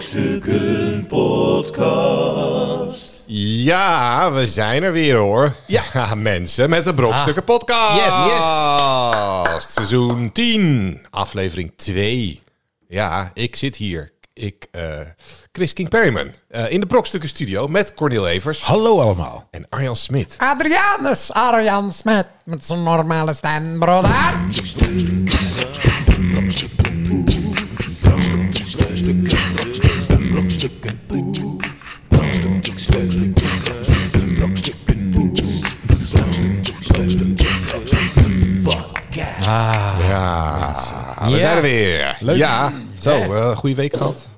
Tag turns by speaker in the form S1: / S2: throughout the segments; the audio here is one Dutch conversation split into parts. S1: Brokstukken Podcast.
S2: Ja, we zijn er weer hoor. Ah,
S3: Ja.
S2: mensen met de Brokstukken Podcast.
S3: Yes,
S2: Seizoen 10, aflevering 2. Ja, ik zit hier. Ik, eh, Chris King Perryman. eh, in de Brokstukken Studio met Cornel Evers
S3: Hallo allemaal.
S2: en Arjan Smit.
S4: Adrianus, Arjan Smet, met zijn normale stem, broder.
S2: Ah, Ja, we zijn er weer.
S3: Leuk.
S2: Ja, zo, eh, goede week gehad.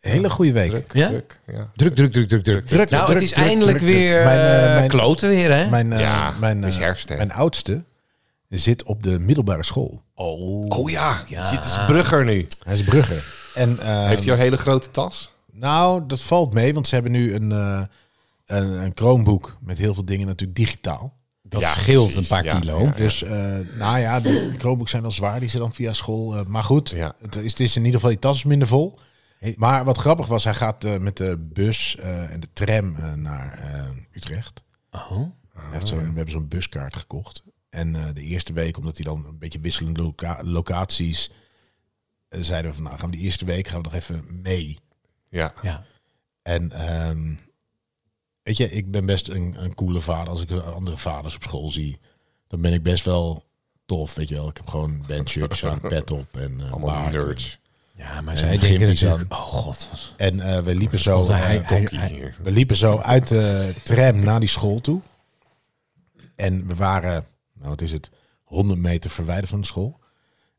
S3: Hele goede week.
S5: Ja?
S2: Druk, ja.
S3: Druk, druk, druk, druk, druk. druk
S5: Nou, het is eindelijk weer
S3: Mijn, eh,
S5: eh,
S3: mijn-
S5: kloten weer, hè?
S3: Mijn, eh,
S2: Ja,
S3: mijn,
S2: het is
S3: eh,
S2: herfst, hè.
S3: Mijn oudste zit op de middelbare school.
S2: Oh ja, dit is Brugger nu.
S3: Hij is brugger. En, eh,
S2: Heeft hij een hele grote tas?
S3: Nou, dat valt mee, want ze hebben nu een, eh een, een Chromebook met heel veel dingen natuurlijk digitaal.
S2: Dat
S5: scheelt een paar kilo.
S3: Dus, eh, nou ja, de Chromebooks zijn al zwaar, die ze dan via school. eh, maar goed,
S2: Ja.
S3: het, is, het is in ieder geval, die tas is minder vol. Maar wat grappig was, hij gaat eh, met de bus eh, en de tram eh, naar eh, Utrecht. Hij heeft zo'n- we hebben zo'n buskaart gekocht. En eh, de eerste week, omdat hij dan een beetje wisselende loca- locaties... eh, zeiden we van, nou gaan we die eerste week gaan we nog even mee.
S2: Ja.
S5: Ja.
S3: En ehm, weet je, ik ben best een, een coole vader. Als ik andere vaders op school zie, dan ben ik best wel tof, weet je wel. Ik heb gewoon bandshirts aan, pet op en eh
S2: Allemaal
S3: baard.
S2: nerds.
S5: ja, maar
S3: zij denken natuurlijk,
S5: Oh god, wat
S3: En eh, we liepen zo...
S5: komt hij-
S3: eh,
S5: hij-
S2: Tonkie hier.
S3: we liepen zo uit de tram naar die school toe. En we waren, nou wat is het, 100 meter verwijderd van de school.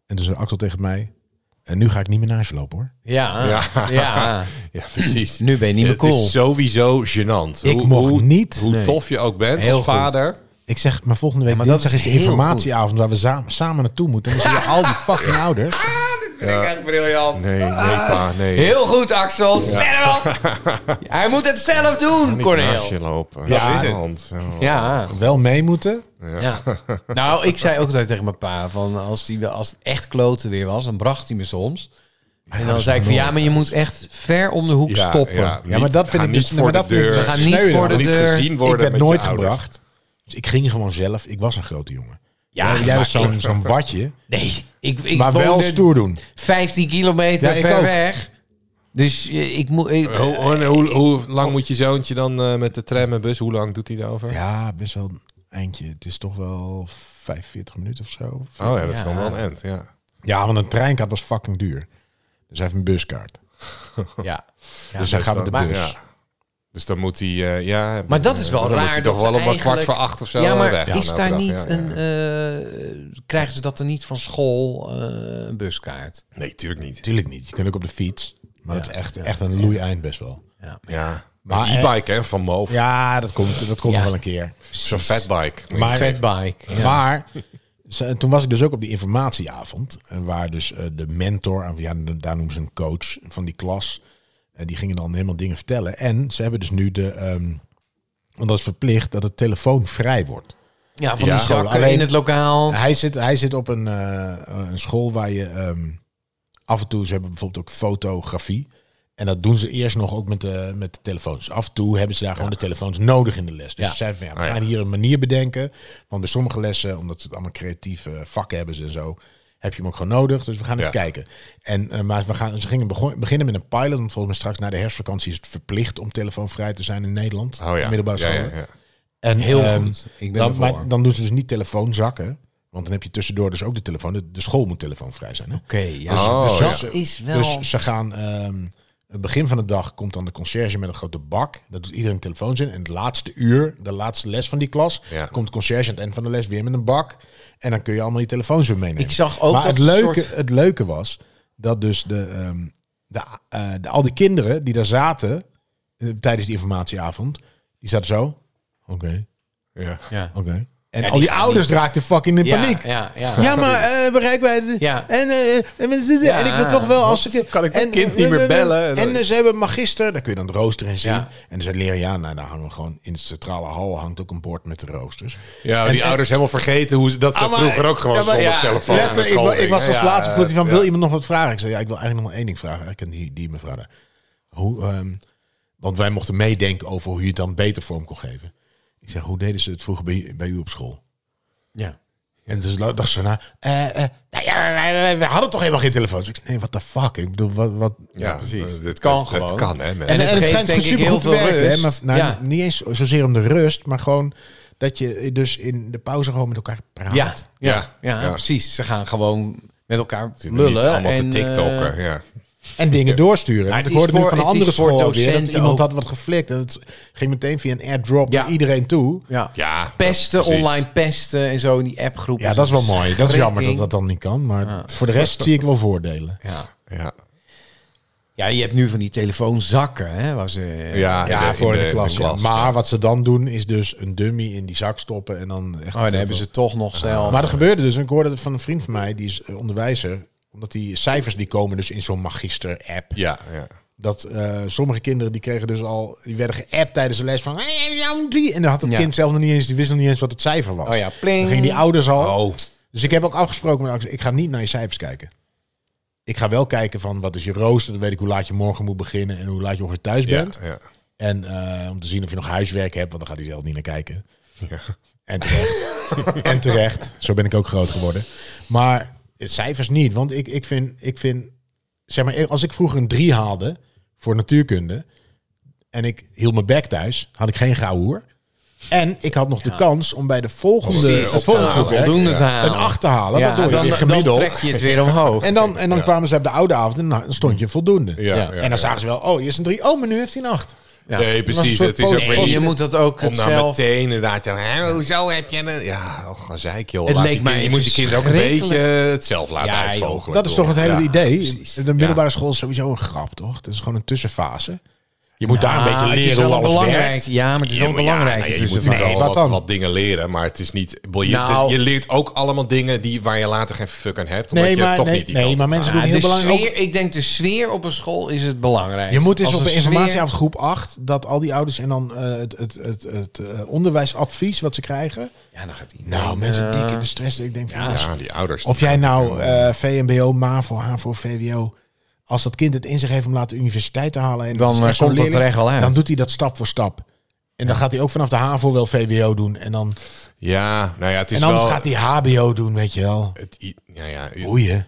S3: En toen zei Axel tegen mij, en nu ga ik niet meer naar je lopen hoor.
S5: Ja,
S2: Ja.
S5: ja.
S2: Ja, precies.
S5: Nu ben je niet meer
S2: het
S5: cool.
S2: is sowieso gênant.
S3: Ik mocht niet.
S2: Hoe
S5: Nee.
S2: tof je ook bent
S5: Heel
S2: als
S5: goed.
S2: vader.
S3: Ik zeg, maar volgende week
S5: Ja, maar dat
S3: dinsdag is
S5: is
S3: de
S5: heel
S3: informatieavond waar we samen, samen naartoe moeten. En dan zie je al die fucking ouders.
S5: echt briljant.
S2: Nee, nee, pa, nee.
S5: Heel goed, Axel. Zelf. Hij moet het zelf doen,
S2: Niet naast
S5: Cornel.
S2: je lopen.
S3: Ja,
S2: Dat is
S3: en-
S2: hand. Oh.
S5: Ja.
S3: Wel mee moeten.
S5: ja. Nou, ik zei ook altijd tegen mijn pa, van als, die, als het echt kloten weer was, dan bracht hij me soms. En dan zei ik van, ja, maar je moet echt ver om de hoek
S2: Ja,
S5: stoppen.
S2: ja.
S3: Ja, maar dat vind
S2: ga
S3: ik
S2: niet
S3: dus...
S2: voor
S3: maar
S2: de
S3: dat vind ik
S2: deur.
S3: dus
S5: We gaan niet
S3: sneu dan.
S5: voor de
S2: Niet
S5: deur.
S2: gezien worden
S3: Ik werd
S2: met
S3: nooit
S2: je ouders.
S3: gebracht. Dus ik ging gewoon zelf. Ik was een grote jongen.
S5: Ja,
S3: jij
S5: maar
S3: was zo'n
S5: ik-
S3: zo'n watje.
S5: Nee, ik, ik
S3: maar wel
S5: woonde
S3: stoer doen.
S5: 15 kilometer
S3: Ja, ik
S5: ver
S3: ook.
S5: weg. Dus eh, ik moet... ik-
S2: Hoe, hoe, hoe- hoe lang moet je zoontje dan eh, met de tram en bus? Hoe lang doet hij daarover?
S3: Ja, best wel een eindje. Het is toch wel 45 minuten of zo.
S2: Oh ja, dat is dan
S5: Ja.
S2: wel een end. Ja.
S3: Ja, want een treinkaart was fucking duur. Dus hij heeft een buskaart.
S5: Ja. Ja.
S3: dus hij gaat met de
S2: dan-
S3: bus.
S2: ja. Dus dan moet hij, eh, ja...
S5: Maar dat is wel
S2: dan
S5: raar
S2: Moet hij
S5: dat
S2: toch wel
S5: ze
S2: om een kwart
S5: eigenlijk-
S2: voor acht of zo
S5: ja, maar
S2: weg gaan
S5: is
S2: elke
S5: daar
S2: dag.
S5: niet
S2: Ja, ja,
S5: een...
S2: ja.
S5: eh, krijgen ze dat er niet van school, eh, een buskaart?
S2: Nee, tuurlijk niet.
S3: Tuurlijk niet. Je kunt ook op de fiets. Maar dat is echt, echt een loei eind best wel.
S2: Ja.
S3: Maar,
S2: Maar
S5: eh,
S2: e-bike, hè, van Moof.
S3: Ja, dat komt, dat komt
S5: Ja.
S3: nog wel een keer.
S2: Zo'n fatbike.
S3: Maar-
S5: Fatbike. Ja.
S3: Maar ze- toen was ik dus ook op die informatieavond. eh, Waar dus eh, de mentor, of ja, de- daar noemen ze een coach van die klas. en die gingen dan helemaal dingen vertellen. En ze hebben dus nu de... ehm, want dat is verplicht dat het telefoon vrij wordt.
S5: Ja, van
S2: Ja.
S5: die zakken
S3: Alleen-
S5: in het lokaal.
S3: Hij zit, hij zit op een, eh, een school waar je ehm, af en toe, ze hebben bijvoorbeeld ook fotografie. En dat doen ze eerst nog ook met de, met de telefoons. Af en toe hebben ze daar gewoon de telefoons nodig in de les. Dus
S5: Ja.
S3: ze zeiden van ja, we
S2: Ah, ja.
S3: gaan hier een manier bedenken. Want bij sommige lessen, omdat ze het allemaal creatieve vakken hebben ze en zo, heb je hem ook gewoon nodig. Dus we gaan even
S2: Ja.
S3: kijken. En, eh, maar we gaan, ze gingen begon- beginnen met een pilot. Want volgens mij straks na de herfstvakantie is het verplicht om telefoonvrij te zijn in Nederland.
S2: Oh ja.
S3: op Middelbare
S2: Ja,
S3: scholen.
S2: ja, ja.
S3: En,
S5: Heel
S3: ehm,
S5: goed. Ik ben
S3: dan,
S5: ervoor.
S3: maar dan doen ze dus niet telefoonzakken. Want dan heb je tussendoor dus ook de telefoon. De, de school moet telefoonvrij zijn. Hè?
S5: Oké, ja.
S2: Dus- Oh,
S3: dus,
S2: ja.
S3: dus-
S5: dat is wel...
S3: dus ze gaan... ehm, het begin van de dag komt dan de concierge met een grote bak. Dat doet iedereen telefoons in. En het laatste uur, de laatste les van die klas...
S2: Ja.
S3: komt de concierge aan het eind van de les weer met een bak. En dan kun je allemaal die telefoons weer meenemen.
S5: Ik zag ook
S3: maar
S5: dat
S3: het, leuke,
S5: soort-
S3: het leuke was dat dus de, ehm, de, eh, de, al die kinderen die daar zaten... eh, tijdens die informatieavond, die zaten zo... Oké,
S2: Ja.
S5: ja.
S3: Oké. En al die, ouders raakten fucking in
S5: Ja,
S3: paniek. Ja,
S5: Ja, ja.
S3: maar eh bereikbaarheid.
S5: Ja.
S3: En, eh, eh, en, mensen-
S5: Ja,
S3: en ik wil toch wel als ik.
S2: kan ik
S3: en,
S2: mijn kind niet
S3: eh,
S2: meer
S3: eh,
S2: bellen?
S3: En eh, ze hebben magister, daar kun je dan het rooster in zien.
S5: Ja.
S3: En ze leren, ja, nou, daar hangen we gewoon in de centrale hal hangt ook een bord met de roosters.
S2: Ja, die ouders helemaal vergeten hoe ze, dat ze
S5: Ah, maar-
S2: vroeger ook gewoon
S5: ja, maar-
S2: zonder
S5: ja,
S2: telefoon
S5: ja,
S2: naar
S3: Letter, ik,
S2: school
S3: wa- ik was
S2: gingen.
S3: als
S2: Ja,
S3: laatste
S2: ja,
S3: vroeg hij van,
S2: ja.
S3: wil iemand nog wat vragen? Ik zei, ja, ik wil eigenlijk nog maar één ding vragen. Ik ken die, die mevrouw daar. Hoe, ehm, want wij mochten meedenken over hoe je het dan beter vorm kon geven. Ik zeg, hoe deden ze het vroeger bij, bij u op school?
S5: Ja.
S3: En dus la- dacht ze na, eh, eh, nou ja, wij- wij- we hadden toch helemaal geen telefoons. Ik zeg, nee, what the fuck? Ik bedoel, wat... wat
S2: Ja,
S5: precies.
S2: eh,
S5: Het kan
S2: Het
S5: gewoon.
S2: kan, hè. mensen.
S5: En het geeft denk ik heel
S3: supergoed te
S5: veel
S3: hè,
S5: rust.
S3: maar, nou,
S5: Ja.
S3: Niet eens zozeer om de rust, maar gewoon dat je dus in de pauze gewoon met elkaar praat.
S5: Ja, ja,
S2: Ja.
S5: ja,
S2: Ja.
S5: precies. Ze gaan gewoon met elkaar
S2: Zitten niet
S5: lullen.
S2: allemaal
S5: en,
S2: te
S5: eh,
S2: tiktokken, ja.
S3: En dingen doorsturen.
S5: Maar
S3: Want
S5: het
S3: ik
S5: is
S3: hoorde nu
S5: voor-
S3: van een
S5: het is
S3: andere
S5: voor
S3: school weer dat
S5: docenten
S3: iemand
S5: ook.
S3: had wat geflikt. En het ging meteen via een airdrop
S5: Ja.
S3: naar iedereen toe.
S5: ja.
S2: Ja,
S5: Pesten,
S2: precies.
S5: online pesten en zo in die appgroep.
S3: Ja, dat is wel mooi. Dat is jammer dat
S5: Schrikking.
S3: dat dan niet kan. Maar voor de rest zie ik wel voordelen.
S5: Ja.
S2: Ja,
S5: ja, je hebt nu van die telefoonzakken, hè? Was, eh
S2: ja, in
S3: Ja,
S2: in
S3: voor de, klas.
S2: in de
S3: ja. Maar wat ze dan doen is dus een dummy in die zak stoppen en dan echt... eh,
S5: Oh, dan hebben ze toch nog zelf.
S3: Maar er gebeurde dus, en ik hoorde het van een vriend van mij, die is eh, onderwijzer, omdat die cijfers die komen dus in zo'n magister-app.
S2: Ja, ja.
S3: Dat eh, sommige kinderen die kregen dus al, die werden geappt tijdens de les van. En dan had het
S5: Ja.
S3: kind zelf nog niet eens, die wist nog niet eens wat het cijfer was.
S5: Oh ja, pling.
S3: Dan gingen die ouders al.
S2: Oh,
S3: Dus ik heb ook afgesproken met Axel, ik ga niet naar je cijfers kijken. Ik ga wel kijken van wat is je rooster, dan weet ik hoe laat je morgen moet beginnen en hoe laat je ongeveer thuis
S2: ja,
S3: bent.
S2: ja.
S3: En eh, om te zien of je nog huiswerk hebt, want dan gaat hij zelf niet naar kijken.
S2: Ja.
S3: En terecht. en terecht. Zo ben ik ook groot geworden. Maar eh, cijfers niet. Want ik, ik, vind, ik vind, zeg maar, eh, als ik vroeger een 3 haalde voor natuurkunde. en ik hield mijn bek thuis, had ik geen gouden hoer. En ik had nog de kans om bij de volgende,
S5: Precies,
S3: het
S5: het
S3: volgende
S5: halen,
S3: proefwerk
S5: voldoende te
S3: een
S5: halen.
S3: 8 te halen.
S5: ja,
S3: dat doe je
S5: dan,
S3: weer
S5: dan
S3: gemiddeld.
S5: trek je het weer omhoog.
S3: en dan, en dan kwamen ze op de oude avond en dan stond je voldoende.
S2: Ja,
S5: Ja.
S2: ja,
S3: en dan
S2: ja.
S3: zagen ze wel, oh, hier is een 3. Oh, maar nu heeft hij een 8.
S5: ja.
S2: Nee,
S3: een
S2: precies.
S3: soort
S2: Het is ook
S3: post-
S2: weer
S5: En
S3: post-
S5: je
S2: niet
S5: moet dat ook
S2: om
S5: het
S2: nou
S5: zelf...
S2: meteen inderdaad te hè, hoezo heb je een... Ja, oh, gezeik joh.
S5: Het
S2: Laat
S5: leek
S2: die kind-
S5: mij
S2: je moet je kinderen ook een
S5: verschrikkelijk.
S2: beetje het zelf laten
S5: Ja, joh,
S2: uitvogelen.
S3: Dat is
S2: door.
S3: toch het hele
S2: Ja.
S3: idee.
S5: precies.
S3: De middelbare school is sowieso een grap, toch? Het is gewoon een tussenfase. Je moet daar een
S5: Ah,
S3: beetje
S5: het is
S3: leren
S5: wel
S3: hoe
S5: een
S3: alles
S5: belangrijk.
S3: werkt.
S5: Ja, maar het is
S2: Ja,
S5: wel
S2: maar ja,
S5: belangrijk.
S2: nou ja, je
S5: tussen
S2: moet natuurlijk
S5: de-
S3: Nee,
S2: wel
S3: wat
S2: wat,
S3: dan?
S2: wat dingen leren, maar het is niet... boy, Je,
S5: Nou.
S2: dus je leert ook allemaal dingen die, waar je later geen fuck aan hebt. Omdat
S3: Nee,
S2: je
S3: maar,
S2: toch
S3: nee,
S2: niet die
S3: nee,
S2: kant
S3: maar
S2: op
S3: mensen
S2: gaat.
S3: doen heel
S5: de
S3: belangrijk.
S5: sfeer, ik denk de sfeer op een school is het belangrijk.
S3: Je moet eens
S5: Als
S3: op
S5: de
S3: een
S5: sfeer-
S3: informatieavond groep 8 dat al die ouders en dan eh, het, het, het, het, eh, onderwijsadvies wat ze krijgen.
S5: Ja, dan gaat Eh, die.
S3: Nou, mensen dik in de stress. Ik denk van, ja,
S2: Ja, die ouders.
S3: of jij nou eh, VMBO, MAVO, HAVO, VWO. Als dat kind het in zich heeft om later de universiteit te halen. En het
S5: Dan,
S3: is
S5: eh,
S3: echt zo'n
S5: komt dat
S3: leerling,
S5: er echt wel uit.
S3: Dan doet hij dat stap voor stap. En dan gaat hij ook vanaf de HAVO wel VWO doen. En dan
S2: Ja, nou ja, het is
S3: en anders
S2: wel...
S3: gaat hij HBO doen, weet je wel.
S2: het i- ja, ja,
S3: Boeien.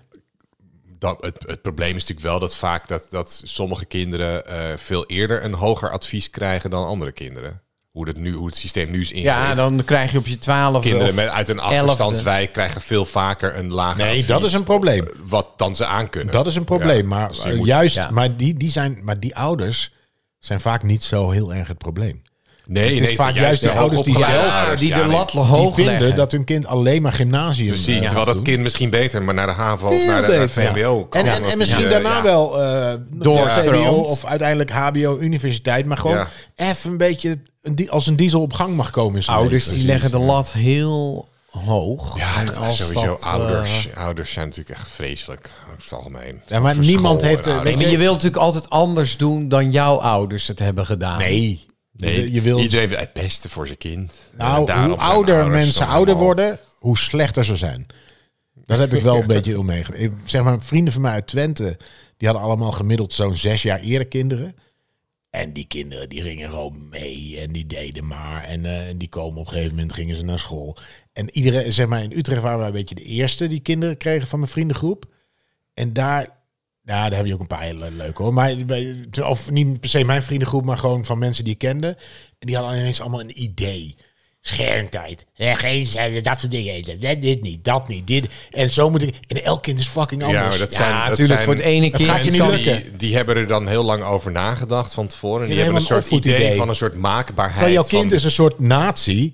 S2: dat, het, het probleem is natuurlijk wel dat vaak dat, dat sommige kinderen eh, veel eerder een hoger advies krijgen dan andere kinderen. Hoe, dat nu, hoe het systeem nu is ingericht.
S5: Ja, dan krijg je op je twaalf.
S2: kinderen met, uit een
S5: elfde.
S2: achterstandswijk krijgen veel vaker een lager
S3: Nee,
S2: advies,
S3: dat is een probleem.
S2: Wat dan ze aankunnen.
S3: Dat is een probleem. maar
S2: dus je
S3: eh,
S2: moet-
S3: juist,
S5: ja.
S3: maar, die, die zijn, maar die ouders zijn vaak niet zo heel erg het probleem.
S2: nee,
S3: is
S2: nee,
S3: vaak
S2: zijn
S3: juist de
S2: hoogopgeleide
S3: ouders die zelf-
S2: ouders,
S5: die
S2: ja,
S5: de
S2: nee.
S5: lat hoog
S3: die vinden
S5: leggen.
S3: dat hun kind alleen maar gymnasium eh,
S2: Precies, terwijl
S3: gaat
S2: dat
S3: doen.
S2: kind misschien beter, maar naar de HAVO of
S3: Veel
S2: naar de naar
S3: beter.
S2: VMBO kan.
S3: En, en,
S2: omdat die,
S3: en misschien
S2: eh,
S3: daarna
S2: ja.
S3: wel eh
S5: Doorstroomt.
S3: VWO of uiteindelijk HBO, universiteit. Maar gewoon
S2: Ja.
S3: even een beetje een di- als een diesel op gang mag komen. in zijn
S5: Ouders
S3: leven.
S5: die leggen de lat heel hoog.
S2: Ja,
S5: En
S2: dat
S5: als
S2: sowieso
S5: dat, eh,
S2: ouders. ouders zijn natuurlijk echt vreselijk. Over het algemeen.
S3: Ja, maar
S2: Voor
S3: niemand
S2: school
S3: heeft, eh,
S2: en
S5: Nee, maar je wilt natuurlijk altijd anders doen dan jouw ouders het hebben gedaan.
S3: Nee. Je, je wil,
S2: Iedereen wil het beste voor zijn kind. En
S3: nou,
S2: daarom
S3: hoe
S2: zijn
S3: ouder
S2: ouders
S3: mensen
S2: dan
S3: ouder
S2: allemaal-
S3: worden, hoe slechter ze zijn. Dat heb ik wel een beetje om meegemaakt. Zeg maar, vrienden van mij uit Twente, die hadden allemaal gemiddeld zo'n zes jaar eerder kinderen. En die kinderen die gingen gewoon mee en die deden maar. En, eh, en die komen op een gegeven moment gingen ze naar school. En iedereen, zeg maar, in Utrecht waren wij een beetje de eerste die kinderen kregen van mijn vriendengroep. En daar, nou, daar heb je ook een paar hele leuke hoor. Maar, bij- of niet per se mijn vriendengroep, maar gewoon van mensen die ik kende. En die hadden ineens allemaal een idee. Schermtijd. Ja, geen zender, dat soort dingen eten. Dit, dit niet, dat niet, dit. En zo moet ik... En elk kind is fucking anders.
S2: Ja, maar dat
S5: Ja,
S2: zijn, dat
S5: natuurlijk.
S2: zijn-
S5: voor het ene
S3: dat
S5: kind
S3: gaat je niet
S5: kan-
S3: lukken.
S2: Die, die hebben er dan heel lang over nagedacht van tevoren. Die
S3: Ja,
S2: hebben een
S3: helemaal
S2: soort
S3: een
S2: idee,
S3: opvoedidee.
S2: van een soort maakbaarheid.
S3: Terwijl jouw kind
S2: van,
S3: is een soort nazi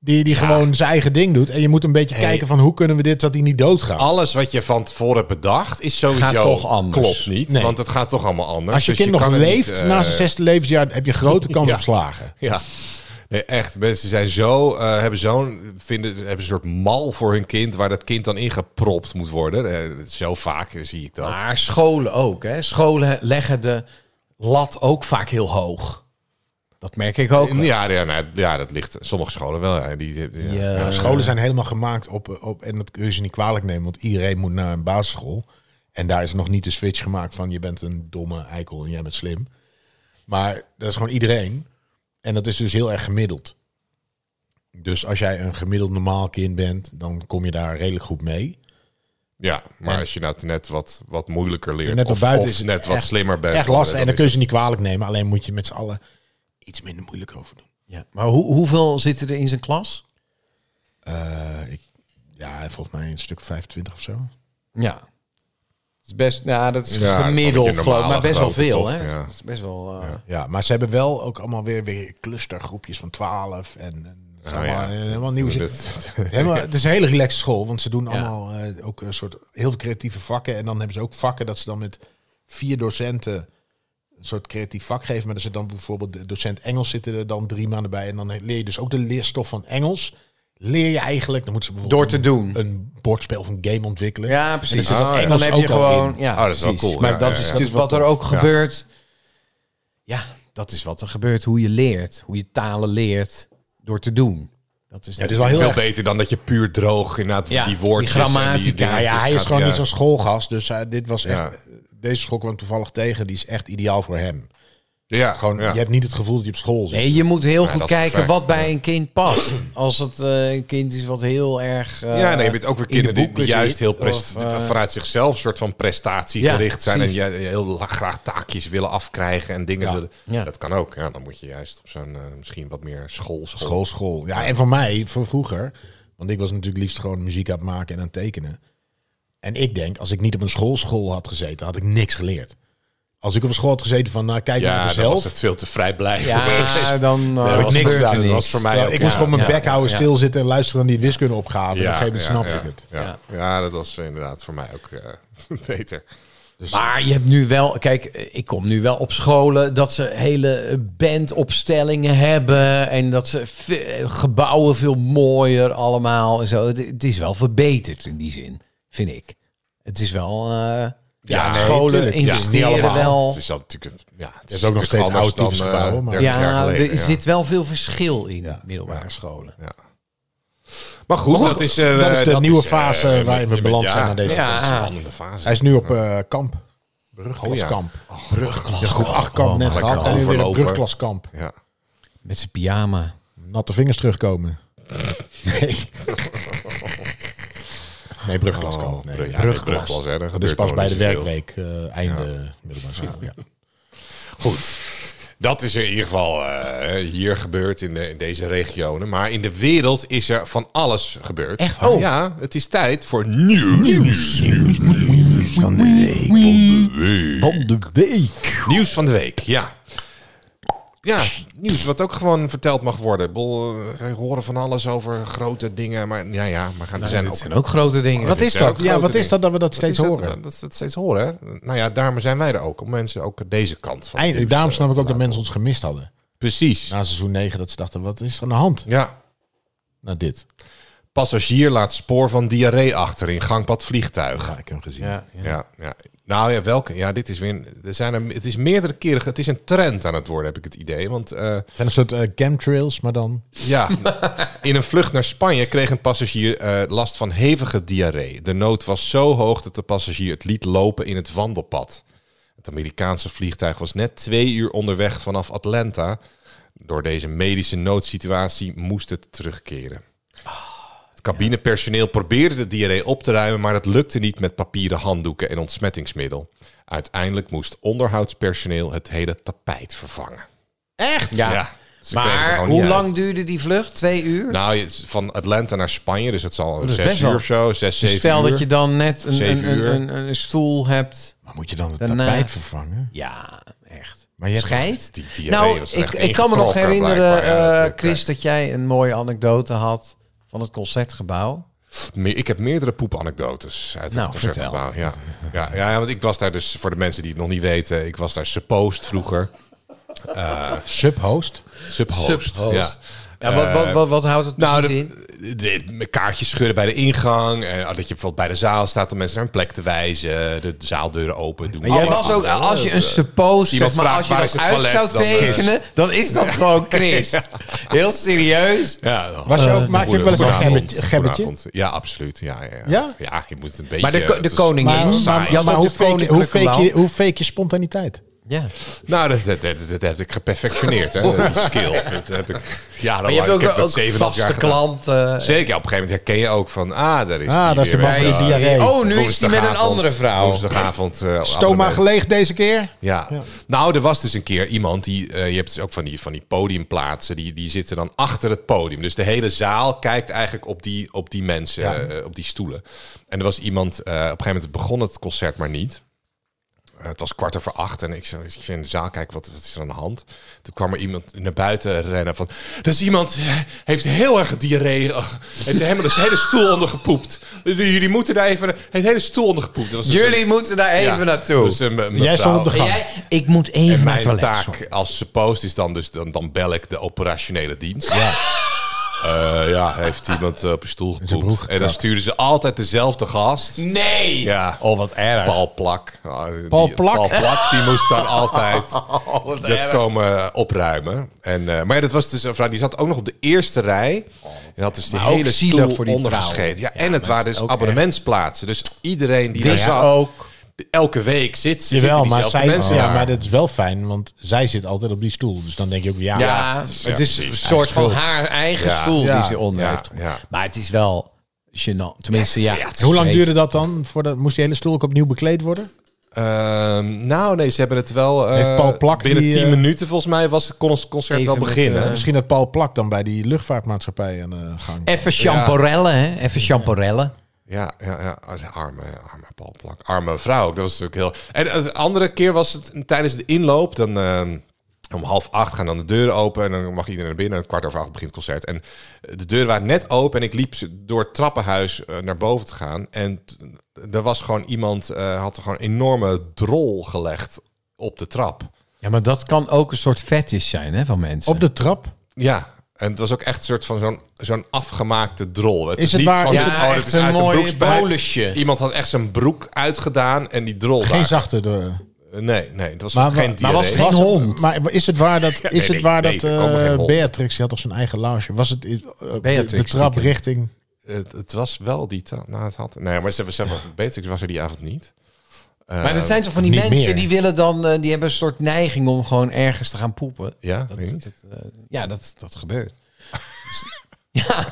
S3: die, die gewoon zijn eigen ding doet. En je moet een beetje kijken van hoe kunnen we dit, dat hij niet doodgaat.
S2: Alles wat je van tevoren hebt bedacht is sowieso...
S5: Gaat toch anders.
S2: Klopt niet,
S3: Nee.
S2: want het gaat toch allemaal anders.
S3: Als je
S2: Dus
S3: kind nog
S2: kan het
S3: leeft
S2: niet, eh,
S3: na zijn zesde levensjaar, heb je grote kans
S2: Ja.
S3: op slagen.
S2: Ja. Nee, echt. Mensen zijn zo, eh, hebben zo'n, vinden, hebben een soort mal voor hun kind, waar dat kind dan ingepropt moet worden. Eh, zo vaak eh, zie ik dat.
S5: Maar scholen ook. Hè? Scholen leggen de lat ook vaak heel hoog. Dat merk ik ook. wel.
S2: ja, ja, nou, ja, dat ligt sommige scholen wel. Ja, die, die- ja.
S5: Ja.
S2: Ja,
S3: Eh, Scholen zijn helemaal gemaakt op, op, en dat kun je ze niet kwalijk nemen, want iedereen moet naar een basisschool. En daar is nog niet de switch gemaakt van je bent een domme eikel en jij bent slim. Maar dat is gewoon iedereen. En dat is dus heel erg gemiddeld. Dus als jij een gemiddeld normaal kind bent, dan kom je daar redelijk goed mee.
S2: Ja, maar als je nou net wat, wat moeilijker leert.
S3: Net wat
S2: of,
S3: buiten
S2: of
S3: is het
S2: net wat
S3: echt-
S2: slimmer bent.
S3: Echt lastig. En
S2: is
S3: dan kun je
S2: het-
S3: ze niet kwalijk nemen. Alleen moet je met z'n allen iets minder moeilijk over doen.
S5: Ja. Maar hoe, hoeveel zitten er in zijn klas?
S3: Eh, ik, ja, volgens mij een stuk 25 of zo.
S5: Ja. Het is best, nou, dat is
S2: Ja, dat is wel een
S5: gemiddeld
S2: beetje
S5: geloof ik, maar best wel
S2: normale
S5: veel.
S2: grootte,
S5: Hè?
S2: toch? Ja.
S5: Dat is best wel... eh,
S3: Ja, maar ze hebben wel ook allemaal weer, weer clustergroepjes van 12 en, en
S5: Oh,
S3: het is
S2: Nou ja,
S3: allemaal, eh, helemaal
S2: dat-
S3: nieuw.
S2: dat-
S3: Helemaal, het is een hele relaxed school, want ze doen allemaal eh, ook een soort heel veel creatieve vakken. En dan hebben ze ook vakken dat ze dan met vier docenten een soort creatief vak geven. Maar er zit dan bijvoorbeeld de docent Engels zitten er dan drie maanden bij. En dan leer je dus ook de leerstof van Engels. Leer je eigenlijk, dan moeten ze
S5: door
S3: bijvoorbeeld
S5: te doen.
S3: een, een bordspel of een game ontwikkelen.
S5: Ja, precies.
S2: zit dat
S5: en dan
S2: Engels
S5: heb je
S3: ook al
S5: gewoon...
S3: in.
S5: Ja,
S2: Oh, dat is wel
S5: precies.
S2: cool.
S5: Maar
S2: Ja,
S5: dat
S2: ja,
S5: is
S2: ja.
S5: natuurlijk
S3: Dat is
S5: wat
S3: wel
S5: er
S3: tof.
S5: ook gebeurt. Ja, dat is wat er gebeurt. Hoe je leert. Hoe je talen leert. Door te doen. Dat is
S3: het is wel heel
S2: veel
S3: erg
S2: beter dan dat je puur droog inderdaad
S5: Ja,
S2: die woordjes
S5: die
S2: en
S5: grammatica.
S3: Ja,
S2: dingetjes
S3: ja, hij is
S2: gaat-
S3: gewoon
S2: ja.
S3: niet zo'n schoolgast. Dus hij- dit was echt.
S2: Ja.
S3: Deze school kwam toevallig tegen. Die is echt ideaal voor hem.
S2: Ja,
S3: Gewoon,
S2: ja.
S3: je hebt niet het gevoel dat je op school zit.
S5: Nee, je moet heel
S2: Ja,
S5: goed
S2: dat is
S5: kijken
S2: perfect,
S5: wat bij een kind past. Als het eh, een kind is wat heel erg. eh,
S2: ja, nee, je bent ook weer
S5: in de
S2: kinderen die- die
S5: boeken
S2: juist
S5: zit,
S2: heel
S5: of,
S2: prest-
S5: eh,
S2: vanuit zichzelf soort van prestatiegericht
S5: Ja,
S2: zijn. En ja, heel la- graag taakjes willen afkrijgen en dingen.
S3: Ja.
S2: willen-
S5: Ja.
S2: Dat kan ook. Ja, dan moet je juist op zo'n eh, misschien wat meer school. school.
S3: School, school. Ja, en voor mij, van vroeger. Want ik was natuurlijk liefst gewoon muziek aan het maken en aan het tekenen. En ik denk, als ik niet op een schoolschool had gezeten, had ik niks geleerd. Als ik op een school had gezeten van, nou, kijk maar
S2: Ja, dan was
S3: zelf.
S2: het veel te vrijblijvend.
S5: ja, dan eh,
S2: heb
S3: ik niks
S5: gebeurt er
S2: gedaan. Dat
S5: niks.
S2: was voor mij
S3: Terwijl
S2: ook,
S3: ik moest
S2: ja.
S3: gewoon mijn
S5: Ja,
S3: bek
S5: ja,
S3: houden,
S5: ja.
S3: stilzitten en luisteren naar die wiskundeopgave. en op een gegeven moment snapte
S2: ja,
S3: ik het.
S2: Ja,
S5: Ja.
S2: ja. Ja, dat was inderdaad voor mij ook eh, beter.
S5: Maar je hebt nu wel, kijk, ik kom nu wel op scholen dat ze hele bandopstellingen hebben en dat ze ve- gebouwen veel mooier allemaal en zo. Het, het is wel verbeterd in die zin, vind ik. Het is wel eh,
S2: Ja, nee,
S5: scholen
S3: tuurlijk. Ja, niet
S5: investeren
S3: allemaal.
S5: wel.
S2: Het is dan natuurlijk, een- ja, het
S3: is ook nog
S2: natuurlijk
S3: steeds
S2: anders
S3: oud
S2: dan,
S3: typesgebouw,
S2: eh,
S3: maar-
S2: 30 jaar
S5: Ja,
S2: geleden,
S5: er
S2: ja.
S5: zit wel veel verschil in middelbare scholen.
S2: Ja. Maar goed,
S3: goed,
S2: dat is, eh,
S3: dat is de nieuwe fase
S2: eh, met-
S3: waarin we
S2: met-
S3: beland
S2: ja,
S3: zijn aan deze
S2: dat is een
S5: podcast.
S2: spannende fase.
S3: Hij is nu op eh, kamp. Brugklaskamp. De groep 8 kamp net
S2: Oh, lekker
S3: gehad. En nu weer een
S2: overlopen.
S3: brugklaskamp.
S2: Ja.
S5: Met zijn pyjama.
S3: Natte vingers terugkomen. Nee. Nee, brugklaskamp.
S2: Oh,
S3: Nee,
S2: brug-
S3: ja,
S2: ja,
S3: brugklas.
S2: nee, brugklas, hè, daar
S3: Dat is
S2: gebeurt
S3: pas
S2: allemaal
S3: bij de
S2: niet zoveel.
S3: werkweek, eh, einde middelbare school. Ja.
S2: Goed. Dat is er in ieder geval eh, hier gebeurd in, de, in deze regionen. Maar in de wereld is er van alles gebeurd. Echt
S3: Oh.
S5: waar?
S2: Ja, het is tijd voor nieuws. Nieuws, van de week.
S5: Van de week.
S2: Nieuws van de week, ja. Ja, nieuws wat ook gewoon verteld mag worden. Bol, eh, we horen van alles over grote dingen, maar ja, ja, maar
S3: Nou,
S2: gaan er zijn
S5: Dat
S2: ook...
S5: zijn ook grote dingen.
S3: Wat
S2: dit
S3: is
S2: zijn
S3: dat?
S2: ook
S3: Ja,
S2: grote
S3: wat is dat dat we dat
S2: Wat
S3: steeds
S2: is dat?
S3: horen?
S2: Dat ze het steeds horen, hè? Nou ja, daarom zijn wij er ook. Om mensen ook deze kant van het
S3: Eindelijk,
S2: nieuws,
S3: daarom
S2: eh,
S3: snap ik
S2: te
S3: ook dat
S2: laten
S3: mensen ons gemist hadden.
S2: horen. Precies,
S3: Na seizoen 9 dat ze dachten, wat is er aan de hand?
S2: ja.
S3: Nou, dit.
S2: Passagier laat spoor van diarree achter in gangpad vliegtuig.
S3: Ja, ik heb hem gezien.
S5: Ja, ja.
S2: Ja, ja. Nou ja, welke? Ja, dit is weer. Er zijn er, het is meerdere keren. Het is een trend aan het worden, heb ik het idee. Want eh,
S3: Zijn een soort eh, chemtrails, maar dan...
S2: ja, in een vlucht naar Spanje kreeg een passagier eh, last van hevige diarree. De nood was zo hoog dat de passagier het liet lopen in het wandelpad. Het Amerikaanse vliegtuig was net twee uur onderweg vanaf Atlanta. Door deze medische noodsituatie moest het terugkeren. Het cabinepersoneel probeerde de diarree op te ruimen, maar dat lukte niet met papieren handdoeken en ontsmettingsmiddel. Uiteindelijk moest onderhoudspersoneel het hele tapijt vervangen.
S5: Echt? Ja.
S2: ze kregen het er
S5: Maar
S2: gewoon niet
S5: hoe
S2: uit.
S5: lang duurde die vlucht? Twee uur?
S2: Nou, je- van Atlanta naar Spanje, dus het zal
S5: Hm. Oh, is
S2: zes
S5: best
S2: uur
S5: wel.
S2: of zo, zes,
S5: Dus
S2: zeven
S5: stel
S2: uur.
S5: dat je dan net een,
S2: Zeven
S5: een, een,
S2: uur.
S5: een, een stoel hebt.
S3: Maar moet je dan eh, het
S5: Daarna-
S3: tapijt vervangen?
S5: Ja, echt.
S3: Maar je hebt-
S5: Schijt?
S2: Die diarree
S5: Nou,
S2: was er
S5: ik,
S2: echt
S5: ik kan me nog
S2: ingetrokken,
S5: herinneren,
S2: blijkbaar. Ja,
S5: eh,
S2: dat-
S5: Chris, dat jij een mooie anekdote had van het concertgebouw.
S2: Me- Ik heb meerdere poepanekdotes uit
S5: Nou,
S2: het concertgebouw. Ja. Ja, ja, ja, want ik was daar dus, voor de mensen die het nog niet weten, ik was daar supposed vroeger.
S3: Subhost?
S2: Subhost.
S5: Subhost.
S2: Ja.
S5: Ja, wat, wat, wat, wat houdt het
S2: Nou,
S5: precies
S2: de,
S5: in?
S2: de- de kaartjes scheuren bij de ingang. En dat je bijvoorbeeld bij de zaal staat om mensen naar een plek te wijzen. De zaaldeuren open doen.
S5: Maar jij
S2: Oh,
S5: was ook, als je een suppose,
S2: iemand
S5: zeg maar,
S2: vraagt,
S5: als je
S2: waar is het
S5: dat
S2: toilet,
S5: uit zou
S2: dan, eh,
S5: tekenen, dan is dat gewoon Chris. Heel serieus.
S2: Ja, dan-
S3: Was je ook, maak je ook wel eens een
S2: Goedenavond.
S3: gebbetje? gebbetje?
S2: Goedenavond. Ja, absoluut. Ja, ja,
S3: Ja?
S2: ja. ja, je moet een beetje...
S5: Maar de, ko-
S2: het
S5: de
S2: is-
S5: koningin.
S3: Maar, maar,
S2: saai.
S3: ja, maar
S5: Stond
S3: hoe,
S5: de
S3: fake, je- hoe,
S5: koninklijke
S3: fake je, hoe fake je spontaniteit?
S5: Ja.
S2: Nou, dat, dat, dat, dat heb ik geperfectioneerd, hè. Dat is skill. Dat heb ik
S5: Maar je
S2: jarenlang.
S5: hebt
S2: Nou, Ik
S5: ook,
S2: heb
S5: ook
S2: dat zeven half jaar
S5: vaste eh,
S2: gedaan.
S5: klanten.
S2: Zeker, ja, op een gegeven moment herken je ook van... Ah, daar is
S3: Ah,
S2: die
S3: daar is de
S2: weer.
S3: man van
S2: Ja,
S3: de diarree.
S5: Oh, nu is die met een
S2: woensdagavond-
S5: andere vrouw.
S2: Woensdagavond. eh,
S3: Stoma
S2: abonnement.
S3: geleegd deze keer?
S2: Ja. nou, er was dus een keer iemand die. eh, je hebt dus ook van die, van die podiumplaatsen. Die, die zitten dan achter het podium. Dus de hele zaal kijkt eigenlijk op die, op die mensen, eh, op die stoelen. En er was iemand. eh, op een gegeven moment begon het concert maar niet. Eh, het was kwart over acht en ik zei- ik ging in de zaal kijken, wat, wat is er aan de hand? Toen kwam er iemand naar buiten rennen van... Dus iemand eh, heeft heel erg diarree, oh, heeft helemaal de hele stoel ondergepoept. Jullie moeten daar even... Heeft de hele stoel ondergepoept. Dat was dus
S5: Jullie
S2: een-
S5: moeten daar even
S2: ja,
S5: naartoe.
S2: Dus, eh, me-
S3: Jij
S2: mevrouw-
S3: stond op de gang.
S5: Jij, ik moet even
S2: en
S5: naar het
S2: mijn
S5: toilet.
S2: taak
S5: sorry.
S2: als suppose is dan dus, dan, dan bel ik de operationele dienst. Ja. ja, heeft iemand eh, op een stoel
S3: zijn broek
S2: gepoept. En dan
S3: gekrapt.
S2: sturen ze altijd dezelfde gast.
S5: Nee!
S2: Ja.
S5: Oh, wat erg.
S2: Paul Plak. Ah, die-
S3: Paul Plak?
S2: Paul Plak, die moest dan altijd
S5: Oh, wat
S2: dat
S5: erg.
S2: komen opruimen. En, eh, maar ja, dat was dus een vrouw, die zat ook nog op de eerste rij. en had dus die
S5: Maar ook
S2: hele
S5: zielig
S2: stoel
S5: voor die vrouw.
S2: ondergescheten. Ja,
S5: Ja,
S2: en het
S5: maar
S2: waren
S5: het is
S2: dus
S5: ook echt-
S2: abonnementsplaatsen. Dus iedereen die daar
S5: Wist Oh.
S2: zat,
S5: ook.
S2: elke week zit, zitten
S3: Jawel, maar,
S2: diezelfde
S3: zij,
S2: mensen
S3: ja,
S2: daar.
S3: maar dat is wel fijn, want zij zit altijd op die stoel. Dus dan denk je ook, ja,
S5: Ja,
S2: Ja,
S5: het is,
S2: ja,
S5: een
S2: precies.
S5: soort van
S3: Schuld.
S5: haar eigen
S2: Ja.
S5: stoel
S3: Ja.
S5: die ze onder
S2: Ja,
S5: heeft.
S2: ja.
S5: Maar het is wel gênant. Tenminste, ja.
S2: ja, het is
S3: Hoe lang duurde dat dan? Voordat, moest die hele stoel ook opnieuw bekleed worden?
S2: Ehm, nou, nee, ze hebben het wel. eh,
S3: Heeft Paul Plak
S2: binnen
S3: die,
S2: 10
S3: eh,
S2: minuten volgens mij was het kon ons concert
S5: Even
S2: wel
S5: met,
S2: beginnen.
S5: eh,
S3: Misschien dat Paul Plak dan bij die luchtvaartmaatschappij aan de gang.
S5: Even champorellen, hè? Even champorellen.
S2: ja, ja, ja, Ah, arme, arme Paul Plak, arme vrouw. ook, Dat was natuurlijk heel. En eh, de andere keer was het tijdens de inloop dan. ehm, om half acht gaan dan de deuren open en dan mag iedereen naar binnen. En kwart over acht begint het concert. En eh, de deuren waren net open en ik liep ze door het trappenhuis eh, naar boven te gaan. En t- er was gewoon iemand, eh, had er gewoon een enorme drol gelegd op de trap.
S5: Ja, maar dat kan ook een soort fetish zijn hè, van mensen.
S3: Op de trap?
S2: Ja, en het was ook echt een soort van zo'n zo'n afgemaakte drol. Het
S3: Is het
S2: niet
S3: waar-
S2: van,
S3: is
S5: ja,
S3: het-
S2: oh, dat
S5: echt
S2: is
S5: een
S2: uit een
S5: mooi
S2: broekspijp.
S5: bolusje.
S2: Iemand had echt zijn broek uitgedaan en die drol
S3: Geen
S2: daar. Eh,
S3: zachte. De,
S2: Nee, nee, het was
S3: maar,
S2: ook geen
S3: maar
S2: diarree.
S3: was
S5: Geen
S3: was-
S5: hond.
S3: Maar is het waar dat, is
S2: nee,
S3: het waar
S2: nee,
S3: dat
S2: er komen
S3: eh,
S2: geen honden.
S3: Beatrix, die had toch zijn eigen lounge? Was het in- eh, de-
S5: Beatrix,
S3: de, trap
S5: stiekem.
S3: richting...
S2: het, het was wel die... ta- Nou, het had... Nee, maar ze hebben zelf... Beatrix was er die avond niet.
S5: maar
S2: Eh,
S5: dat zijn toch van die
S3: niet
S5: mensen
S3: meer.
S5: die willen dan, eh, die hebben een soort neiging om gewoon ergens te gaan poepen.
S2: Ja, weet
S5: Dat,
S2: je niet.
S5: dat, eh, ja, dat, dat gebeurt. ja,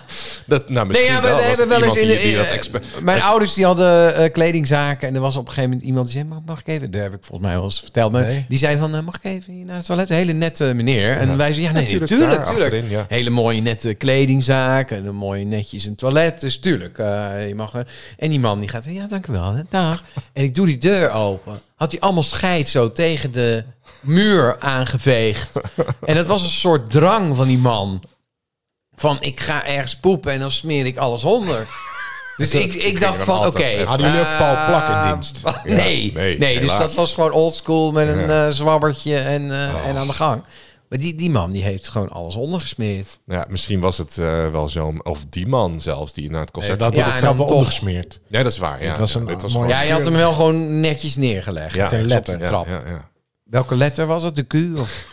S2: Dat, nou,
S5: Nee,
S2: misschien
S5: ja, we
S2: wel. was
S5: hebben
S2: het
S5: wel eens
S2: iemand die-
S5: in de.
S2: die dat
S5: eh,
S2: expe-
S5: mijn
S2: het-
S5: ouders die hadden eh, kledingzaken en er was op een gegeven moment iemand die zei: mag, mag ik even? Daar heb ik volgens mij wel eens verteld. Maar
S3: Nee.
S5: die zei van: eh, mag ik even hier naar het toilet? Een hele nette meneer. En wij zeiden: ja, nee,
S2: Natuurlijk,
S5: natuurlijk, tuurlijk,
S2: daar
S5: tuurlijk.
S2: achterin, ja.
S5: Hele mooie nette kledingzaak en een mooie netjes een toilet. Dus tuurlijk, eh, je mag. eh, en die man die gaat: ja, dank u wel. hè, Dag. en ik doe die deur open. Had hij allemaal scheid zo tegen de muur aangeveegd. en dat was een soort drang van die man van ik ga ergens poepen en dan smeer ik alles onder. Dus ik, ik dacht
S2: dan
S5: van, oké.
S2: altijd even.
S3: Hadden jullie ook Paul Plak in
S5: eh,
S3: dienst?
S5: nee, nee,
S2: nee,
S5: dus
S2: helaas.
S5: dat was gewoon oldschool met een
S2: Ja.
S5: eh, zwabbertje en, eh,
S3: Oh.
S5: en aan de gang. Maar die, die man die heeft gewoon alles ondergesmeerd.
S2: Ja, misschien was het eh, wel zo'n... Of die man zelfs, die naar het concert...
S3: Dat
S5: Ja,
S3: had
S5: en
S3: de
S5: dan
S3: trap wel
S5: toch.
S3: ondergesmeerd.
S2: Nee, dat is waar. Ja,
S3: Het was
S2: ja,
S3: een
S2: dit
S3: mooi-
S2: gewoon-
S5: Ja, je had hem wel gewoon netjes neergelegd.
S2: Ja,
S3: ten
S2: ja,
S3: letter.
S2: ja,
S5: trap.
S2: ja, ja.
S5: Welke letter was het? De Q? Of?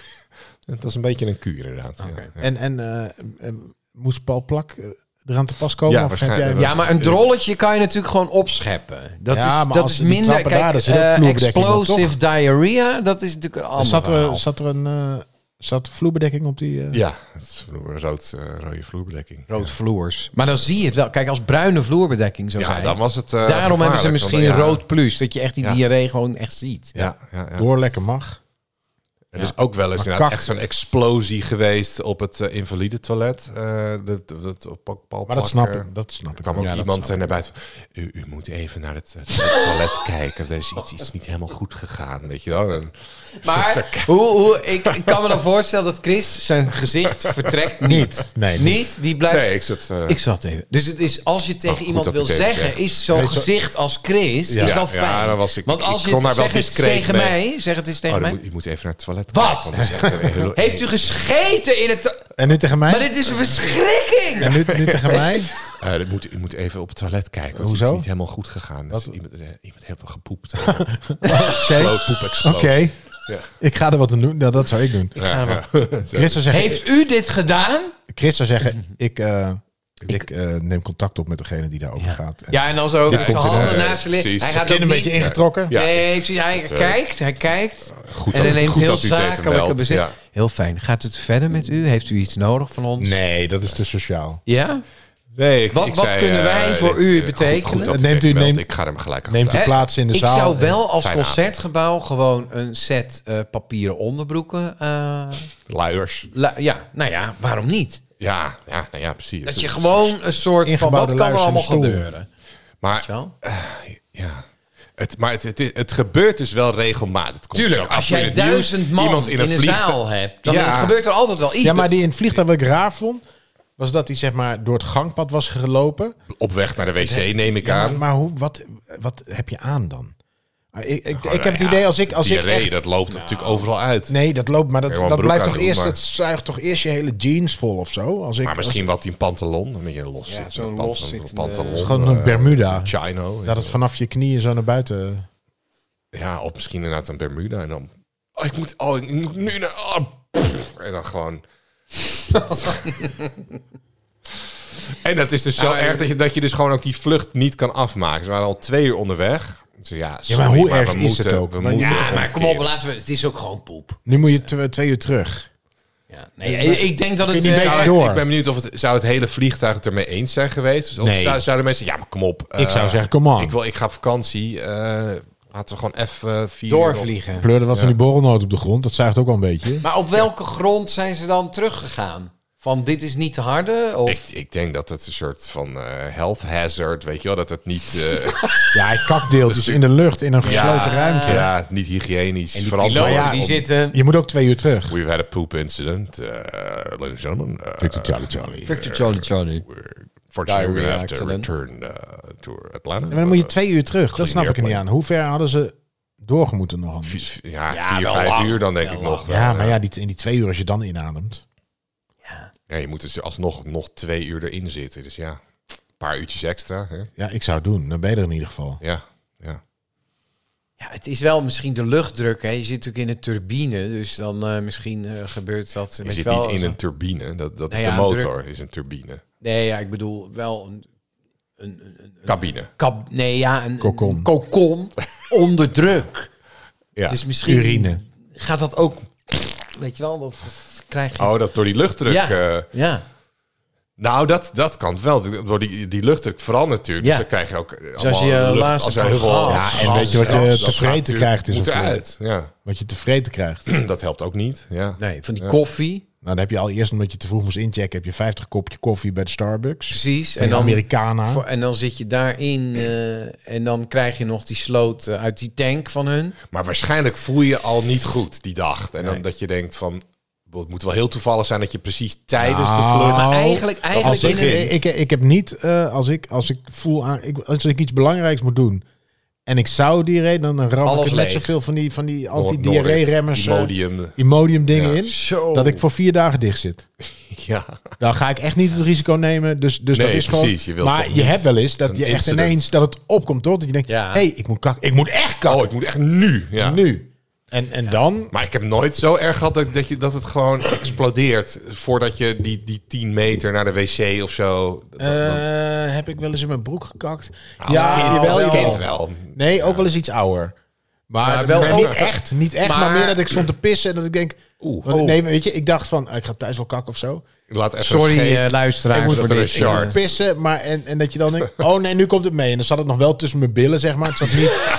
S2: Het was een beetje een kuur inderdaad. ja. Ja.
S3: En, en eh, eh, moest Paul Plak eh, eraan te pas komen?
S2: Ja,
S3: of heb jij,
S2: waarschijnlijk.
S5: Ja, maar een drolletje kan je natuurlijk gewoon opscheppen. Dat
S3: Ja,
S5: is,
S3: maar
S5: dat
S3: als
S5: is
S3: die
S5: minder...
S3: trappen daar,
S5: Kijk,
S3: er zit ook
S5: eh,
S3: vloerbedekking op, toch?
S5: explosive diarrhea, dat is natuurlijk een ander
S3: zat,
S5: verhaal.
S3: er, zat er een eh, zat er vloerbedekking op die... eh,
S2: Ja, het is een rood, eh, rode vloerbedekking.
S5: Rood vloers. Maar dan zie je het wel. Kijk, als bruine vloerbedekking zou
S2: Ja,
S5: zijn.
S2: dan was het. eh,
S5: Daarom hebben ze
S2: gevaarlijk,
S5: misschien
S2: want, ja,
S5: rood plus. Dat je echt die
S2: Ja.
S5: diarree gewoon echt ziet.
S2: Ja, ja, ja.
S3: Door lekker mag.
S2: Er is ook wel eens inderdaad
S3: kak.
S2: echt zo'n explosie geweest op het eh, invalide toilet. Eh, dat, dat, op Paul
S3: Maar
S2: Plak,
S3: dat snap
S2: eh,
S3: ik. Dat snap
S2: Er
S3: ik.
S2: kwam ook
S5: Ja, dat
S2: iemand
S5: snap
S2: eh, naar buiten. van, U, u moet even naar het, het toilet kijken. Er is iets, iets niet helemaal goed gegaan, weet je wel. En-
S5: Maar Dus, eh, hoe, hoe, ik, ik kan me dan voorstellen dat Chris zijn gezicht vertrekt niet.
S3: Nee, niet.
S5: Niet, die blijft...
S2: Nee, ik zat... eh, Oh,
S5: Ik zat even. Dus het is, als je tegen
S2: goed
S5: iemand
S2: dat
S5: wil
S2: het even
S5: zeggen,
S2: zegt.
S5: is zo'n
S3: Nee, zo-
S5: gezicht als Chris,
S2: Ja.
S5: is wel
S2: Ja,
S5: fijn.
S2: dan was ik-
S5: Want
S2: ik
S5: als je
S2: kon
S5: het
S2: daar wel
S5: zeg eens
S2: discreet
S5: tegen
S2: mee.
S5: mij, zeg het eens tegen
S2: oh, dan
S5: mij.
S2: moet, je moet even naar het toilet
S5: Wat?
S2: kijken. want het is echt een hele-
S5: Heeft u gescheten in het... to-
S3: En nu tegen mij?
S5: Maar dit is een verschrikking!
S3: En nu, nu tegen mij?
S2: Eh, dat moet, u moet even op het toilet kijken. want Het is
S3: Hoezo?
S2: niet helemaal goed gegaan. Er is
S3: Wat?
S2: Iemand, eh, iemand heeft wel gepoept.
S3: Oké.
S2: Poep, poep,
S3: Oké.
S2: explode. Ja.
S3: Ik ga er wat aan doen. Ja, dat zou ik doen.
S5: Ik ga hem-
S3: Chris zou zeggen,
S5: Heeft u dit gedaan?
S3: Chris zou zeggen ik, eh, Ik eh, neem contact op met degene die daarover gaat. En
S5: Ja, en dan zo
S2: Dit
S5: zijn
S2: komt in,
S5: handen
S2: eh,
S5: naast je liggen.
S2: precies.
S5: Hij
S2: Het
S5: gaat
S3: Kind
S5: ook
S3: een
S5: niet...
S3: beetje ingetrokken.
S2: Ja.
S5: nee, precies. Hij
S2: Dat, eh,
S5: kijkt, hij kijkt.
S2: Goed
S5: en
S2: dat-
S5: hij neemt
S2: goed
S5: heel
S2: dat u het even
S5: zakelijke
S2: meldt,
S5: bezin.
S2: ja.
S5: Heel fijn. Gaat het verder met u? Heeft u iets nodig van ons?
S3: Nee, dat is te sociaal.
S5: Ja?
S2: Nee, ik,
S5: Wat-
S2: ik
S5: wat
S2: zei,
S5: kunnen
S2: eh,
S5: wij voor
S2: dit,
S5: u
S2: eh, goed-
S5: betekenen?
S2: Goed, dat u
S3: Neemt
S2: het
S3: u-
S2: even meldt.
S3: neemt-
S2: ik ga hem gelijk
S3: neemt u-
S2: achteraan.
S5: Hè?
S3: plaats in de
S5: ik
S3: zaal.
S5: zou wel als
S2: Fijne
S5: concertgebouw gewoon een set eh, papieren onderbroeken. eh,
S2: Luiers.
S5: la- ja, nou ja, waarom niet?
S2: Ja, ja, nou ja, precies.
S5: Dat je gewoon een soort van
S3: Ingebouwde
S5: wat kan er
S3: luis in de
S5: allemaal
S3: stoel.
S5: gebeuren.
S2: Maar
S5: Weet je wel?
S2: Ja. Het, maar het, het, is- het gebeurt dus wel regelmatig. Het komt
S5: Tuurlijk,
S2: zo af
S5: als
S2: en toe in
S5: jij
S2: het nieuws,
S5: duizend man in een,
S2: vliegtuig-
S5: zaal hebt, dan
S2: Ja.
S5: gebeurt er altijd wel iets.
S3: Ja, maar die in het vliegtuig wat ik raar vond, was dat hij zeg maar door het gangpad was gelopen.
S2: Op weg naar de wc, neem ik
S3: Ja,
S2: aan.
S3: maar, maar hoe, wat, wat heb je aan dan? Ah, Ik, ik,
S2: Oh,
S3: ik heb het
S2: nou
S3: idee
S2: ja,
S3: als ik, als ik
S2: diarree,
S3: echt...
S2: dat loopt
S5: Nou.
S2: natuurlijk overal uit.
S3: Nee, dat loopt, maar dat,
S2: Gewoon
S3: dat
S2: broek
S3: blijft toch
S2: aandoen,
S3: eerst,
S2: maar-
S3: dat zuigt toch eerst je hele jeans vol of zo? Als ik,
S2: maar misschien wat in pantalon. Dan ben je een los zitten.
S5: zo'n
S2: pantalon,
S5: loszittende-
S2: pantalon,
S3: als- gewoon een
S2: eh,
S3: Bermuda.
S2: Chino.
S3: Dat het vanaf je knieën zo naar buiten...
S2: Ja, of misschien inderdaad een Bermuda. En dan... Oh, ik moet, oh, ik moet nu naar... oh, pff, en dan gewoon... en dat is dus zo
S5: Nou, en-
S2: erg dat je, dat je dus gewoon ook die vlucht niet kan afmaken. Ze waren al twee uur onderweg. Dus ja, sorry,
S3: maar hoe erg
S2: we
S3: is
S2: moeten,
S3: het ook?
S2: We
S3: Maar-
S2: moeten
S3: Ja,
S5: Ja,
S2: omkeren.
S5: Ah, maar kom op, laten we. Het is ook gewoon poep.
S3: Nu moet je tw- twee uur terug.
S5: Ja, nee, ik, ik denk dat het.
S3: niet
S5: eh,
S3: weten
S2: Zou-
S3: door.
S2: Ik ben benieuwd of het, zou het hele vliegtuig het ermee eens zijn geweest? Dus of
S3: Nee.
S2: zou, zouden mensen, ja, maar kom op. eh,
S3: ik zou zeggen, come on.
S2: Ik, wil, ik ga op vakantie. eh, laten we gewoon even eh, vier uur op-
S5: doorvliegen.
S3: Pleurde wat van die borrelnoot op de grond. Dat zuigt ook al een beetje.
S5: Maar op welke grond zijn ze dan teruggegaan? Van dit is niet te harde? Of
S2: Ik, ik denk dat het een soort van eh, health hazard, weet je wel, dat het niet, eh,
S3: Ja, hij kakdeeltjes in de lucht in een gesloten ruimte.
S2: ja, niet hygiënisch
S5: en die
S2: verantwoord
S5: piloten
S2: is
S5: die
S2: om-
S5: zitten.
S3: Je moet ook twee uur terug.
S2: We've had a poop incident, eh, ladies and gentlemen. Eh,
S3: Charlie Charlie.
S5: Fuck you, Charlie Charlie.
S2: we're- Fortunately, we're gonna have to
S5: Diarrhea accident.
S2: return eh, to Atlanta. Eh,
S3: Maar dan moet je twee uur terug. Dat
S2: Clean
S3: snap ik er niet aan.
S2: airplane.
S3: Hoe ver hadden ze doorgemoeten nog? anders?
S2: Vier- ja,
S5: Ja,
S2: vier,
S5: wel
S2: vijf
S5: lang.
S2: uur dan denk
S5: Wel
S2: ik
S5: lang.
S2: nog. eh, wel,
S3: Ja, maar ja, die, in die twee uur als je dan inademt.
S2: Ja, je moet dus alsnog nog twee uur erin zitten. Dus ja, een paar uurtjes extra. Hè?
S3: Ja, ik zou het doen. Dan ben je er in ieder geval.
S2: Ja, ja.
S5: Ja, het is wel misschien de luchtdruk. Hè. Je zit natuurlijk in een turbine, dus dan eh, misschien eh, gebeurt dat.
S2: Je
S5: weet
S2: zit
S5: wel,
S2: niet in
S5: zo-
S2: een turbine. Dat, dat is
S5: Nou ja,
S2: de motor, is een turbine.
S5: Nee, ja, ik bedoel wel een, een, een- een
S2: Cabine.
S5: kab, nee, ja, een
S3: Kokon.
S5: een kokon onder druk.
S2: Ja.
S5: Dus misschien
S3: Urine.
S5: gaat dat ook. Weet je wel, dat, dat krijg je.
S2: Oh, dat door die luchtdruk.
S5: Ja.
S2: eh,
S5: Ja.
S2: nou, dat, dat kan wel. Door die, die luchtdruk verandert natuurlijk.
S5: Ja.
S2: Dus dan krijg je ook. eh,
S5: als
S2: allemaal
S5: je, eh,
S2: lucht-
S5: laatst
S2: als er
S5: van
S2: heel veel
S5: gas-
S2: gas
S3: Ja, en weet je wat je
S2: is,
S3: te
S2: dat
S3: vreten
S2: gaat natuurlijk-
S3: krijgt is
S2: moet
S3: een
S2: eruit. Ja,
S3: Wat je tevreden krijgt. nou,
S2: dat helpt ook niet. Ja.
S5: Nee, van die koffie.
S3: dan heb je al eerst omdat je te vroeg moest inchecken... heb je 50 kopje koffie bij de Starbucks.
S5: Precies.
S3: En
S5: En dan,
S3: Americana.
S5: voor- en dan zit je daarin eh, en dan krijg je nog die sloot eh, uit die tank van hun.
S2: Maar waarschijnlijk voel je al niet goed die dag. En dan dat je denkt van. Het moet wel heel toevallig zijn dat je precies tijdens de
S3: Nou,
S2: vlucht.
S5: Maar eigenlijk, eigenlijk
S3: Als ik,
S5: in een-
S2: begint.
S3: ik, ik heb niet, eh, als, ik, als ik voel aan, ik, als ik iets belangrijks moet doen en ik zou die reden, dan ram
S5: Alles
S3: ik er net
S5: leeg.
S3: zoveel van die, van die
S2: Noor-
S3: anti-diarree-remmers, eh,
S2: Imodium.
S3: Imodium dingen
S2: Ja.
S3: in,
S5: Zo.
S3: dat ik voor vier dagen dicht zit.
S2: Ja.
S3: Dan ga ik echt niet het risico nemen. Dus, dus
S2: Nee,
S3: dat is gewoon.
S2: precies, je wilt
S3: maar
S2: toch
S3: je
S2: niet
S3: hebt wel eens dat
S2: een
S3: je echt
S2: incident.
S3: ineens dat het opkomt, toch? Dat je denkt,
S5: Ja.
S3: hey, ik moet kakken. Ik moet echt
S2: Oh,
S3: kakken.
S2: ik moet echt nu. Ja.
S3: Nu. En, en dan.
S2: Maar ik heb nooit zo erg gehad dat, dat, je, dat het gewoon explodeert. Voordat je die, die 10 meter naar de wc of zo. Dat- dat-
S3: eh, heb ik wel eens in mijn broek gekakt?
S2: Nou, als kind, als kind wel.
S3: Nee, ook wel eens iets ouder. Maar,
S5: Maar wel
S3: maar
S5: ook-
S3: niet echt, niet echt, maar,
S5: Maar-
S3: meer dat ik stond te pissen en dat ik denk,
S2: Oeh. Oh.
S3: want nee, weet je, ik dacht van, ah, ik ga thuis wel kakken of zo.
S2: Laat even
S5: Sorry
S2: scheet.
S5: eh, luisteraars
S2: Ik moet
S5: voor
S2: dat er
S5: dit.
S2: een shard.
S5: Ik, eh,
S3: Pissen, maar en, en dat je dan denkt, oh nee, nu komt het mee. En dan zat het nog wel tussen mijn billen, zeg maar. Het zat niet.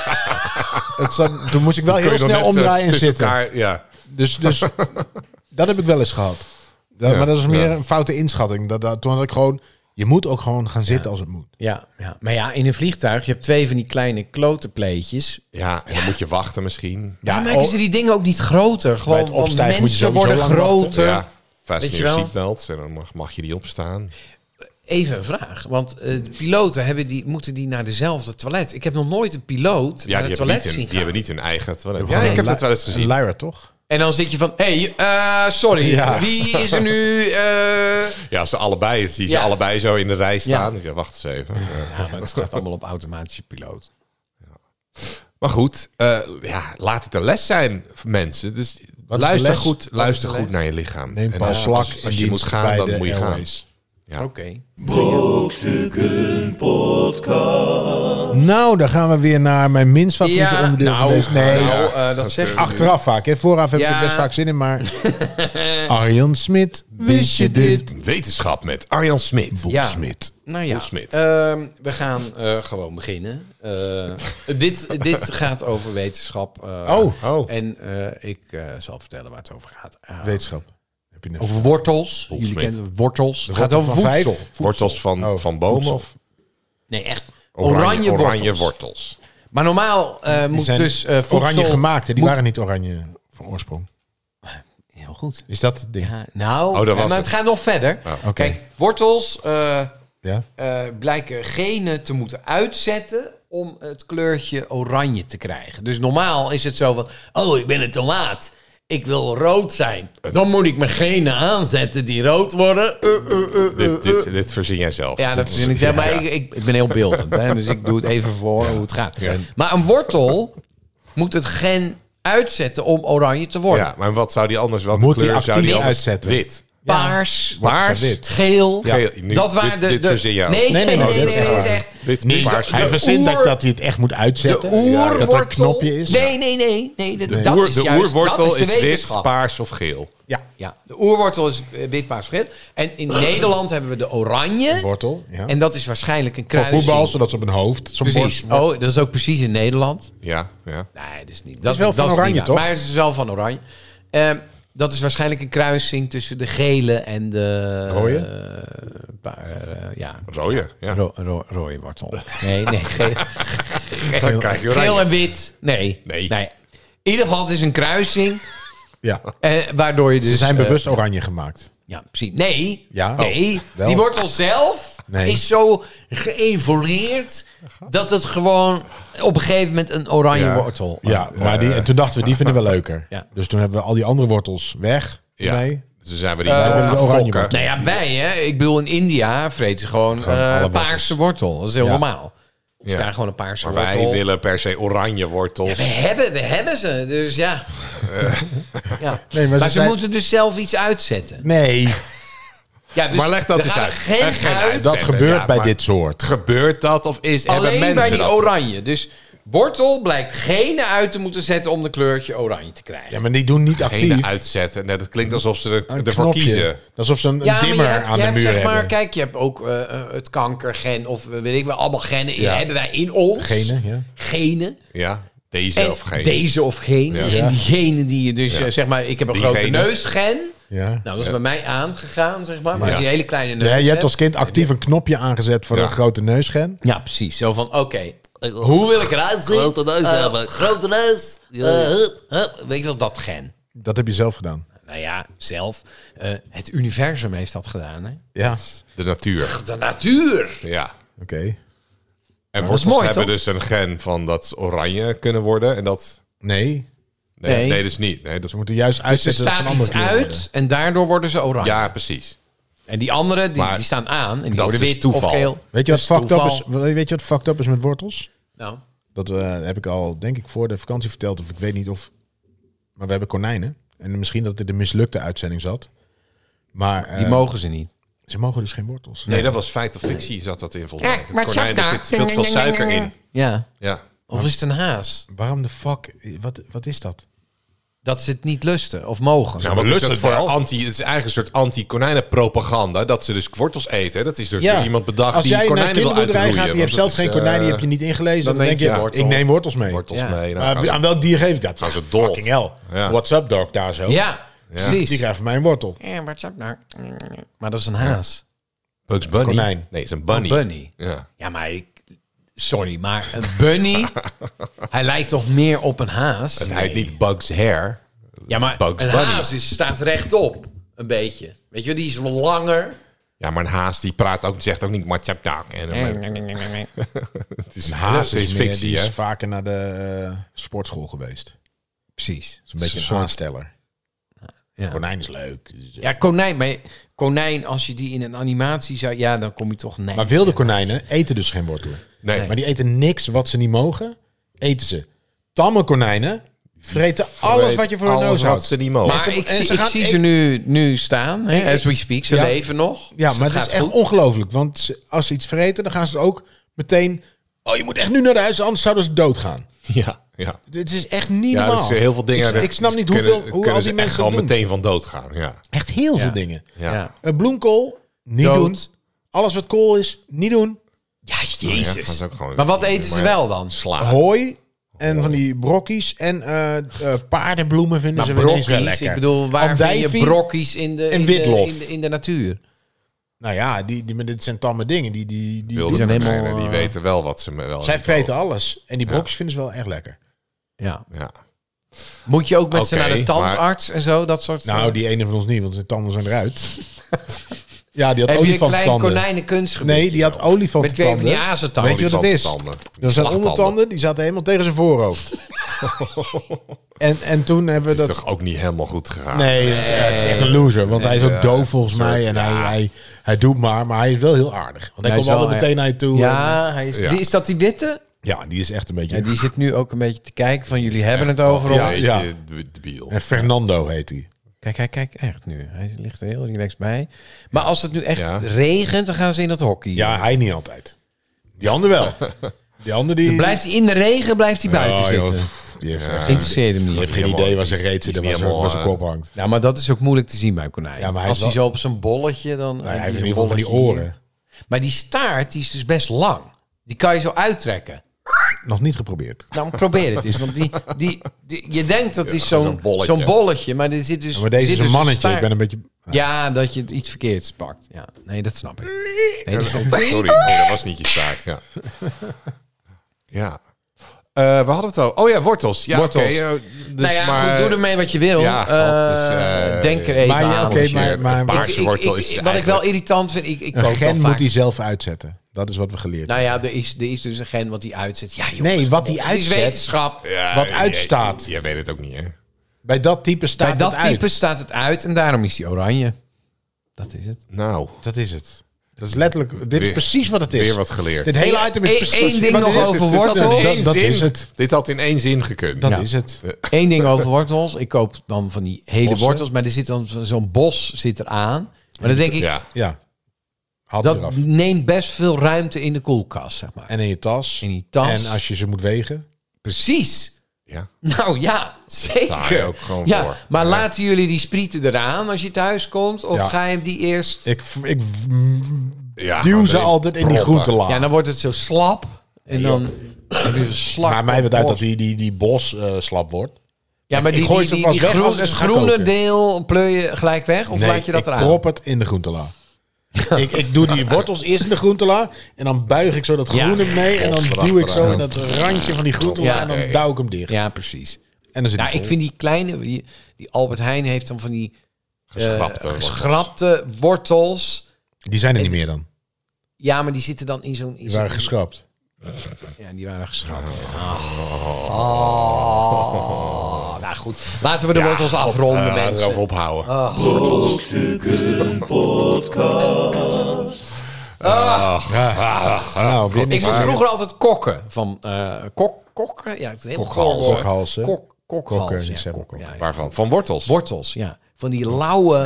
S3: Het zat, toen moest ik wel
S2: Kun
S3: heel
S2: je nog
S3: snel
S2: net, eh,
S3: omdraaien en
S2: tussen
S3: zitten.
S2: elkaar- ja.
S3: Dus, dus dat heb ik wel eens gehad. Dat,
S2: Ja,
S3: maar dat was meer
S2: ja.
S3: een foute inschatting. Dat, dat, toen had ik gewoon, je moet ook gewoon gaan zitten als het moet.
S5: Ja, ja, maar ja, in een vliegtuig, je hebt twee van die kleine klotenpleetjes.
S2: ja, en dan moet je wachten misschien.
S5: Ja,
S3: Ja,
S5: maken
S3: oh,
S5: ze die dingen ook niet groter? Gewoon,
S3: het opstijgen
S5: want
S3: moet je
S5: mensen
S3: sowieso
S5: worden
S3: lang wachten.
S5: groter.
S2: Ja. Vast
S5: Weet
S2: in
S5: je
S2: je
S5: wel?
S2: seatbelt en dan mag, mag je die opstaan.
S5: Even een vraag, want eh, de piloten hebben die, moeten die naar dezelfde toilet. Ik heb nog nooit een piloot
S2: Ja,
S5: naar
S2: die hebben,
S5: het
S2: niet
S5: toilet
S2: hun,
S5: zien
S2: die
S5: gaan.
S2: hebben niet hun eigen toilet. Ja,
S3: Gewoon
S2: ik
S3: een
S2: heb
S3: lu-
S2: dat wel eens
S3: Een
S2: gezien.
S3: luier, toch?
S5: En dan zit je van, hé, hey, eh, sorry,
S3: Ja.
S5: wie is er nu? eh?
S2: Ja, als ze allebei, zie je
S5: Ja.
S2: ze allebei zo in de rij staan. Ja, wacht eens even. Ja.
S5: Ja, maar het gaat allemaal op automatische piloot.
S2: Maar goed, eh, ja, laat het een les zijn, mensen. Dus
S3: de
S2: luister
S3: les?
S2: goed, luister goed naar je lichaam.
S3: Neem
S2: En
S3: pas
S2: als,
S3: vlak
S2: als, als je moet gaan, dan moet je gaan.
S5: Oké.
S3: Nou, dan gaan we weer naar mijn minst favoriete
S5: Ja,
S3: onderdeel
S5: nou,
S3: van deze. Nee,
S5: nou, eh, dat zeg je
S3: achteraf vaak. Hè. Vooraf heb ik
S5: Ja.
S3: er best vaak zin in, maar... Arjan Smit, wist je dit?
S2: Wetenschap met Arjan Smit.
S5: Ja.
S3: Smit.
S5: Nou ja,
S2: Will Smith.
S5: ehm, we gaan eh, gewoon beginnen. Eh, dit, dit gaat over wetenschap. eh,
S3: Oh.
S2: Oh.
S5: En eh, ik eh, zal vertellen waar het over gaat. Eh,
S3: Wetenschap. Heb je net...
S5: over wortels. Jullie
S2: Smith.
S5: kennen wortels. Het gaat
S3: wortel
S5: over
S3: van
S5: voedsel.
S3: vijf?
S2: Wortels van,
S3: Oh,
S2: van bomen
S3: voedsel.
S2: of
S5: Nee, echt. Oranje, wortels.
S2: oranje wortels.
S5: Maar normaal eh, moet
S3: zijn
S5: dus eh, voedsel...
S3: oranje gemaakt, hè? die
S5: moet-
S3: waren niet oranje van oorsprong.
S5: Heel goed.
S3: Is dat het ding? Ja.
S5: Ja, nou,
S2: Oh, dat
S5: eh,
S2: was
S5: maar
S2: het. Ah,
S5: het gaat nog verder.
S2: Ja.
S3: Oké.
S5: Kijk, wortels... eh,
S3: Ja?
S5: eh, blijken genen te moeten uitzetten om het kleurtje oranje te krijgen. Dus normaal is het zo van, oh, ik ben het te laat. Ik wil rood zijn. Dan moet ik mijn genen aanzetten die rood worden. Eh, eh, eh, eh,
S2: Dit,
S5: eh.
S2: dit, dit verzin jij zelf.
S5: Ja, dat vind ik zelf. Maar ik, ik, ik ben heel beeldend, hè, dus ik doe het even voor hoe het gaat.
S2: Ja.
S5: Maar een wortel moet het gen uitzetten om oranje te worden.
S2: Ja, maar wat zou die anders... Welke
S3: Moet die
S2: kleur zou
S3: actief
S2: die anders-
S3: uitzetten?
S2: Wit.
S5: Paars,
S3: Wat is
S2: Paars.
S3: dat dit?
S5: geel.
S2: Geel, nu,
S5: dat waren
S2: dit-
S5: de,
S2: dit
S5: de-
S2: verzin je
S5: nee,
S2: al.
S5: nee, nee,
S3: Nee, nee,
S5: nee,
S3: nee, dat is
S5: nee,
S3: echt
S5: is
S3: waar.
S5: echt.
S2: Wit,
S5: Nee,
S2: paars.
S5: de-
S3: Hij
S5: de
S3: verzint dat,
S5: oer-
S3: dat hij het echt moet
S5: De
S3: uitzetten.
S5: oerwortel.
S3: dat er een knopje is.
S5: Nee, nee, nee. nee, dat,
S2: De,
S5: dat
S2: oer-
S5: is
S2: de
S5: juist,
S2: oerwortel
S5: dat is,
S2: is,
S5: de
S2: wit,
S5: wetenschap.
S2: paars of geel.
S3: Ja.
S5: Ja, de oerwortel is eh, wit, paars, geel. En in Nederland hebben we de oranje.
S3: Wortel. Ja.
S5: En dat is waarschijnlijk een
S3: Voor
S5: kruising.
S3: voetbal, zodat ze op een hoofd, zo'n
S5: Precies.
S3: borst.
S5: Oh, dat is ook precies in Nederland.
S2: Ja, ja.
S5: Nee, dat is niet. Dat,
S3: wel van
S5: dat
S3: oranje,
S5: niet waar.
S3: toch?
S5: Maar het is wel van oranje. Ehm, dat is waarschijnlijk een kruising tussen de gele en de...
S3: Rode?
S5: eh, paar, eh, ja,
S2: Rode. Ja.
S5: ro ro- rode wortel. Nee, nee, gele,
S2: Dan krijg je oranje.
S5: geel en wit. Nee.
S2: Nee.
S5: In ieder geval, het is een kruising.
S3: Ja.
S5: Eh, waardoor je dus...
S3: Ze zijn
S5: eh,
S3: bewust oranje gemaakt.
S5: Ja, precies. Nee,
S3: Ja. Oh,
S5: nee.
S3: wel.
S5: die wortel zelf
S3: Nee.
S5: is zo geëvolueerd dat het gewoon op een gegeven moment een oranje
S2: Ja.
S5: wortel.
S3: Ja, maar
S2: eh,
S3: die, en toen dachten we, die vinden we leuker.
S5: Ja.
S3: Dus toen hebben we al die andere wortels weg.
S2: Ja.
S3: Nee.
S2: Dus dan zijn
S5: Eh,
S2: we die
S3: hebben we
S2: gaan
S3: de oranje
S2: fokken.
S3: wortel.
S5: Nou ja, wij hè. Ik bedoel, in India vreet ze gewoon,
S3: Gewoon
S5: eh,
S3: alle wortels.
S5: paarse wortel. Dat is heel
S3: Ja.
S5: normaal. Dus
S2: Ja.
S5: daar gewoon een paarse
S2: Maar
S5: wortel.
S2: wij willen per se oranje wortels.
S5: We hebben, we hebben ze, dus ja.
S2: Eh.
S5: ja.
S3: Nee,
S5: maar
S3: maar ze
S5: ze
S3: zijn-
S5: moeten dus zelf iets uitzetten.
S3: Nee,
S5: Ja, dus
S2: Maar leg dat
S5: er
S2: eens
S5: gaat
S2: uit.
S5: er Geen
S2: Er geen
S5: uit.
S2: uit.
S3: dat
S2: Zetten,
S3: gebeurt
S2: ja,
S3: bij
S2: maar-
S3: dit soort.
S2: Gebeurt dat of is, hebben
S5: Alleen
S2: mensen
S5: bij die
S2: dat?
S5: oranje. Dus wortel blijkt genen uit te moeten zetten om de kleurtje oranje te krijgen.
S3: Ja, maar die doen niet
S2: Genen
S3: actief. Nou,
S2: uitzetten. Nee, dat klinkt alsof ze er,
S3: Een
S2: ervoor
S3: knopje.
S2: kiezen.
S3: Alsof ze een
S5: Ja, maar je
S3: dimmer
S5: hebt-
S3: aan
S5: je
S3: de
S5: hebt,
S3: muur
S5: zeg maar,
S3: hebben.
S5: Kijk, je hebt ook eh, eh, het kankergen of eh, weet ik wel, allemaal genen die hebben wij in ons.
S3: Genen, ja.
S5: Genen.
S2: Ja, deze
S5: En
S2: of geen.
S5: deze of geen.
S2: Ja.
S5: En die genen die je dus,
S2: Ja.
S5: eh, zeg maar, ik heb een
S2: Die
S5: grote
S2: genen.
S5: neusgen.
S3: ja.
S5: Nou, dat is bij mij aangegaan, zeg maar. Maar
S2: Ja.
S5: die hele kleine neus.
S3: Nee, je hebt
S5: hebt.
S3: als kind actief een knopje aangezet voor
S2: Ja.
S3: een grote neusgen.
S5: Ja, precies. Zo van, oké, hoe wil ik eruit zien?
S1: Grote neus
S5: Eh,
S1: hebben.
S5: Grote neus. Eh, hup, hup. Weet je wel, dat gen.
S3: Dat heb je zelf gedaan.
S5: Nou ja, zelf. eh, het universum heeft dat gedaan. Hè?
S3: Ja.
S2: De natuur.
S5: De natuur.
S2: Ja.
S3: Oké.
S2: En
S5: dat is
S2: wortels
S5: mooi,
S2: hebben
S5: toch?
S2: dus een gen van dat ze oranje kunnen worden. En dat...
S3: Nee,
S2: Nee,
S5: Nee.
S2: nee. dus niet. Nee, dat...
S3: ze moeten juist
S5: Dus Er
S3: uitzetten
S5: staat
S3: dat ze een
S5: iets
S3: andere kleur
S5: uit en daardoor worden ze oranje.
S2: Ja, precies.
S5: En die anderen, die,
S2: Maar
S5: die staan aan. En die
S2: dat
S5: worden
S2: is
S5: wit
S2: toeval.
S5: of geel.
S3: Weet je, wat
S5: Dus
S3: fucked up
S5: toeval.
S3: is, weet je wat fucked up is met wortels?
S5: Nou,
S3: Dat eh, heb ik al, denk ik, voor de vakantie verteld. Of ik weet niet of... Maar we hebben konijnen. En misschien dat dit de mislukte uitzending zat. Maar eh,
S5: die mogen ze niet.
S3: ze mogen dus geen wortels.
S2: Nee, dat was feit of fictie zat dat in volgens mij.
S4: Kijk,
S2: Het
S4: maar het
S2: konijn,
S4: zat
S2: er
S4: daar.
S2: zit veel te veel suiker in.
S5: Ja.
S2: Ja.
S5: Of is het een haas?
S3: Waarom de fuck? Wat, wat is dat?
S5: Dat ze het niet lusten of mogen.
S2: Nou,
S3: we
S2: wat is
S3: lusten
S2: dat
S3: het
S2: voor
S3: wel.
S2: anti... Het is eigenlijk een soort anti-konijnenpropaganda. Dat ze dus wortels eten. hè? Dat is dus door iemand bedacht
S3: Als
S2: die
S3: jij naar een
S2: konijnen wil
S3: kinderboerderij
S2: uitroeien.
S3: gaat, die
S2: want
S3: hebt zelf
S2: dat is,
S3: geen konijnen, die
S2: eh,
S3: heb je niet ingelezen. Dan, denk je,
S5: ja, wortel.
S3: ik neem wortels mee.
S2: wortels
S5: Ja.
S2: mee. Nou,
S3: Maar
S2: gaan ze-
S3: aan welk dier geef ik dat?
S2: Gaan ze dol.
S3: Fucking hell.
S2: Ja.
S3: What's up, dog, daar zo.
S5: ja,
S3: Die
S5: precies.
S3: krijgt van mij een wortel.
S4: Eh, what's up nou?
S5: Maar dat is een haas.
S2: Bugs Bunny.
S3: Konijn.
S2: Nee, het is een bunny.
S5: Bunny.
S2: Ja.
S5: Ja, maar ik... Sorry, maar een bunny... hij lijkt toch meer op een haas?
S2: En hij heet niet Bugs Hair.
S5: Ja, maar
S2: Bugs
S5: een
S2: Bunny.
S5: haas is, staat rechtop. Een beetje. Weet je, die is langer.
S2: Ja, maar een haas die praat ook, zegt ook niet Matjapjak. En dan- het is,
S3: Haas
S2: het
S3: is,
S2: is
S3: meer-
S2: fictie,
S3: die
S2: hè?
S3: is vaker naar de eh, sportschool geweest. Dat
S5: Precies.
S3: is een beetje een
S5: soort-
S3: aansteller.
S5: ja.
S3: Konijn is leuk. Dus, eh,
S5: Ja, konijn. Maar konijn, als je die in een animatie zou... Ja, dan kom je toch... Nee.
S3: Maar wilde konijnen eten dus geen wortelen.
S2: Nee,
S3: Maar die eten niks wat ze niet mogen, eten ze. Tamme konijnen Vreten alles wat je voor je
S2: Alles
S3: neus
S2: wat
S3: houdt.
S2: ze niet mogen.
S5: Maar
S3: ze-
S5: ik,
S3: en
S5: zie,
S3: ze
S5: ik
S3: gaan-
S5: zie
S3: ik-
S5: ze nu, nu staan, hè, as we speak. Ze
S3: Ja.
S5: leven nog.
S3: Ja,
S5: Dus
S3: maar
S5: dat
S3: het is
S5: gaat
S3: echt
S5: goed.
S3: ongelooflijk. Want ze- als ze iets vreten, dan gaan ze het ook meteen... Oh, je moet echt nu naar huis, anders zouden ze doodgaan.
S2: Ja, ja.
S3: Dit is echt niet
S2: Ja,
S3: normaal.
S2: dus heel veel dingen.
S3: Ik, ik snap niet hoeveel, hoe al die mensen
S2: gewoon
S3: dat doen.
S2: meteen van dood gaan. Ja.
S3: Echt heel
S5: Ja.
S3: veel dingen.
S2: Ja.
S5: Ja.
S3: Een bloemkool, niet
S5: Dood.
S3: doen. Oh Alles wat kool is, niet doen.
S5: Ja,
S2: Ja, dat is
S5: jezus.
S2: ook gewoon-
S5: Maar wat eten ze
S2: maar-
S5: wel dan?
S2: Sla.
S3: Hooi en van die brokkies en eh, eh, paardenbloemen
S2: Nou,
S3: vinden
S5: Maar
S3: ze wel eens wel
S5: Nou, brokkies,
S3: lekker.
S5: ik bedoel, waar vind je
S3: Andijvie
S5: brokkies in de,
S3: en
S5: in de,
S3: witlof.
S5: in de, in de natuur?
S3: Nou ja, die, die, maar dit zijn tamme dingen. Die, die, die,
S2: Wilde
S5: zijn helemaal,
S2: konijnen, die
S5: eh,
S2: weten wel wat ze me- wel.
S3: zij
S2: niet
S3: vreten alles. En die brokjes vinden ze wel echt lekker.
S5: Ja.
S2: mogen. Ja.
S5: Moet je ook met ze
S2: Oké,
S5: naar de
S2: maar-
S5: tandarts en zo, dat soort
S3: Nou, die ene van ons niet, want zijn tanden zijn eruit. ja, die
S5: Heb
S3: had
S5: je een klein
S3: olifantstanden.
S5: konijnenkunstgebied?
S3: Nee, die had
S5: Met twee van die
S3: olifantstanden.
S5: azentanden.
S3: Weet je wat het is?
S2: Olifantstanden. Die
S3: Er zijn
S2: slagtanden.
S3: ondertanden, die zaten helemaal tegen zijn voorhoofd. en, en toen hebben we
S2: Het is
S3: dat...
S2: toch ook niet helemaal goed gegaan?
S3: Nee, dat is, het is echt een loser. Want hij is ook doof volgens mij. En hij, hij, hij doet maar, maar hij is wel heel aardig. Want hij,
S5: Hij is
S3: komt
S5: wel,
S3: altijd
S5: ja.
S3: meteen naar je toe. En-
S5: Ja, hij is,
S2: Ja.
S5: Die, is dat die witte?
S3: ja, die is echt een beetje...
S5: Ja, die zit nu ook een beetje te kijken van jullie hebben het over
S2: Ja,
S5: ons.
S3: Ja.
S2: ja. debiel.
S3: En Fernando heet hij.
S5: Kijk, kijk, kijk, echt nu. Hij ligt er heel relaxed bij. Maar als het nu echt
S2: Ja.
S5: regent, dan gaan ze in dat hockey.
S3: Ja, hij niet altijd. Die ander wel. Die ander die...
S5: Dan blijft hij in de regen, blijft hij buiten
S3: Oh, joh,
S5: zitten.
S3: pff, die heeft, echt, die
S5: Interesseert hem
S3: heeft
S5: niet.
S3: geen
S2: Helemaal-
S3: idee waar zijn
S2: die is-
S3: reet zit en
S2: die
S3: waar
S2: is
S3: zijn- waar zijn
S2: helemaal,
S3: kop hangt.
S5: Ja, maar dat is ook moeilijk te zien bij een konijn.
S3: Ja, maar hij
S5: als
S3: is
S5: hij
S3: wel-
S5: zo op zijn bolletje, dan...
S3: Nou, hij
S5: en
S3: heeft in
S5: zo'n
S3: ieder geval van die
S5: bolletje
S3: oren.
S5: hier. Maar die staart, die is dus best lang. Die kan je zo uittrekken.
S3: Nog niet geprobeerd.
S5: Nou, probeer het eens. Want die, die, die- je denkt dat is zo'n
S2: zo'n
S5: zo'n bolletje.
S2: bolletje.
S5: maar er zit dus...
S3: Maar deze
S5: zit
S3: is een
S5: dus
S3: mannetje.
S5: staart.
S3: Ik ben een beetje...
S5: Ja, dat je iets verkeerds pakt. Ja, nee, dat snap ik. Nee, dat is ook-
S2: Sorry, nee, dat was niet je staart. Ja. ja. Eh, we hadden het al. Oh ja, wortels. Ja,
S5: Wortels.
S2: oké, eh, dus
S5: nou ja,
S2: maar,
S5: goed, doe ermee wat je wil.
S2: Ja,
S5: Eh,
S2: want het is, eh,
S5: denk er even
S3: maar ja,
S5: aan.
S3: oké,
S5: als je-
S3: maar- maar-
S2: een
S5: Ik-
S2: paarse
S5: ik-
S2: wortel
S5: ik-
S2: is
S5: Wat ik wel
S2: eigenlijk-
S5: irritant vind, ik, ik
S3: Een
S5: koop
S3: gen
S5: dan
S3: moet
S5: vaak-
S3: hij zelf uitzetten. Dat is wat we geleerd hebben.
S5: Nou ja, er is, er is dus een gen wat hij uitzet. Ja, jongens,
S3: Nee, wat hij
S5: het is
S3: uitzet...
S5: wetenschap.
S2: Ja,
S3: wat
S2: je-
S3: uitstaat.
S2: Jij weet het ook niet, hè?
S3: Bij dat type staat
S5: Bij dat
S3: het uit.
S5: type staat het uit en daarom is hij oranje. Dat is het.
S2: Nou,
S3: Dat is het. Dat is letterlijk. Dit is
S2: Weer-
S3: precies wat het is.
S2: weer wat geleerd.
S3: Dit hele item is
S5: Eén-
S3: precies
S5: één ding
S3: wat
S5: nog
S3: het is.
S5: over
S3: Dit- dit-
S5: wortel.
S3: dat-
S2: Eén
S3: Dat
S2: zin.
S3: is het.
S2: Dit had in één zin gekund.
S3: Dat
S5: Ja.
S3: is het.
S5: Eén ding over wortels. Ik koop dan van die hele
S3: Bossen.
S5: wortels, maar er zit dan zo- zo'n bos zit eraan. Maar dan denk ik,
S2: Ja.
S3: Ja. Had
S5: dat
S3: eraf.
S5: neemt best veel ruimte in de koelkast, zeg maar.
S3: En in je tas.
S5: In die tas.
S3: En als je ze moet wegen.
S5: Precies.
S2: ja.
S5: Nou ja,
S2: Sta je
S5: zeker.
S2: ook gewoon
S5: ja,
S2: voor.
S5: Maar laten jullie die sprieten eraan als je thuis komt? Of
S3: Ja.
S5: ga je hem die eerst...
S3: Ik, ik
S2: Ja,
S3: duw
S2: maar
S3: ze
S2: erin
S3: altijd in die
S2: proppen.
S3: groentelaag.
S5: Ja, dan wordt het zo slap. En dan heb je een slap.
S3: maar mij
S5: wordt
S3: wordt uit dat die, die, die bos eh, slap wordt.
S5: Ja, maar
S3: Ik
S5: die,
S3: gooi
S5: die,
S3: ze
S5: die,
S3: pas
S5: die
S3: weg
S5: groen-
S3: als ik
S5: het
S3: ze ga
S5: groene
S3: koken.
S5: deel pleur je gelijk weg? Of
S3: Nee,
S5: laat je dat
S3: ik
S5: eraan?
S3: prop het in de groentela. ik, ik doe die wortels eerst in de groentela. En dan buig ik zo dat
S5: Ja.
S3: groene mee. En dan duw ik zo in dat randje van die groentela.
S5: Ja.
S3: En dan duw ik hem dicht.
S5: Ja, precies.
S3: En dan zit
S5: Nou,
S3: die
S5: ik
S3: vol.
S5: vind die kleine... Die, die Albert Heijn heeft dan van die eh,
S2: Geschrapte wortels.
S5: geschrapte wortels.
S3: Die zijn er niet meer dan.
S5: Ja, maar die zitten dan in zo'n... Ah. in
S3: Die waren
S5: zo'n-
S3: geschrapt.
S5: Ja, die waren geschrapt. Oh. Nou goed, laten we de wortels afronden,
S2: Eh, laten we
S5: mensen. Ah.
S2: erover ophouden.
S3: Nou, weer
S5: Ik
S3: niks.
S5: moest vroeger altijd kokken. Van eh, kok, kokken? Ja, het is heel
S2: Kokhals,
S5: veel woord.
S3: kokhalzen.
S5: Kok, kokhalzen,
S3: Kokken, die
S5: ja,
S3: zeggen
S5: kok,
S3: kokken.
S5: ja.
S2: Waarvan? Van wortels.
S5: Wortels, ja. Van die lauwe,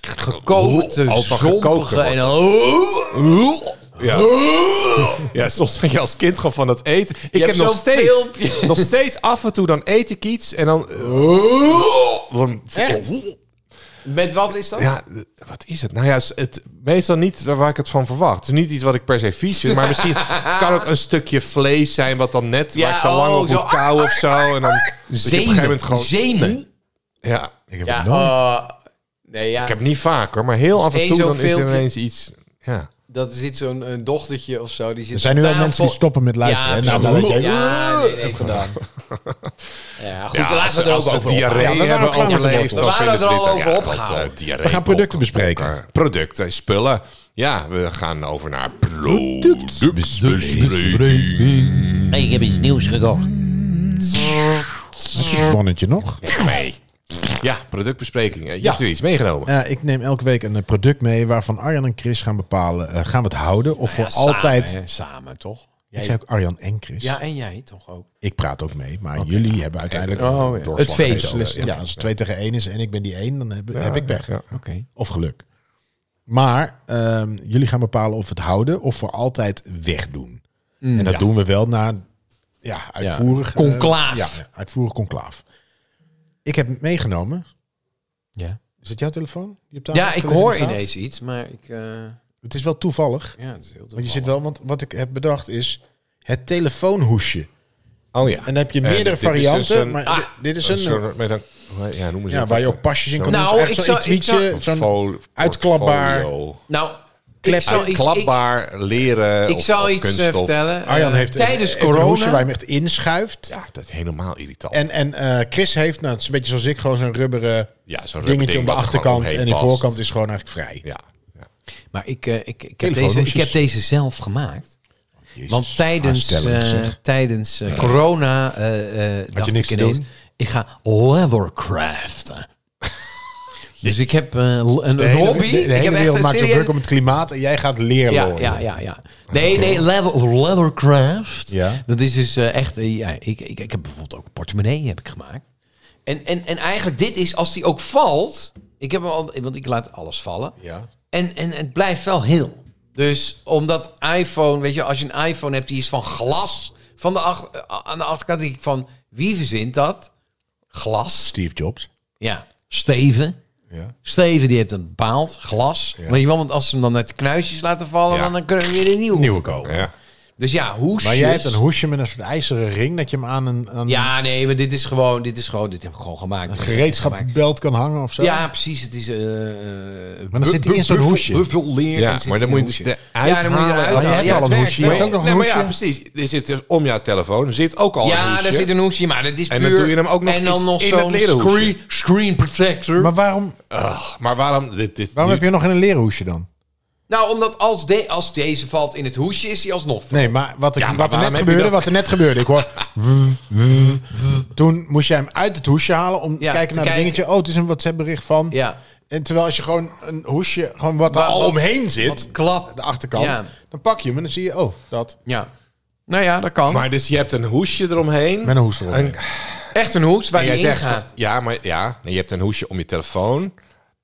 S5: gekookte,
S2: Oh, van gekookte
S5: zompige en dan... Oh.
S2: Ja. ja, soms ben je als kind gewoon van het eten. Ik
S5: hebt
S2: heb nog
S5: zo'n
S2: steeds,
S5: filmpje.
S2: nog steeds af en toe dan eet ik iets en dan...
S5: Oh.
S2: Echt?
S5: Met wat is dat?
S2: Ja, eh, wat is het? Nou ja, s- het, meestal niet waar ik het van verwacht. Het is niet iets wat ik per se vies vind, maar misschien... Het kan ook een stukje vlees zijn wat dan net...
S5: Ja,
S2: waar ik te lang
S5: oh,
S2: op
S5: zo.
S2: moet kauwen of zo. En dan dat je op een gegeven
S5: Zemen.
S2: moment gewoon...
S5: Zemen.
S2: Ja,
S3: Ik heb
S5: Ja,
S3: het nooit.
S5: eh, nee, ja.
S2: ik heb niet vaak hoor, maar heel af en
S5: één
S2: toe
S5: zo'n
S2: dan is er
S5: filmpje.
S2: ineens iets... Ja.
S5: Dat er zit zo'n eh, dochtertje of zo. Die zit
S3: Er zijn nu
S5: aan
S3: wel mensen die
S5: tafel.
S3: stoppen met luisteren. hè?
S5: Ja,
S3: Nou, dan weet
S5: precies.
S3: jij-
S5: ja, nee, nee. Ja, goed, laten we er ook over
S2: diarree
S3: ophouden. Ja, we waren
S2: hebben
S3: klaar met de
S2: overleefd,
S3: wortels.
S2: dan
S5: We
S2: vinden
S5: waren
S2: ze
S5: er
S2: dit
S5: al
S2: ook-
S5: over
S2: ja,
S5: opgehouden.
S2: dat, eh, diarree
S3: We gaan producten bespreken.
S2: koken. Producten, eh, spullen. Ja, we gaan over naar productbespreking.
S1: Ik heb iets nieuws gekocht.
S3: Bonnetje nog.
S2: Nee. Ja, productbespreking. Eh, Je
S3: Ja.
S2: hebt er iets meegenomen.
S3: Eh, ik neem elke week een eh, product mee waarvan Arjan en Chris gaan bepalen. eh, gaan we het houden of voor
S5: Samen,
S3: altijd?
S5: hè, Samen, toch?
S3: Ik zei ook Arjan en Chris.
S5: Ja, en jij toch ook?
S3: Ik praat ook mee, maar jullie hebben uiteindelijk
S5: Oh, ja.
S3: een
S5: Het
S3: doorslag
S5: veto.
S3: beslist. Ja,
S5: Ja.
S3: als het twee tegen één is en ik ben die één, dan heb, heb ik weg.
S5: Oké.
S3: Of geluk. Maar ehm, jullie gaan bepalen of we het houden of voor altijd wegdoen.
S5: Mm,
S3: en dat doen we wel na ja, uitvoerig... eh,
S5: Conclaaf.
S3: ja, uitvoerig conclaaf. Ik heb meegenomen...
S5: Ja.
S3: Is het jouw telefoon? die op tafel
S5: Ja, ik
S3: gelegen
S5: hoor
S3: staat?
S5: ineens iets, maar ik... eh,
S3: Het is wel toevallig.
S5: ja, het is heel
S3: Want je zit wel, want wat ik heb bedacht is het telefoonhoesje.
S2: Oh ja.
S3: En dan heb je
S2: Eh,
S3: meerdere
S2: dit- dit is dus
S3: varianten.
S2: een-
S3: maar
S5: Ah,
S3: dit- dit is
S2: Een
S3: een,
S2: soort met een, ja, noemen ze
S3: ja,
S2: het
S3: waar je
S2: ook.
S3: ook pasjes in
S2: Zo'n-
S3: kan
S5: Nou,
S3: doen. Dus
S5: ik
S3: echt zo'n
S5: zou- ik zou-
S3: tweetje, zo'n
S2: Fol-
S3: uitklapbaar-
S2: portfolio.
S5: Nou,
S3: Klep-
S5: ik zal iets-
S2: Uitklapbaar leren.
S5: Ik, ik
S2: of-
S5: zal
S2: of
S5: iets eh,
S2: kunststof.
S5: vertellen.
S3: Arjan
S5: Eh,
S3: heeft
S5: tijdens
S3: heeft een hoesje waar
S5: corona.
S3: je hem echt inschuift.
S2: Ja, dat is helemaal irritant.
S3: En, en eh, Chris heeft, nou, het is een beetje zoals ik, gewoon zo'n rubberen
S2: ja, zo'n rubberding
S3: dingetje om de
S2: wat er gewoon
S3: achterkant.
S2: omheen
S3: En de
S2: past.
S3: voorkant is gewoon eigenlijk vrij.
S2: Ja. ja.
S5: Maar ik, eh, ik, ik, heb deze,
S3: Telefoonhoesjes.
S5: ik heb deze zelf gemaakt.
S3: Jezus,
S5: Want tijdens,
S3: aanstellend,
S5: eh,
S3: zeg.
S5: tijdens eh, corona eh eh, dacht
S3: niks
S5: ik
S3: te
S5: ineens,
S3: doen?
S5: ik ga leathercraften. dus ik heb eh, een, een
S3: De hele-
S5: hobby.
S3: De, de
S5: ik
S3: hele
S5: heb
S3: wereld maakt zich
S5: serieus-
S3: druk om het klimaat en jij gaat leren.
S5: ja,
S3: lollen.
S5: ja, ja, ja. Nee, nee, leather, leathercraft.
S3: Ja.
S5: Dat is dus eh, echt... eh, ja, ik, ik, ik heb bijvoorbeeld ook een portemonnee heb ik gemaakt. En, en, en eigenlijk dit is, als die ook valt... Ik heb hem al, want ik laat alles vallen.
S3: Ja.
S5: En, en het blijft wel heel. Dus omdat iPhone, weet je, als je een iPhone hebt, die is van glas. Van de acht, eh, aan de achterkant denk ik van, wie verzint dat? Glas.
S3: Steve Jobs.
S5: Ja. Steven.
S3: Ja.
S5: Steven die heeft een bepaald glas. Weet je wel, want als ze hem dan uit de knuisjes laten vallen,
S2: Ja.
S5: dan, dan kunnen we weer een nieuwe.
S3: Nieuwe kopen.
S2: Ja.
S5: Dus ja, hoe
S3: Maar jij hebt een hoesje met een soort ijzeren ring dat je hem aan een, aan
S5: Ja, nee, maar dit is gewoon, dit is gewoon, dit heb ik gewoon gemaakt.
S3: een gereedschapsbelt kan hangen of zo.
S5: Ja, precies. Het is. eh, eh,
S3: dan
S5: bu-
S3: zit hij
S5: bu-
S3: in zo'n
S5: buffel-
S3: hoesje.
S5: buffeleer
S2: Ja,
S5: en zit
S2: maar dan
S5: in
S2: moet je
S5: een
S2: het
S5: hoesje.
S2: eruit
S5: Ja, dan moet je
S2: halen.
S5: eruit
S3: Oh, je
S5: halen.
S3: hebt
S5: Ja,
S3: al
S5: het
S3: een
S5: werkt
S3: hoesje.
S5: wel.
S3: Je hebt ook nog een
S2: nee, maar ja,
S3: hoesje.
S2: precies. Er zit dus om jouw telefoon zit ook al een
S5: Ja,
S2: hoesje.
S5: daar zit een hoesje, maar dat is
S2: En
S5: puur...
S2: dan doe je hem ook nog
S5: En dan
S2: eens
S5: nog
S2: in het
S5: zo'n
S2: leren hoesje.
S5: screen, screen protector.
S3: Maar waarom,
S2: Ugh, maar waarom... Dit, dit,
S3: waarom
S2: nu-
S3: heb je nog in een leren hoesje dan?
S5: Nou, omdat als, de, als deze valt in het hoesje, is hij alsnog...
S3: Nee, maar wat, ik,
S2: Ja, maar
S3: wat er
S2: waarom heb
S3: net
S2: je
S3: gebeurde,
S2: dat?
S3: wat er net gebeurde. Ik hoor... wuw, wuw, wuw. Toen moest jij hem uit het hoesje halen om te
S5: Ja,
S3: kijken
S5: te
S3: naar het
S5: kijken.
S3: dingetje. Oh, het is een WhatsApp bericht van.
S5: Ja.
S3: En terwijl als je gewoon een hoesje, gewoon wat er
S5: Maar
S3: al
S5: wat-
S3: omheen zit,
S5: Wat klap.
S3: de achterkant,
S5: Ja.
S3: dan pak je hem en dan zie je, oh, dat.
S5: Ja. Nou ja, dat kan.
S2: Maar dus je hebt een hoesje eromheen.
S3: Met een hoes erop.
S2: En-
S5: Echt een hoes waar
S2: En
S5: je
S2: jij
S5: in
S2: zegt...
S5: gaat.
S2: van- Ja, maar ja, nee, je hebt een hoesje om je telefoon.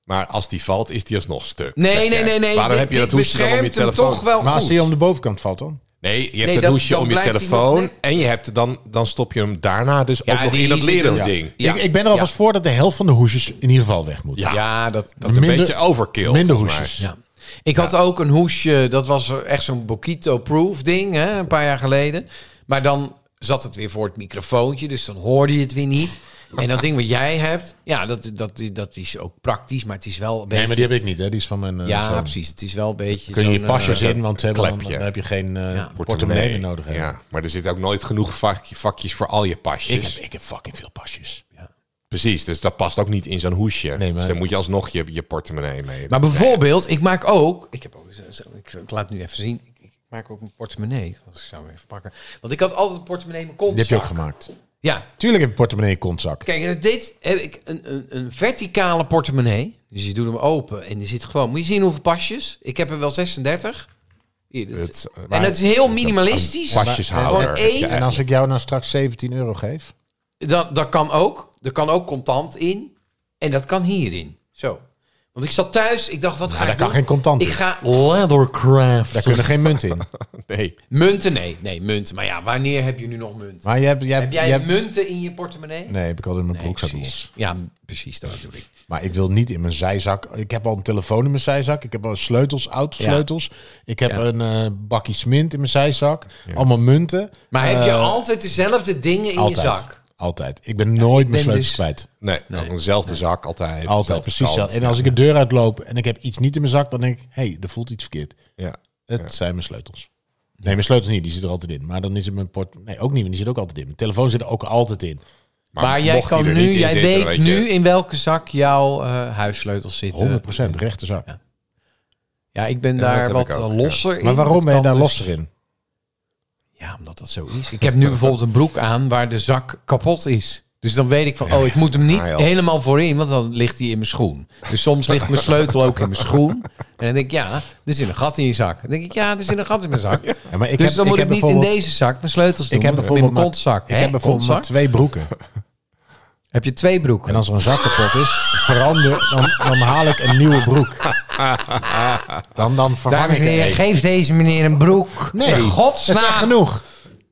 S2: Maar als die valt, is die alsnog stuk. zeg
S5: Nee, nee,
S2: jij.
S5: nee, nee.
S2: Waarom
S5: dit-
S2: heb je
S5: dit
S2: dat hoesje dan om je
S5: beschermt hem
S2: telefoon?
S5: toch wel
S3: Maar als
S5: goed.
S3: die om de bovenkant valt dan?
S2: Nee, je hebt
S5: Nee,
S2: een
S5: dat-
S2: hoesje
S5: dan
S2: om je
S5: blijft hij nog
S2: telefoon.
S5: net.
S2: En je hebt dan, dan stop je hem daarna dus
S5: Ja,
S2: ook nog
S5: die
S2: in dat
S5: zit
S2: leren
S5: hem-
S2: ding.
S5: Ja.
S3: Ik, ik ben er alvast voor dat de helft van de hoesjes in ieder geval weg moet.
S2: Ja,
S5: Ja, dat...
S2: dat is een
S3: Minder-
S2: beetje overkill.
S3: Minder
S2: volgens mij.
S3: hoesjes.
S5: Ja. Ik had ook een hoesje, dat was echt zo'n Bokito-proof ding, hè, een paar jaar geleden. Maar dan zat het weer voor het microfoontje, dus dan hoorde je het weer niet. En dat ding wat jij hebt, ja, dat, dat, dat is ook praktisch, maar het is wel een beetje...
S3: Nee, maar die heb ik niet, hè. Die is van mijn eh,
S5: ja,
S3: zoon.
S5: precies. Het is wel een beetje...
S3: Kun je je
S5: zo'n,
S3: pasjes
S5: eh,
S3: in, want ze hebben dan,
S2: klepje.
S3: dan heb je geen eh,
S5: Ja.
S3: portemonnee meer nodig. hè.
S2: Ja, maar er zitten ook nooit genoeg vak- vakjes voor al je pasjes.
S3: Ik, heb, ik heb fucking veel pasjes.
S5: eh,
S2: Precies, dus dat past ook niet in zo'n hoesje.
S3: Nee, maar-
S2: Dus dan moet je alsnog je, je portemonnee mee.
S5: Maar
S2: Dat-
S5: bijvoorbeeld, ik maak ook... Ik, heb ook zo- zo- ik, ik laat het nu even zien. Ik, ik maak ook een portemonnee. Als Ik zou hem even pakken. Want ik had altijd een portemonnee in mijn
S3: Die
S5: kontzak.
S3: heb je ook gemaakt.
S5: Ja,
S3: Tuurlijk heb je portemonnee in je kontzak.
S5: Kijk, en dit heb ik een, een, een verticale portemonnee. Dus je doet hem open en er zit gewoon... Moet je zien hoeveel pasjes? Ik heb er wel 36. Hier, dit-
S2: Het-
S5: en
S3: eh,
S2: maar-
S5: het is heel minimalistisch.
S2: een pasjeshouder
S5: Gewoon
S2: heb je
S5: één.
S3: En
S2: eigenlijk.
S3: als ik jou nou straks 17 euro geef?
S5: Dat, dat kan ook. Er kan ook contant in. En dat kan hierin. Zo. Want ik zat thuis. Ik dacht, wat ga
S3: daar
S5: ik
S3: kan
S5: doen?
S3: geen contant
S5: Ik
S3: in.
S5: ga leathercraft.
S3: Daar kunnen geen munten in.
S2: Nee,
S5: Munten, nee. Nee, munten. Maar ja, wanneer heb je nu nog munten?
S3: Maar je hebt... Je hebt,
S5: heb jij
S3: je hebt-
S5: munten in je portemonnee?
S3: Nee, heb ik altijd in mijn broekzak los.
S5: precies. Ja, precies. Dat bedoel ik.
S3: Maar ik wil niet in mijn zijzak. Ik heb al een telefoon in mijn zijzak. Ik heb al sleutels, autosleutels. Ik heb
S5: Ja.
S3: een eh, bakje smint in mijn zijzak. Allemaal munten.
S5: Maar heb je
S3: Eh,
S5: altijd dezelfde dingen in
S3: altijd,
S5: je zak?
S3: Altijd. Ik ben nooit mijn
S5: ben
S3: sleutels
S5: dus-
S3: kwijt.
S2: nee, ook dezelfde zak altijd.
S3: Altijd,
S2: dezelfde
S3: precies
S2: kant.
S3: dat. En als ik de deur uitloop en ik heb iets niet in mijn zak, dan denk ik, hé, hey, er voelt iets verkeerd.
S2: Ja.
S3: Het zijn mijn sleutels. Nee, mijn sleutels niet, die zitten er altijd in. Maar dan is het mijn port... Nee, ook niet, want die zit ook altijd in. Mijn telefoon zit er ook altijd in.
S5: Maar, jij
S2: mocht die
S5: kan
S2: er
S5: nu,
S2: niet in
S5: jij
S2: zitten,
S5: weet
S2: weet je.
S5: nu in welke zak jouw eh huissleutels
S3: 100%
S5: zitten.
S3: rechterzak.
S5: Ja. Ja, ik ben
S2: dat
S5: daar
S2: heb
S5: wat
S2: ik ook,
S5: eh,
S2: ja.
S5: losser in.
S3: Maar waarom
S5: Dat
S3: ben je
S5: kan
S3: daar
S5: dus-
S3: losser in?
S5: Ja, omdat dat zo is. Ik heb nu bijvoorbeeld een broek aan waar de zak kapot is. Dus dan weet ik van, oh, ik moet hem niet
S2: Ah, joh.
S5: helemaal voorin, want dan ligt hij in mijn schoen. Dus soms ligt mijn sleutel ook in mijn schoen. En dan denk ik, ja, er zit een gat in je zak. Dan denk ik, ja, er zit een gat in mijn zak.
S3: Ja, maar ik
S5: dus
S3: heb-
S5: dan moet ik,
S3: heb
S5: niet in
S3: bijvoorbeeld-
S5: deze zak mijn sleutels doen.
S3: Ik heb bijvoorbeeld
S5: in mijn
S3: maar-
S5: kontzak.
S3: Ik heb bijvoorbeeld maar twee broeken.
S5: Heb je twee broeken?
S3: En als er een zak kapot is, verander, dan, dan haal ik een nieuwe broek. Dan, dan vervang
S5: Dames en
S3: ik er
S5: heren,
S3: één.
S5: geef deze meneer een broek.
S3: Nee,
S5: In godsnaam.
S3: dat is echt genoeg.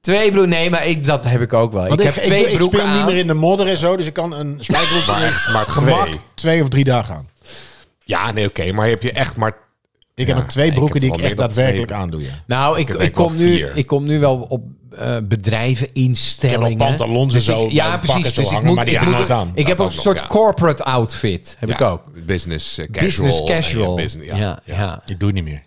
S3: Twee
S5: broeken. Nee, maar ik, dat heb ik ook wel.
S3: Want
S5: ik heb twee
S3: ik,
S5: broeken
S3: speel
S5: aan.
S3: niet meer in de modder en zo, dus ik kan een spijkerbroek
S2: Maar echt maar
S3: gemak
S2: twee.
S3: twee. of drie dagen aan.
S2: Ja, nee, oké. maar heb je echt maar...
S3: Ik
S2: Ja,
S3: heb nog twee
S2: ik
S3: broeken
S2: heb
S3: die
S2: wel
S3: ik
S2: meer
S3: echt
S2: dan
S3: daadwerkelijk
S2: twee.
S3: aandoe. Ja.
S5: Nou, ik,
S2: Ik
S5: ik,
S2: denk wel
S5: kom nu,
S2: vier.
S5: ik kom nu wel op eh, bedrijven, instellingen.
S3: Ik heb wel pantalons en
S5: Dus ik-
S3: zo,
S5: Ja,
S3: mijn pakken
S5: precies.
S3: zo
S5: Dus ik
S3: hangen,
S5: moet,
S3: maar die
S5: ik
S3: heb ik
S5: moet,
S3: nooit aan.
S5: ik heb
S2: Dat
S5: ook een
S2: ook,
S5: soort
S2: ja.
S5: corporate outfit. Heb ik
S2: Ja,
S5: ook.
S2: Business eh, casual.
S5: Business
S2: en je
S5: casual.
S2: business-
S5: ja,
S2: ja,
S5: ja,
S3: Ik doe niet meer.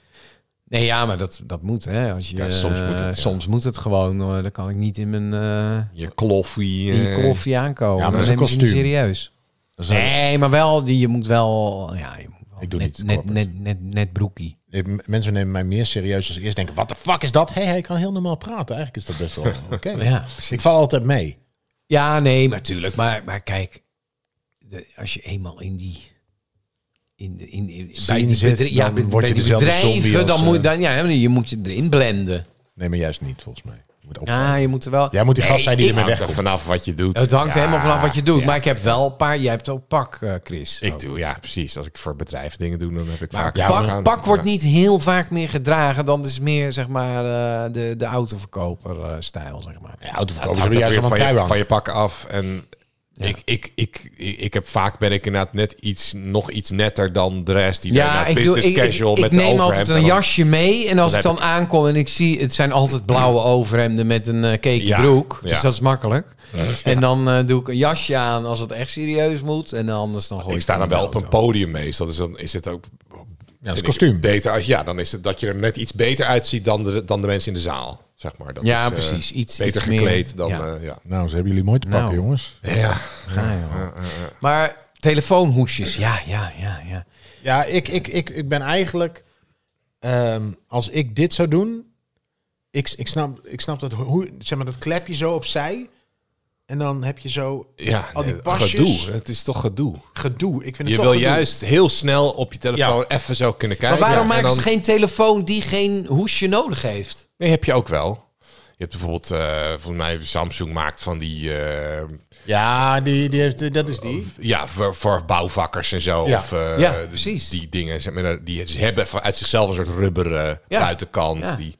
S5: Nee, ja, maar dat, dat moet. Hè. Als je,
S2: Ja, soms
S5: eh,
S2: moet het, ja.
S5: Soms moet het gewoon. hoor. Dan kan ik niet in mijn eh,
S2: Je kloffie.
S5: in
S2: eh,
S5: koffie aankomen.
S3: ja, maar dat is
S5: Dan
S3: een
S5: neem ik het niet
S3: kostuum.
S5: serieus.
S3: Dat is een-
S5: Nee, maar wel, die, je moet wel... Ja, je moet wel
S3: Ik doe
S5: net,
S3: niet
S5: Net,
S3: corporate.
S5: net, net, net broekie.
S3: Ik- m- Mensen nemen mij meer serieus als ze eerst denken: wat de fuck is dat? Hé, hey, hij kan heel normaal praten. Eigenlijk is dat best wel oké.
S5: Ja,
S3: ik val altijd mee.
S5: ja nee, maar tuurlijk. Maar, maar kijk, de, als je eenmaal in die... In de, in, in,
S3: Scene zit,
S5: bedrij-
S3: dan
S5: bij-
S3: word je
S5: bij die
S3: dezelfde zombie
S5: bedrijven, dan
S3: als,
S5: moet
S3: eh,
S5: dan, ja, je moet je erin blenden.
S3: Nee, maar juist niet, volgens mij. Je moet opvallen.
S5: Ja, Nou, je moet er wel...
S3: Jij moet die gast
S5: Nee,
S3: zijn die
S5: ik-
S3: ermee
S2: Hangt er
S3: wegkomt.
S2: vanaf wat je doet.
S5: Het hangt
S2: Ja,
S5: helemaal vanaf wat je doet. Maar ik heb wel een paar... Jij hebt ook pak, eh, Chris.
S2: Ik doe, ja, precies. Als ik voor bedrijf dingen doe, dan heb ik
S5: Maar
S2: vaak...
S3: ja,
S5: pak,
S2: we gaan-
S5: pak wordt
S2: ja.
S5: niet heel vaak meer gedragen. Dan is meer, zeg maar, eh, de, de autoverkoper-stijl, zeg maar.
S3: Ja,
S2: Het hangt
S3: autoverkopers hebben juist
S2: ook weer
S3: allemaal
S2: van,
S3: trui
S2: je,
S3: aan.
S2: van je pakken af. En ik, ik, ik, ik, ik heb vaak ben ik inderdaad net iets, nog iets netter dan de rest. Die ja,
S5: ik,
S2: nou
S5: doe,
S2: business
S5: ik, ik,
S2: casual
S5: ik
S2: met de
S5: neem
S2: overhemd
S5: altijd een
S2: en dan-
S5: jasje mee. En als
S2: dan
S5: ik dan
S2: heb
S5: aankom en ik zie... Het zijn altijd blauwe overhemden met een eh cake
S2: Ja,
S5: broek. Dus
S2: ja.
S5: dat is makkelijk. En dan eh, doe ik een jasje aan als het echt serieus moet. En anders dan gooi
S2: Ik sta
S5: het
S2: dan
S5: in
S2: wel
S5: de
S2: op een
S5: auto.
S2: podium meestal. Dus dan is het ook...
S3: Ja, dat is
S2: vind ik
S3: kostuum.
S2: Beter als, ja, dan is het dat je er net iets beter uitziet dan de, dan de mensen in de zaal. Zeg maar. Dat
S5: Ja,
S2: is, eh,
S5: precies. Iets-
S2: beter
S5: iets meer.
S2: gekleed dan...
S5: Ja.
S2: eh, ja.
S3: Nou, ze hebben jullie mooi te pakken,
S5: Nou.
S3: jongens.
S2: Ja.
S5: Ja, joh. Maar telefoonhoesjes. Ja, ja, ja, ja.
S3: Ja, ik, ik, ik, ik ben eigenlijk... ehm, als ik dit zou doen... Ik, ik, snap, ik snap dat, hoe, zeg maar, dat klepje zo opzij. En dan heb je zo
S2: Ja,
S3: al die
S2: nee,
S3: pasjes.
S2: gedoe. Het is toch gedoe.
S3: Gedoe. Ik vind het
S2: Je
S3: toch
S2: wil
S3: gedoe.
S2: juist heel snel op je telefoon even zo kunnen
S5: Maar
S2: kijken.
S5: waarom
S2: En
S5: maken
S2: dan-
S5: ze geen telefoon die geen hoesje nodig heeft?
S2: Nee, heb je ook wel. Je hebt bijvoorbeeld, eh volgens mij, Samsung maakt van die, eh,
S3: Ja, die, die heeft, eh, dat is die.
S2: ja, voor, voor bouwvakkers en zo.
S3: Ja.
S2: Of, eh,
S5: Ja, precies.
S2: Die dingen, zeg maar, die ze hebben van- uit zichzelf een soort rubberen
S5: Ja.
S2: buitenkant.
S5: Ja.
S2: Die,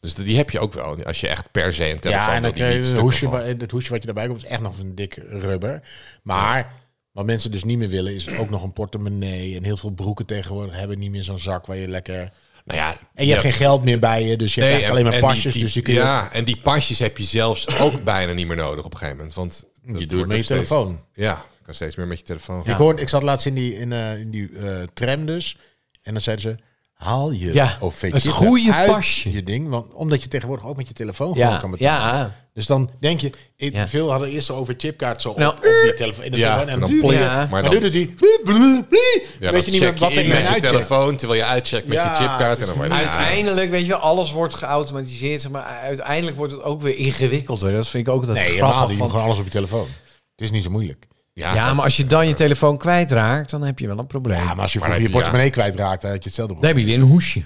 S2: dus die heb je ook wel. Als je echt per se een telefoon
S3: Ja, en
S2: wil
S3: dan
S2: die
S3: krijg
S2: niet
S3: je het
S2: stukken
S3: hoesje,
S2: valt.
S3: wa- het hoesje wat je daarbij komt is echt nog een dik rubber. Maar wat mensen dus niet meer willen is ook nog een portemonnee. En heel veel broeken tegenwoordig hebben niet meer zo'n zak waar je lekker...
S2: Nou ja,
S3: En je hebt geen geld meer bij je, dus je hebt
S2: en-
S3: eigenlijk alleen
S2: en
S3: maar
S2: die-
S3: pasjes.
S2: die-
S3: dus die kun je,
S2: Ja, en die pasjes heb je zelfs ook bijna niet meer nodig op een gegeven moment. Want dat
S3: je
S2: wordt
S3: doet het met je
S2: ook steeds-
S3: telefoon.
S2: Ja, je kan steeds meer met je telefoon.
S3: Ik, hoorde, ik zat laatst in die, in, eh, in die eh, tram dus. En dan zeiden ze, haal je
S5: Ja,
S3: OV-chip
S5: het goede
S3: eruit
S5: pasje.
S3: je ding. Want, omdat je tegenwoordig ook met je telefoon gewoon
S5: Ja,
S3: kan betalen.
S5: ja.
S3: Dus dan denk je, ik,
S5: Ja.
S3: veel hadden eerst zo over chipkaart zo op,
S5: Nou,
S3: op die telefoon. In de
S2: Ja,
S3: telefoon
S2: en dan
S3: plop-
S2: plop-
S5: Ja.
S2: Maar
S3: Maar,
S2: dan
S3: nu doet die... blie, blie, blie.
S2: Ja,
S3: weet je niet meer wat
S2: in
S3: er in
S2: met je
S3: uitcheckt.
S2: telefoon terwijl je uitcheckt met
S3: Ja,
S2: je chipkaart
S3: het
S2: en
S3: is
S2: dan word je
S5: Uiteindelijk, weet je wel, alles wordt geautomatiseerd. zeg Maar uiteindelijk wordt het ook weer ingewikkelder. Dat vind ik ook dat
S3: Nee, helemaal
S5: grappig
S3: niet. Je
S5: van-
S3: moet gewoon alles op je telefoon. Het is niet zo moeilijk.
S5: Ja, maar als je dan je telefoon kwijtraakt, dan heb je wel een probleem.
S3: Ja, maar als je
S2: Maar
S3: vroeger je
S2: dan heb je-
S3: portemonnee kwijtraakt, dan had je hetzelfde
S5: Dan
S3: probleem.
S5: heb je weer een hoesje.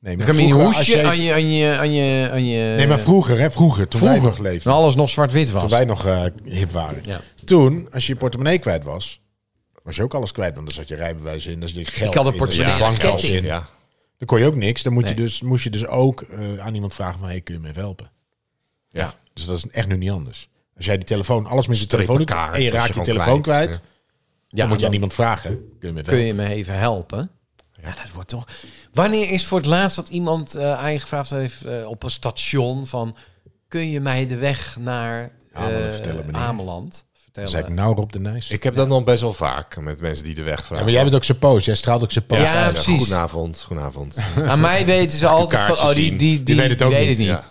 S3: Nee,
S5: Dan
S3: maar
S5: heb je een
S3: vroeger, als
S5: hoesje
S3: je-
S5: aan je, aan je, aan je, aan je...
S3: Nee, maar vroeger, hè, vroeger, toen wij nog leefden.
S5: Toen alles nog zwart-wit was.
S3: Toen wij nog eh, hip waren.
S5: Ja.
S3: Toen, als je je portemonnee kwijt was, was je ook alles kwijt. Want dan zat je rijbewijs in, dan zat je geld
S5: had een
S3: in,
S5: portemonnee
S3: dan zat je bankgeld
S5: ketting.
S3: in.
S2: Ja.
S3: Dan kon je ook niks. Dan moet je
S5: Nee.
S3: dus, moest je dus ook eh, aan iemand vragen van, hey, kun je me even helpen?
S2: Ja.
S3: Dus dat is echt nu niet anders. Als jij die telefoon, alles met je telefoon doet
S2: Strippenkaart,
S3: en je
S2: was je
S3: raakt je
S2: gewoon
S3: telefoon
S2: kwijt.
S3: kwijt,
S5: ja,
S3: dan moet je aan
S5: dan
S3: iemand vragen, kun je me even
S5: kun je me even helpen. Ja, dat wordt toch... Wanneer is voor het laatst dat iemand eh, aan je gevraagd heeft eh, op een station van... Kun je mij de weg naar
S3: Ameland
S5: eh,
S3: vertellen, meneer?
S5: Ameland vertellen?
S3: Zeg ik nou Rob de Nijs.
S2: Ik heb dat nog best wel vaak met mensen die de weg vragen.
S3: Ja, maar jij bent ook zijn poos. Jij straalt ook zijn poos
S5: Ja,
S3: uit.
S5: precies.
S2: Goedenavond, goedenavond.
S5: Aan mij weten ze altijd van,
S2: kaartje
S5: oh, die, die,
S2: zien.
S5: die,
S3: Die weet het ook niet,
S2: Ja.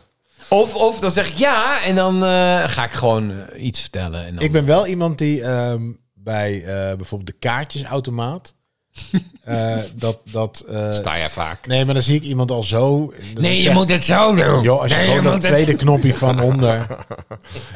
S5: Of, of dan zeg ik ja en dan eh, ga ik gewoon eh, iets vertellen. En dan,
S3: Ik ben wel iemand die ehm, bij eh, bijvoorbeeld de kaartjesautomaat... eh, dat, dat, eh,
S2: Sta jij vaak.
S3: nee, maar dan zie ik iemand al zo. dat ik
S1: Nee, je
S3: zeg,
S1: moet het zo doen.
S3: Joh, als je
S1: nee,
S3: gewoon dat
S1: het-
S3: tweede knopje van onder.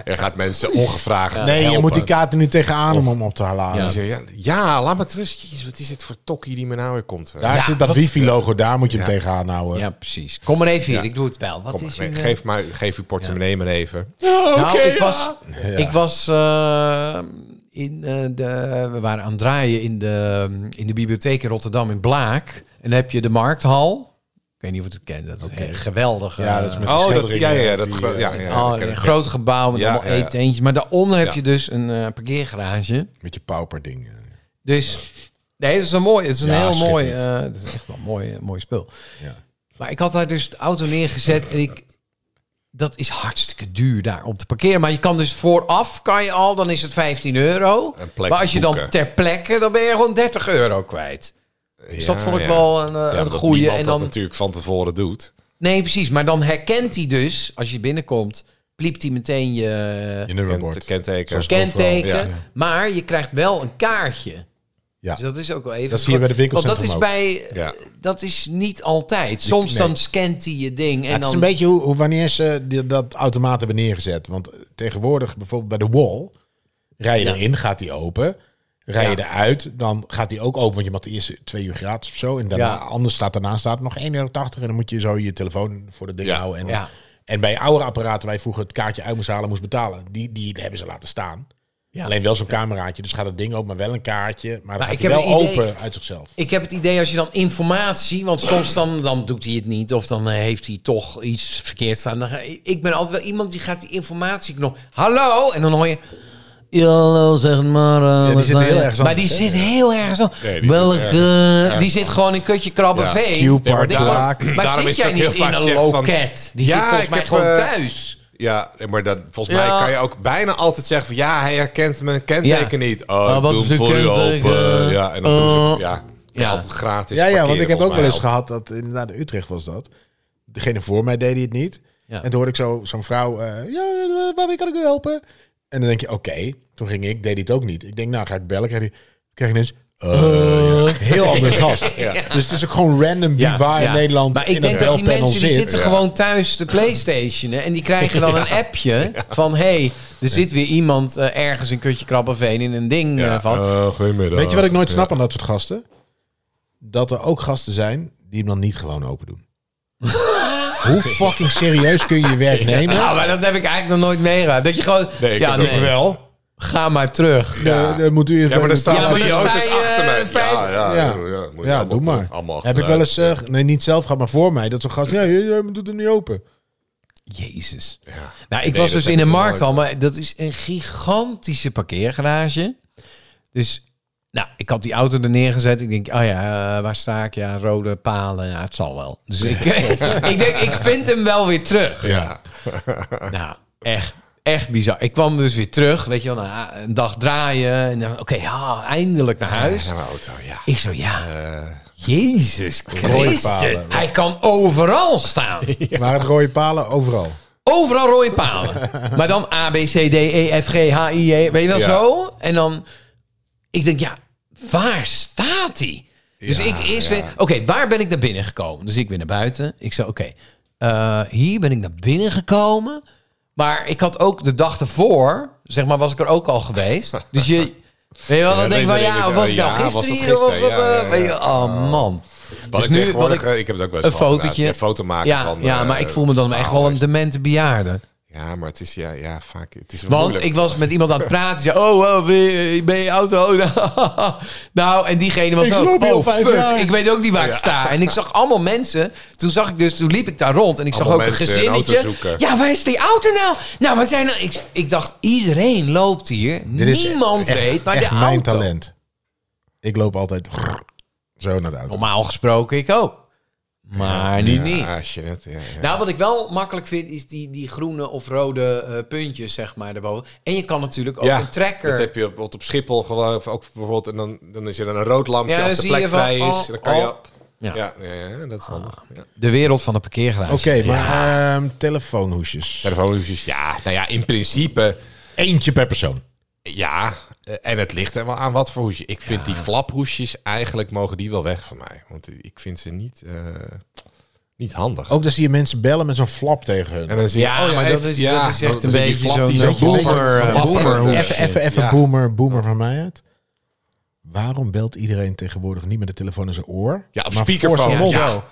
S2: Er gaat mensen ongevraagd
S3: Nee, je
S2: helpen.
S3: moet die kaart er nu tegenaan om hem op te halen.
S2: Ja.
S3: Ja.
S2: ja, ja, laat me het rust. Jezus, wat is dit voor tokkie die me nou weer komt?
S3: Daar
S5: Ja,
S3: zit dat
S5: wat-
S3: wifi-logo, daar moet je hem tegenaan houden.
S5: Ja, precies. Kom maar even hier,
S2: Ja.
S5: ik doe het wel. Wat
S2: Kom,
S5: is
S2: maar,
S5: uw, eh,
S2: geef, maar, geef uw portemonnee maar even.
S5: Nou,
S2: Oké,
S5: ik was,
S3: Ja.
S5: ik was eh, in eh, de, we waren aan het draaien in de, in de bibliotheek in Rotterdam in Blaak. En dan heb je de Markthal. Ik weet niet of je het kent, dat is een geweldige.
S3: Ja, dat is met
S2: Oh,
S3: die
S2: dat, ja, ja, ja, dat
S3: die,
S2: gro-
S3: eh,
S2: ja, ja,
S5: oh,
S2: dat ken
S5: een
S2: ik.
S5: groot gebouw met
S2: Ja,
S5: allemaal
S2: ja, ja.
S5: eentjes. Maar daaronder heb
S2: Ja.
S5: je dus een eh, parkeergarage.
S3: Met je pauper dingen.
S5: Dus nee, het is een mooi, het is een
S3: Ja,
S5: heel mooi,
S3: schitterend.
S5: eh, het is echt wel een mooi, eh, mooi spul.
S3: Ja.
S5: Maar ik had daar dus de auto neergezet en ik, dat is hartstikke duur daar om te parkeren. Maar je kan dus vooraf kan je al, dan is het 15 euro.
S2: Een plek
S5: Maar als je dan
S2: boeken.
S5: ter plekke, dan ben je gewoon 30 euro kwijt. Dus dat
S2: Ja,
S5: vond ik
S2: ja.
S5: wel een, eh,
S2: Ja,
S5: een
S2: omdat
S5: goede.
S2: niemand
S5: En
S2: dat
S5: dan,
S2: natuurlijk van tevoren doet.
S5: nee, precies. Maar dan herkent hij dus, als je binnenkomt, pliept hij meteen je,
S3: Je
S2: Kent,
S3: nummerbord.
S2: kenteken.
S3: Zoals-
S5: kenteken.
S2: overal, ja.
S5: Maar je krijgt wel een kaartje.
S3: Ja.
S5: Dus dat is ook wel even.
S3: Dat zie je bij de
S5: Want dat
S3: winkelcentrum
S5: is
S3: ook.
S5: bij.
S2: Ja.
S5: Dat is niet altijd. Soms
S3: nee.
S5: dan scant hij je ding. En
S3: Ja, het
S5: dan,
S3: is een beetje hoe, hoe wanneer ze die- dat automaat hebben neergezet. Want tegenwoordig, bijvoorbeeld bij de wall, rij je
S5: Ja.
S3: erin, gaat die open. Rij je
S5: Ja.
S3: eruit, dan gaat die ook open, want je mag de eerste twee uur gratis of zo. En daarna,
S5: Ja.
S3: anders staat daarna staat nog 1,80 euro. En dan moet je zo je telefoon voor de ding
S2: Ja.
S3: houden. En,
S5: Ja.
S3: en bij oude apparaten waar je vroeger het kaartje uit moest halen, moest betalen. Die, die hebben ze laten staan.
S5: Ja.
S3: Alleen wel zo'n cameraatje, dus gaat het ding open, maar wel een kaartje. Maar, dan
S5: Maar
S3: gaat
S5: ik
S3: hij
S5: heb
S3: wel
S5: een idee.
S3: open uit zichzelf.
S5: Ik heb het idee als je dan informatie, want soms dan, dan doet hij het niet of dan eh, heeft hij toch iets verkeerd staan. Dan ga- ik ben altijd wel iemand die gaat die informatie knop. Hallo en dan hoor je. "Ja, Hallo, zeg maar. eh,
S3: die
S5: wat
S3: zit
S5: ben
S3: heel
S5: je?"
S3: erg zo
S5: Maar die
S3: aan het
S5: zit heel erg zo.
S2: Nee, die
S5: Welke-
S2: zit
S5: die zit gewoon in kutje krabben
S2: Ja,
S5: vee.
S3: Q-park,
S5: Ja, maar dit-
S3: Blaak.
S5: maar
S2: Daarom
S5: zit
S2: is
S5: jij
S2: het ook
S5: niet
S2: heel
S5: in
S2: vaak
S5: een
S2: zeg van-
S5: loket? Die
S2: Ja,
S5: zit volgens
S2: ik
S5: mij
S2: heb,
S5: gewoon
S2: eh,
S5: thuis.
S2: Ja, maar dan, volgens
S5: Ja.
S2: mij kan je ook bijna altijd zeggen van... Ja, hij herkent mijn kenteken
S5: Ja.
S2: niet. Oh,
S5: Ah,
S2: ik
S5: wat
S2: doe
S5: is
S2: hem
S5: uw
S2: voor u
S5: kenteken?
S2: open. Ja, en dan doen
S5: Eh,
S2: ze... Ja,
S5: ja.
S2: altijd gratis
S3: Ja, ja, want
S2: parkeren,
S3: ik heb ook
S2: volgens
S3: wel eens
S2: mij.
S3: gehad dat inderdaad in Utrecht was dat. Degene voor mij deed hij het niet.
S5: Ja.
S3: En toen hoorde ik zo, zo'n vrouw, eh, ja, waarmee kan ik u helpen? En dan denk je, oké. Toen ging ik, deed hij het ook niet. Ik denk, nou ga ik bellen. Krijg hij, krijg je ineens, eh, ja. heel ander gast. Dus het is ook gewoon random wie waar in Nederland
S5: Maar
S3: in
S5: ik denk
S3: een
S5: dat die
S3: belpanel
S5: mensen die
S3: zit.
S5: zitten
S2: Ja.
S5: gewoon thuis de PlayStation en die krijgen dan een appje van hey, er zit weer iemand eh, ergens in kutje krabbenveen in een ding
S2: Ja,
S5: eh, van.
S2: eh, goedemiddag.
S3: Weet je wat ik nooit
S2: Ja.
S3: snap aan dat soort gasten? Dat er ook gasten zijn die hem dan niet gewoon open doen. Hoe fucking serieus kun je je werk nemen?
S5: nou, maar dat heb ik eigenlijk nog nooit meegemaakt. Dat je gewoon
S2: Nee, ik
S5: ja,
S2: heb dat ook wel.
S5: ga maar terug.
S3: Ja, dan moet u eerst
S2: Ja, maar
S3: bij
S2: er
S3: de
S2: staan
S5: Ja,
S2: al
S5: maar
S2: die
S5: dan
S2: auto's
S5: sta je,
S2: achter mij.
S5: eh, vijf-
S2: Ja, ja,
S3: Ja,
S2: ja, moet je
S3: ja,
S2: allemaal
S3: doe maar.
S2: terug- Allemaal
S3: Heb ik
S2: achteruit.
S3: wel eens, eh, nee, niet zelf gehad, maar voor mij, dat zo'n gast, ja, je, je doet hem niet open.
S5: Jezus.
S2: Ja.
S5: Nou, ik
S2: Nee,
S5: was
S2: dat
S5: dus
S2: heb
S5: in
S2: ik
S5: een
S2: nog
S5: markt al,
S2: nooit.
S5: maar dat is een gigantische parkeergarage. Dus, nou, ik had die auto er neergezet. Ik denk, oh ja, eh, waar sta ik? Ja, rode palen. Ja, het zal wel. Dus ik, ik denk, ik vind hem wel weer terug.
S2: Ja.
S5: Nou, echt, echt bizar. Ik kwam dus weer terug, weet je wel, na een dag draaien. En dan, oké, ja, eindelijk naar huis. Dus
S2: Ja, mijn auto, ja.
S5: Ik zo, ja,
S2: Eh,
S5: Jezus Christus.
S3: palen.
S5: Hij kan overal staan.
S3: Maar het rode palen overal.
S5: Overal rode palen. maar dan A, B, C, D, E, F, G, H, I, J. Weet je wel
S2: Ja.
S5: zo? En dan... Ik denk, ja, waar staat hij? Dus
S2: Ja,
S5: ik eerst
S2: ja.
S5: weer... Oké, waar ben ik naar binnen gekomen? Dus ik ben naar buiten. Ik zei, oké, eh, hier ben ik naar binnen gekomen. Maar ik had ook de dag ervoor... Zeg maar, was ik er ook al geweest. Dus je... Weet je wel, dan
S2: Ja,
S5: denk ik van,
S2: herinnering
S5: ja,
S2: is,
S5: was
S2: oh
S5: ik nou
S2: ja, was
S5: gisteren
S2: dat
S5: hier? of Was dat,
S2: gisteren? Ja, ja,
S5: eh, weet je,
S2: ja.
S5: oh, man.
S2: Wat ik tegenwoordig, eh, ik heb het ook best
S5: Een
S2: wel gedaan.
S5: fotootje.
S2: Ja, Een foto maken
S5: ja,
S2: van...
S5: ja,
S2: eh,
S5: maar ik voel me dan echt wel een demente bejaarde.
S2: Ja, maar het is ja, ja vaak... Het is wel
S5: Want
S2: moeilijk.
S5: ik was met iemand aan het praten. Die zei, oh, oh, ben je- ben je auto? nou, en diegene was
S3: Ik
S5: ook,
S3: loop hier al
S5: oh,
S3: vijf
S5: fuck,
S3: jaar.
S5: ik weet ook niet waar ik sta. En ik zag allemaal mensen. Toen zag ik dus, toen liep ik daar rond. En ik zag
S2: Allemaal
S5: ook een
S2: mensen een
S5: gezinnetje.
S2: auto zoeken.
S5: ja, waar is die auto nou? Nou, waar zijn er? Ik, ik dacht, iedereen loopt hier.
S3: Dit is
S5: Niemand
S3: echt-
S5: weet waar
S3: echt
S5: de auto...
S3: mijn talent. Ik loop altijd zo naar de auto.
S5: Normaal gesproken ik ook. Maar nu niet.
S2: Ja, shit, ja, ja.
S5: Nou, wat ik wel makkelijk vind, is die, die groene of rode eh, puntjes, zeg maar, daarboven. En je kan natuurlijk ook
S2: Ja,
S5: een trekker...
S2: Dat heb je bijvoorbeeld op Schiphol gewoon of ook bijvoorbeeld en dan, dan is er dan een rood lampje
S5: Ja, dan
S2: als de
S5: zie
S2: plek
S5: je van,
S2: vrij is.
S5: oh,
S2: dan kan je.
S5: oh. Ah. Ja.
S2: Ja. Ja, ja, dat is handig. Ja.
S5: De wereld van de parkeergarage.
S3: Oké, maar ehm, telefoonhoesjes.
S2: Telefoonhoesjes, ja, nou ja, in principe
S3: Eentje per persoon.
S2: ja. Eh, en het ligt er wel aan wat voor hoesje. Ik vind die flaphoesjes, eigenlijk mogen die wel weg van mij. Want ik vind ze niet, eh, niet handig.
S3: Ook dan zie je mensen bellen met zo'n flap tegen hun.
S2: En dan zie je,
S5: Ja,
S2: oh
S5: maar
S2: hij
S5: dat
S2: heeft-
S5: is- dat is echt
S2: dan
S5: een
S2: zie je die
S5: beetje
S2: flap
S5: zo'n,
S2: die
S5: eh, boomer, eh,
S2: flapper-
S5: boomer hoes.
S2: Even-
S3: Even, even, even
S2: Oh, Ja.
S3: boomer, boomer van mij uit. Waarom belt iedereen tegenwoordig niet met de telefoon in zijn oor?
S2: Ja, op
S3: maar
S2: speakerphone.
S3: voor zijn
S2: Ja.
S3: mond?
S5: Zo.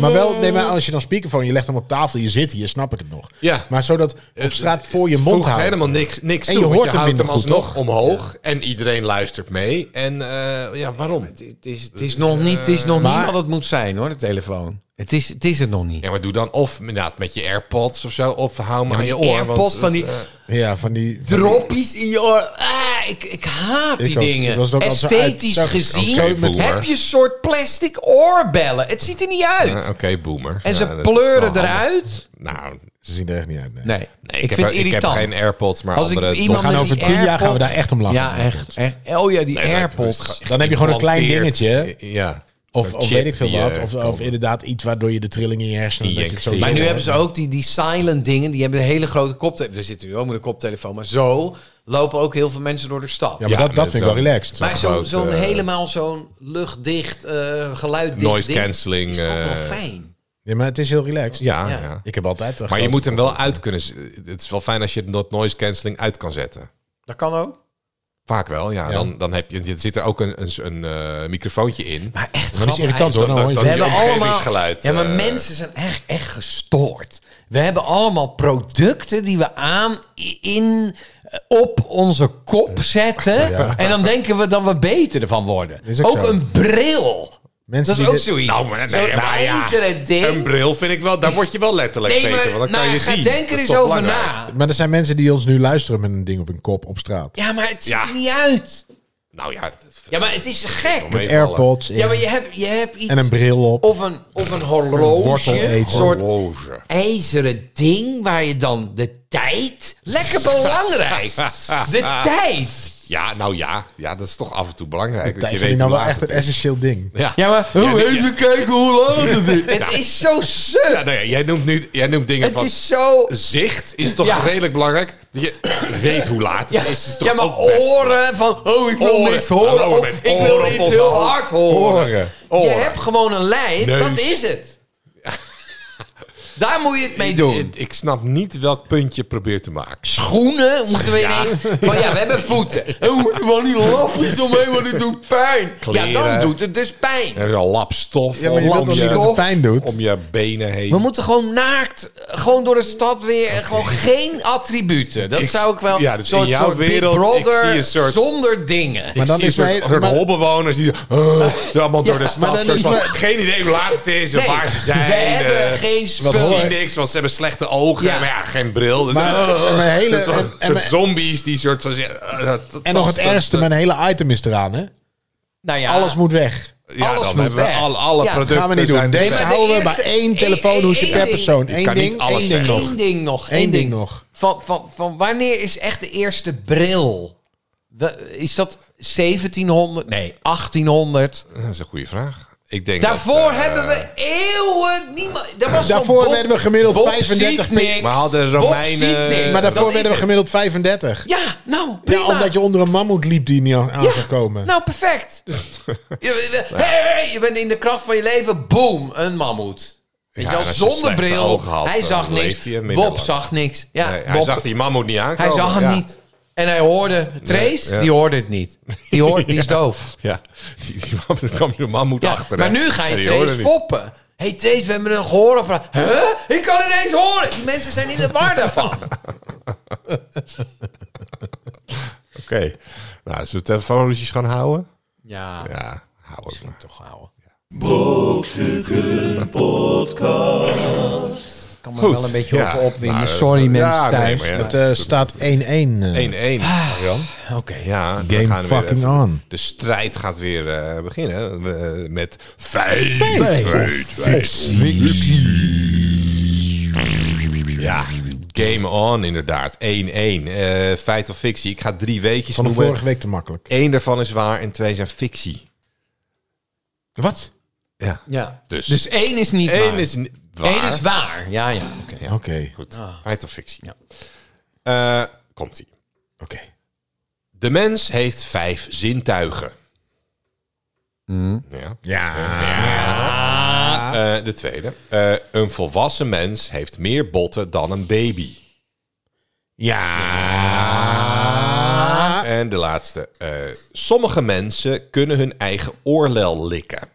S3: Maar wel, nee, maar als je dan speakerphone, je legt hem op tafel, je zit hier, snap ik het nog.
S2: Ja.
S3: Maar zodat op straat
S2: Het
S3: voor je
S2: voegt
S3: mond houden.
S2: helemaal niks, niks
S3: En
S2: toe,
S3: je
S2: want
S3: hoort hem
S2: houdt hem
S3: minder goed,
S2: alsnog
S3: toch?
S2: omhoog. En iedereen luistert mee. En eh, ja, waarom?
S5: Het is, het is nog niet, het is nog
S3: maar-
S5: niet wat het moet zijn hoor, de telefoon. Dus, eh, Het is het, is het nog niet.
S2: Ja, maar doe dan of inderdaad met je AirPods of zo. Of hou me aan je oor.
S5: AirPods van die
S2: eh,
S3: Ja, van die... van die-
S5: droppies in je oor. Ah, ik, ik haat
S3: Ik
S5: die
S3: ook. Ik
S5: dingen.
S3: was ook altijd zo
S5: Esthetisch
S3: uit- zo-
S5: gezien
S2: ook zo met-
S5: heb je een soort plastic oorbellen. Het ziet er niet uit.
S2: Oké, boomer.
S5: en ze
S2: Ja, dat is
S5: pleuren
S2: wel handig.
S5: eruit.
S2: Nou,
S3: Ze zien er echt niet uit, nee.
S5: Nee,
S2: nee,
S5: ik, vind
S2: heb,
S5: het irritant.
S2: Ik heb geen AirPods, maar
S5: Als ik
S2: andere...
S5: iemand
S3: We gaan
S5: met
S3: over
S5: die
S3: tien jaar gaan we
S5: AirPods-
S3: daar echt om lachen.
S5: Ja, echt, echt. Oh ja, die
S2: Nee,
S5: AirPods.
S2: dat-
S3: Dan heb je gewoon een klein
S2: implanteerd.
S3: dingetje.
S2: Ja.
S3: Of,
S2: Een
S3: of
S2: chip
S3: weet ik veel
S2: die,
S3: wat.
S2: eh,
S3: Of,
S2: kan-
S3: of inderdaad iets waardoor je de trilling in je hersenen... dat je het
S2: Injecteren.
S3: sowieso
S5: Maar nu
S3: hoort.
S5: hebben ze ook die, die silent dingen. Die hebben een hele grote koptelefoon. We zitten nu ook met een koptelefoon. Maar zo lopen ook heel veel mensen door de stad.
S3: Ja, maar
S2: Ja,
S3: dat, dat
S2: met
S3: vind ik wel
S2: zo'n-
S3: relaxed.
S2: zo'n
S5: maar zo-
S2: groot,
S5: zo'n
S2: eh,
S5: helemaal zo'n luchtdicht, eh geluiddicht
S2: Noise
S5: ding
S2: cancelling,
S5: is ook wel
S2: eh,
S5: fijn.
S3: Ja, maar het is heel relaxed.
S2: Ja,
S5: Ja.
S2: ja.
S3: Ik heb altijd... een
S2: Maar je
S3: grote-
S2: moet hem wel uit kunnen... z- Het is wel fijn als je dat noise cancelling uit kan zetten.
S5: Dat kan ook.
S2: Vaak wel, ja.
S3: Ja.
S2: Dan, dan heb je, er zit er ook een, een, een eh, microfoontje in.
S5: Maar echt
S3: Maar dat
S5: grappig.
S3: is irritant hoor.
S2: dat-
S3: Dan hoor je
S2: dat-
S5: We
S2: Die
S3: het.
S5: hebben allemaal.
S2: omgevingsgeluid,
S5: Ja, maar
S2: eh.
S5: mensen zijn echt, echt gestoord. We hebben allemaal producten die we aan, in, eh, op onze kop zetten.
S3: Ja.
S5: En dan denken we dat we beter ervan worden.
S3: Is ook
S5: ook
S3: zo.
S5: een bril.
S3: Mensen
S5: Dat is
S3: die
S5: ook
S3: dit-
S5: zoiets.
S2: Nou, maar, nee,
S5: Zo'n
S2: maar ja,
S5: ijzeren ding.
S2: Een bril vind ik wel, daar word je wel letterlijk
S5: nee,
S2: beter.
S5: maar
S2: want dan
S5: nou,
S2: kan je
S5: ga
S2: zien.
S5: denk er
S2: Dat is
S5: eens
S2: toch
S5: over
S2: belangrijk?
S5: na.
S3: Maar er zijn mensen die ons nu luisteren met een ding op hun kop op straat.
S5: Ja, maar het ziet
S2: Ja.
S5: er niet uit.
S2: Nou ja, dat-
S5: Ja, maar het is gek.
S2: Om even
S3: Airpods in
S5: Ja, maar je hebt, je hebt iets...
S3: en een bril op.
S5: Of een, of een horloge.
S3: wortel
S5: Een
S3: eten.
S5: soort
S2: Horloge.
S5: ijzeren ding waar je dan de tijd... Lekker belangrijk. De tijd.
S2: Ja, nou ja. Ja, dat is toch af en toe belangrijk. Dat
S3: Ik
S2: je
S3: vind
S2: weet
S3: die nou
S2: hoe
S3: wel
S2: laat
S3: echt een
S2: het is.
S3: essentieel ding.
S2: Ja.
S5: Ja, maar
S2: Ja, nee, ja.
S5: kijken hoe laat het is. Het is zo suf.
S2: Ja, nee, jij noemt nu jij noemt dingen
S5: Het
S2: van...
S5: is zo...
S2: Zicht is toch
S5: Ja.
S2: redelijk belangrijk? Dat je weet hoe laat het
S5: Ja,
S2: is. is toch
S5: ja, maar
S2: ook best
S5: oren van... Oh, ik wil
S2: Oren.
S5: niks horen.
S2: Hallo,
S5: Of,
S2: met
S5: ik wil
S2: oren
S5: iets
S2: op
S5: heel
S2: al-
S5: hard horen.
S2: Oren.
S5: Je
S2: Oren.
S5: hebt gewoon een lijf.
S2: Neus.
S5: Dat is het. Daar moet je het mee doen.
S2: Ik, ik snap niet welk punt je probeert te maken.
S5: Schoenen moeten we ineens... Van ja, we hebben voeten. En we moeten wel niet lapjes omheen, want het doet pijn.
S2: Kleren.
S5: Ja, dan doet het dus pijn.
S2: Er is al lap stof
S3: Ja, maar je wilt
S2: om,
S3: toch niet
S2: je,
S3: dat het pijn doet?
S2: om je benen
S5: We
S2: heen.
S5: moeten gewoon naakt, gewoon door de stad weer, gewoon geen attributen. Dat
S2: Ik-
S5: zou ik wel...
S2: ja, dus
S5: soort,
S2: in jouw
S5: soort Big
S2: wereld, ik
S5: Brother
S2: zie een soort-
S5: zonder dingen.
S2: Maar
S3: dan
S2: dan is
S3: is
S2: een soort,
S3: mij-
S2: soort
S3: maar-
S2: hobbelbewoners die eh, zo allemaal door de
S3: maar
S2: stad.
S3: dan
S2: soort
S3: is
S2: van,
S3: mij-
S2: Geen idee hoe laat het is en
S5: Nee,
S2: waar ze zijn.
S5: We hebben
S2: eh,
S5: geen
S2: Ze
S5: spul.
S2: zien niks, want ze hebben slechte ogen.
S5: Ja.
S2: Maar ja, geen bril. Dus,
S3: Maar-
S2: eh,
S3: maar hele-
S2: soort,
S3: en- en-
S2: soort zombies die soort... Zo, zeggen, eh, dat-
S3: En
S2: dat-
S3: nog het
S2: dat-
S3: ergste, mijn hele item is eraan, hè?
S5: Nou ja,
S3: Alles moet weg.
S2: Ja,
S5: alles
S2: dan
S5: moet
S2: hebben we
S5: weg.
S2: alle, alle
S5: Ja, gaan we
S2: producten
S3: Gaan we niet
S2: zijn
S3: doen.
S2: dus
S5: Nee,
S3: Deze
S5: maar
S2: weg.
S5: de
S3: houden we bij
S5: eerste-
S3: één
S5: één-
S3: telefoonhoesje
S5: één
S3: per
S5: ding.
S3: persoon.
S2: kan
S3: Eén
S2: niet
S3: ding,
S2: alles
S3: één ding
S2: weg.
S3: nog.
S5: Eén ding nog.
S3: Eén
S5: één
S3: ding nog.
S5: Van, van, van wanneer is echt de eerste bril? We- Is dat 1700? Nee, 1800.
S2: Dat is een goede vraag. Ik denk
S5: Daarvoor
S2: dat, eh,
S5: hebben we eeuwen niemand. daar was
S3: Daarvoor
S5: gewoon Bob-
S3: werden we gemiddeld
S5: Bob
S3: 35
S5: ziet niks.
S2: Maar hadden
S5: Bob
S2: Romeinen-
S5: ziet niks. Dat
S3: Maar daarvoor werden we
S5: is het.
S3: gemiddeld 35.
S5: Ja, nou, prima.
S3: Ja, omdat je onder een mammoet liep die niet aan aan
S5: Ja,
S3: zou komen.
S5: Nou, perfect. je, je- hey, je bent in de kracht van je leven, boom, een mammoet. Weet
S2: Ja,
S5: je wel,
S2: en als je
S5: zonder
S2: slechte
S5: bril.
S2: ogen had,
S5: hij
S2: dan
S5: zag
S2: leeft
S5: niks.
S2: hij minder
S5: Bob
S2: lang.
S5: zag niks. Ja,
S2: nee, hij
S5: Bob-
S2: zag die mammoet niet aankomen.
S5: hij zag hem
S2: ja.
S5: niet. En hij hoorde Trace,
S2: ja.
S5: die hoorde het niet. Die, hoort, die is doof.
S2: Ja, die, die mammoet, dan kwam je mammoet
S5: Ja,
S2: achter.
S5: maar
S2: hè.
S5: nu ga
S2: En
S5: je
S2: die
S5: Trace
S2: hoorde niet.
S5: foppen. hey, Trace, we hebben een gehoorapparaat. Huh? Ik kan ineens horen. Die mensen zijn in de war daarvan.
S2: Oké. Nou, zullen we telefoonhoesjes gaan houden?
S5: Ja,
S2: Ja, houden we maar.
S5: toch houden. Brokstukken podcast. kan me
S2: Goed,
S5: wel een beetje
S2: ja.
S5: over opwinden.
S2: Nou,
S5: Sorry
S2: eh,
S5: mensen
S2: ja, nee,
S5: thuis.
S2: maar ja.
S5: Maar-
S3: Het eh, staat 1-1. eh.
S2: 1-1, Jan.
S5: Oké.
S2: Ja, dan
S3: Game
S2: gaan we weer
S3: fucking
S2: even-
S3: on.
S2: De strijd gaat weer eh, beginnen We- eh, met feit, feit, feit, fictie. Ja, game on inderdaad. 1-1. Eh, feit of fictie. Ik ga drie weetjes
S3: Van de
S2: noemen.
S3: vorige week te makkelijk.
S2: Eén daarvan is waar en twee zijn fictie.
S3: Wat?
S2: Ja,
S5: Ja.
S2: Dus-
S5: Dus. één is niet
S2: één
S5: waar.
S2: is ni- waar.
S5: Eén is waar. Ja, ja. Oké.
S3: Oké.
S2: Goed,
S5: Ah.
S2: feit of fictie.
S5: Ja.
S2: Eh, Komt-ie.
S3: Oké.
S2: De De mens heeft vijf zintuigen.
S5: Mm.
S2: Ja. Eh, de tweede. Eh, een volwassen mens heeft meer botten dan een baby.
S3: Ja.
S2: En de laatste. Eh, sommige mensen kunnen hun eigen oorlel likken.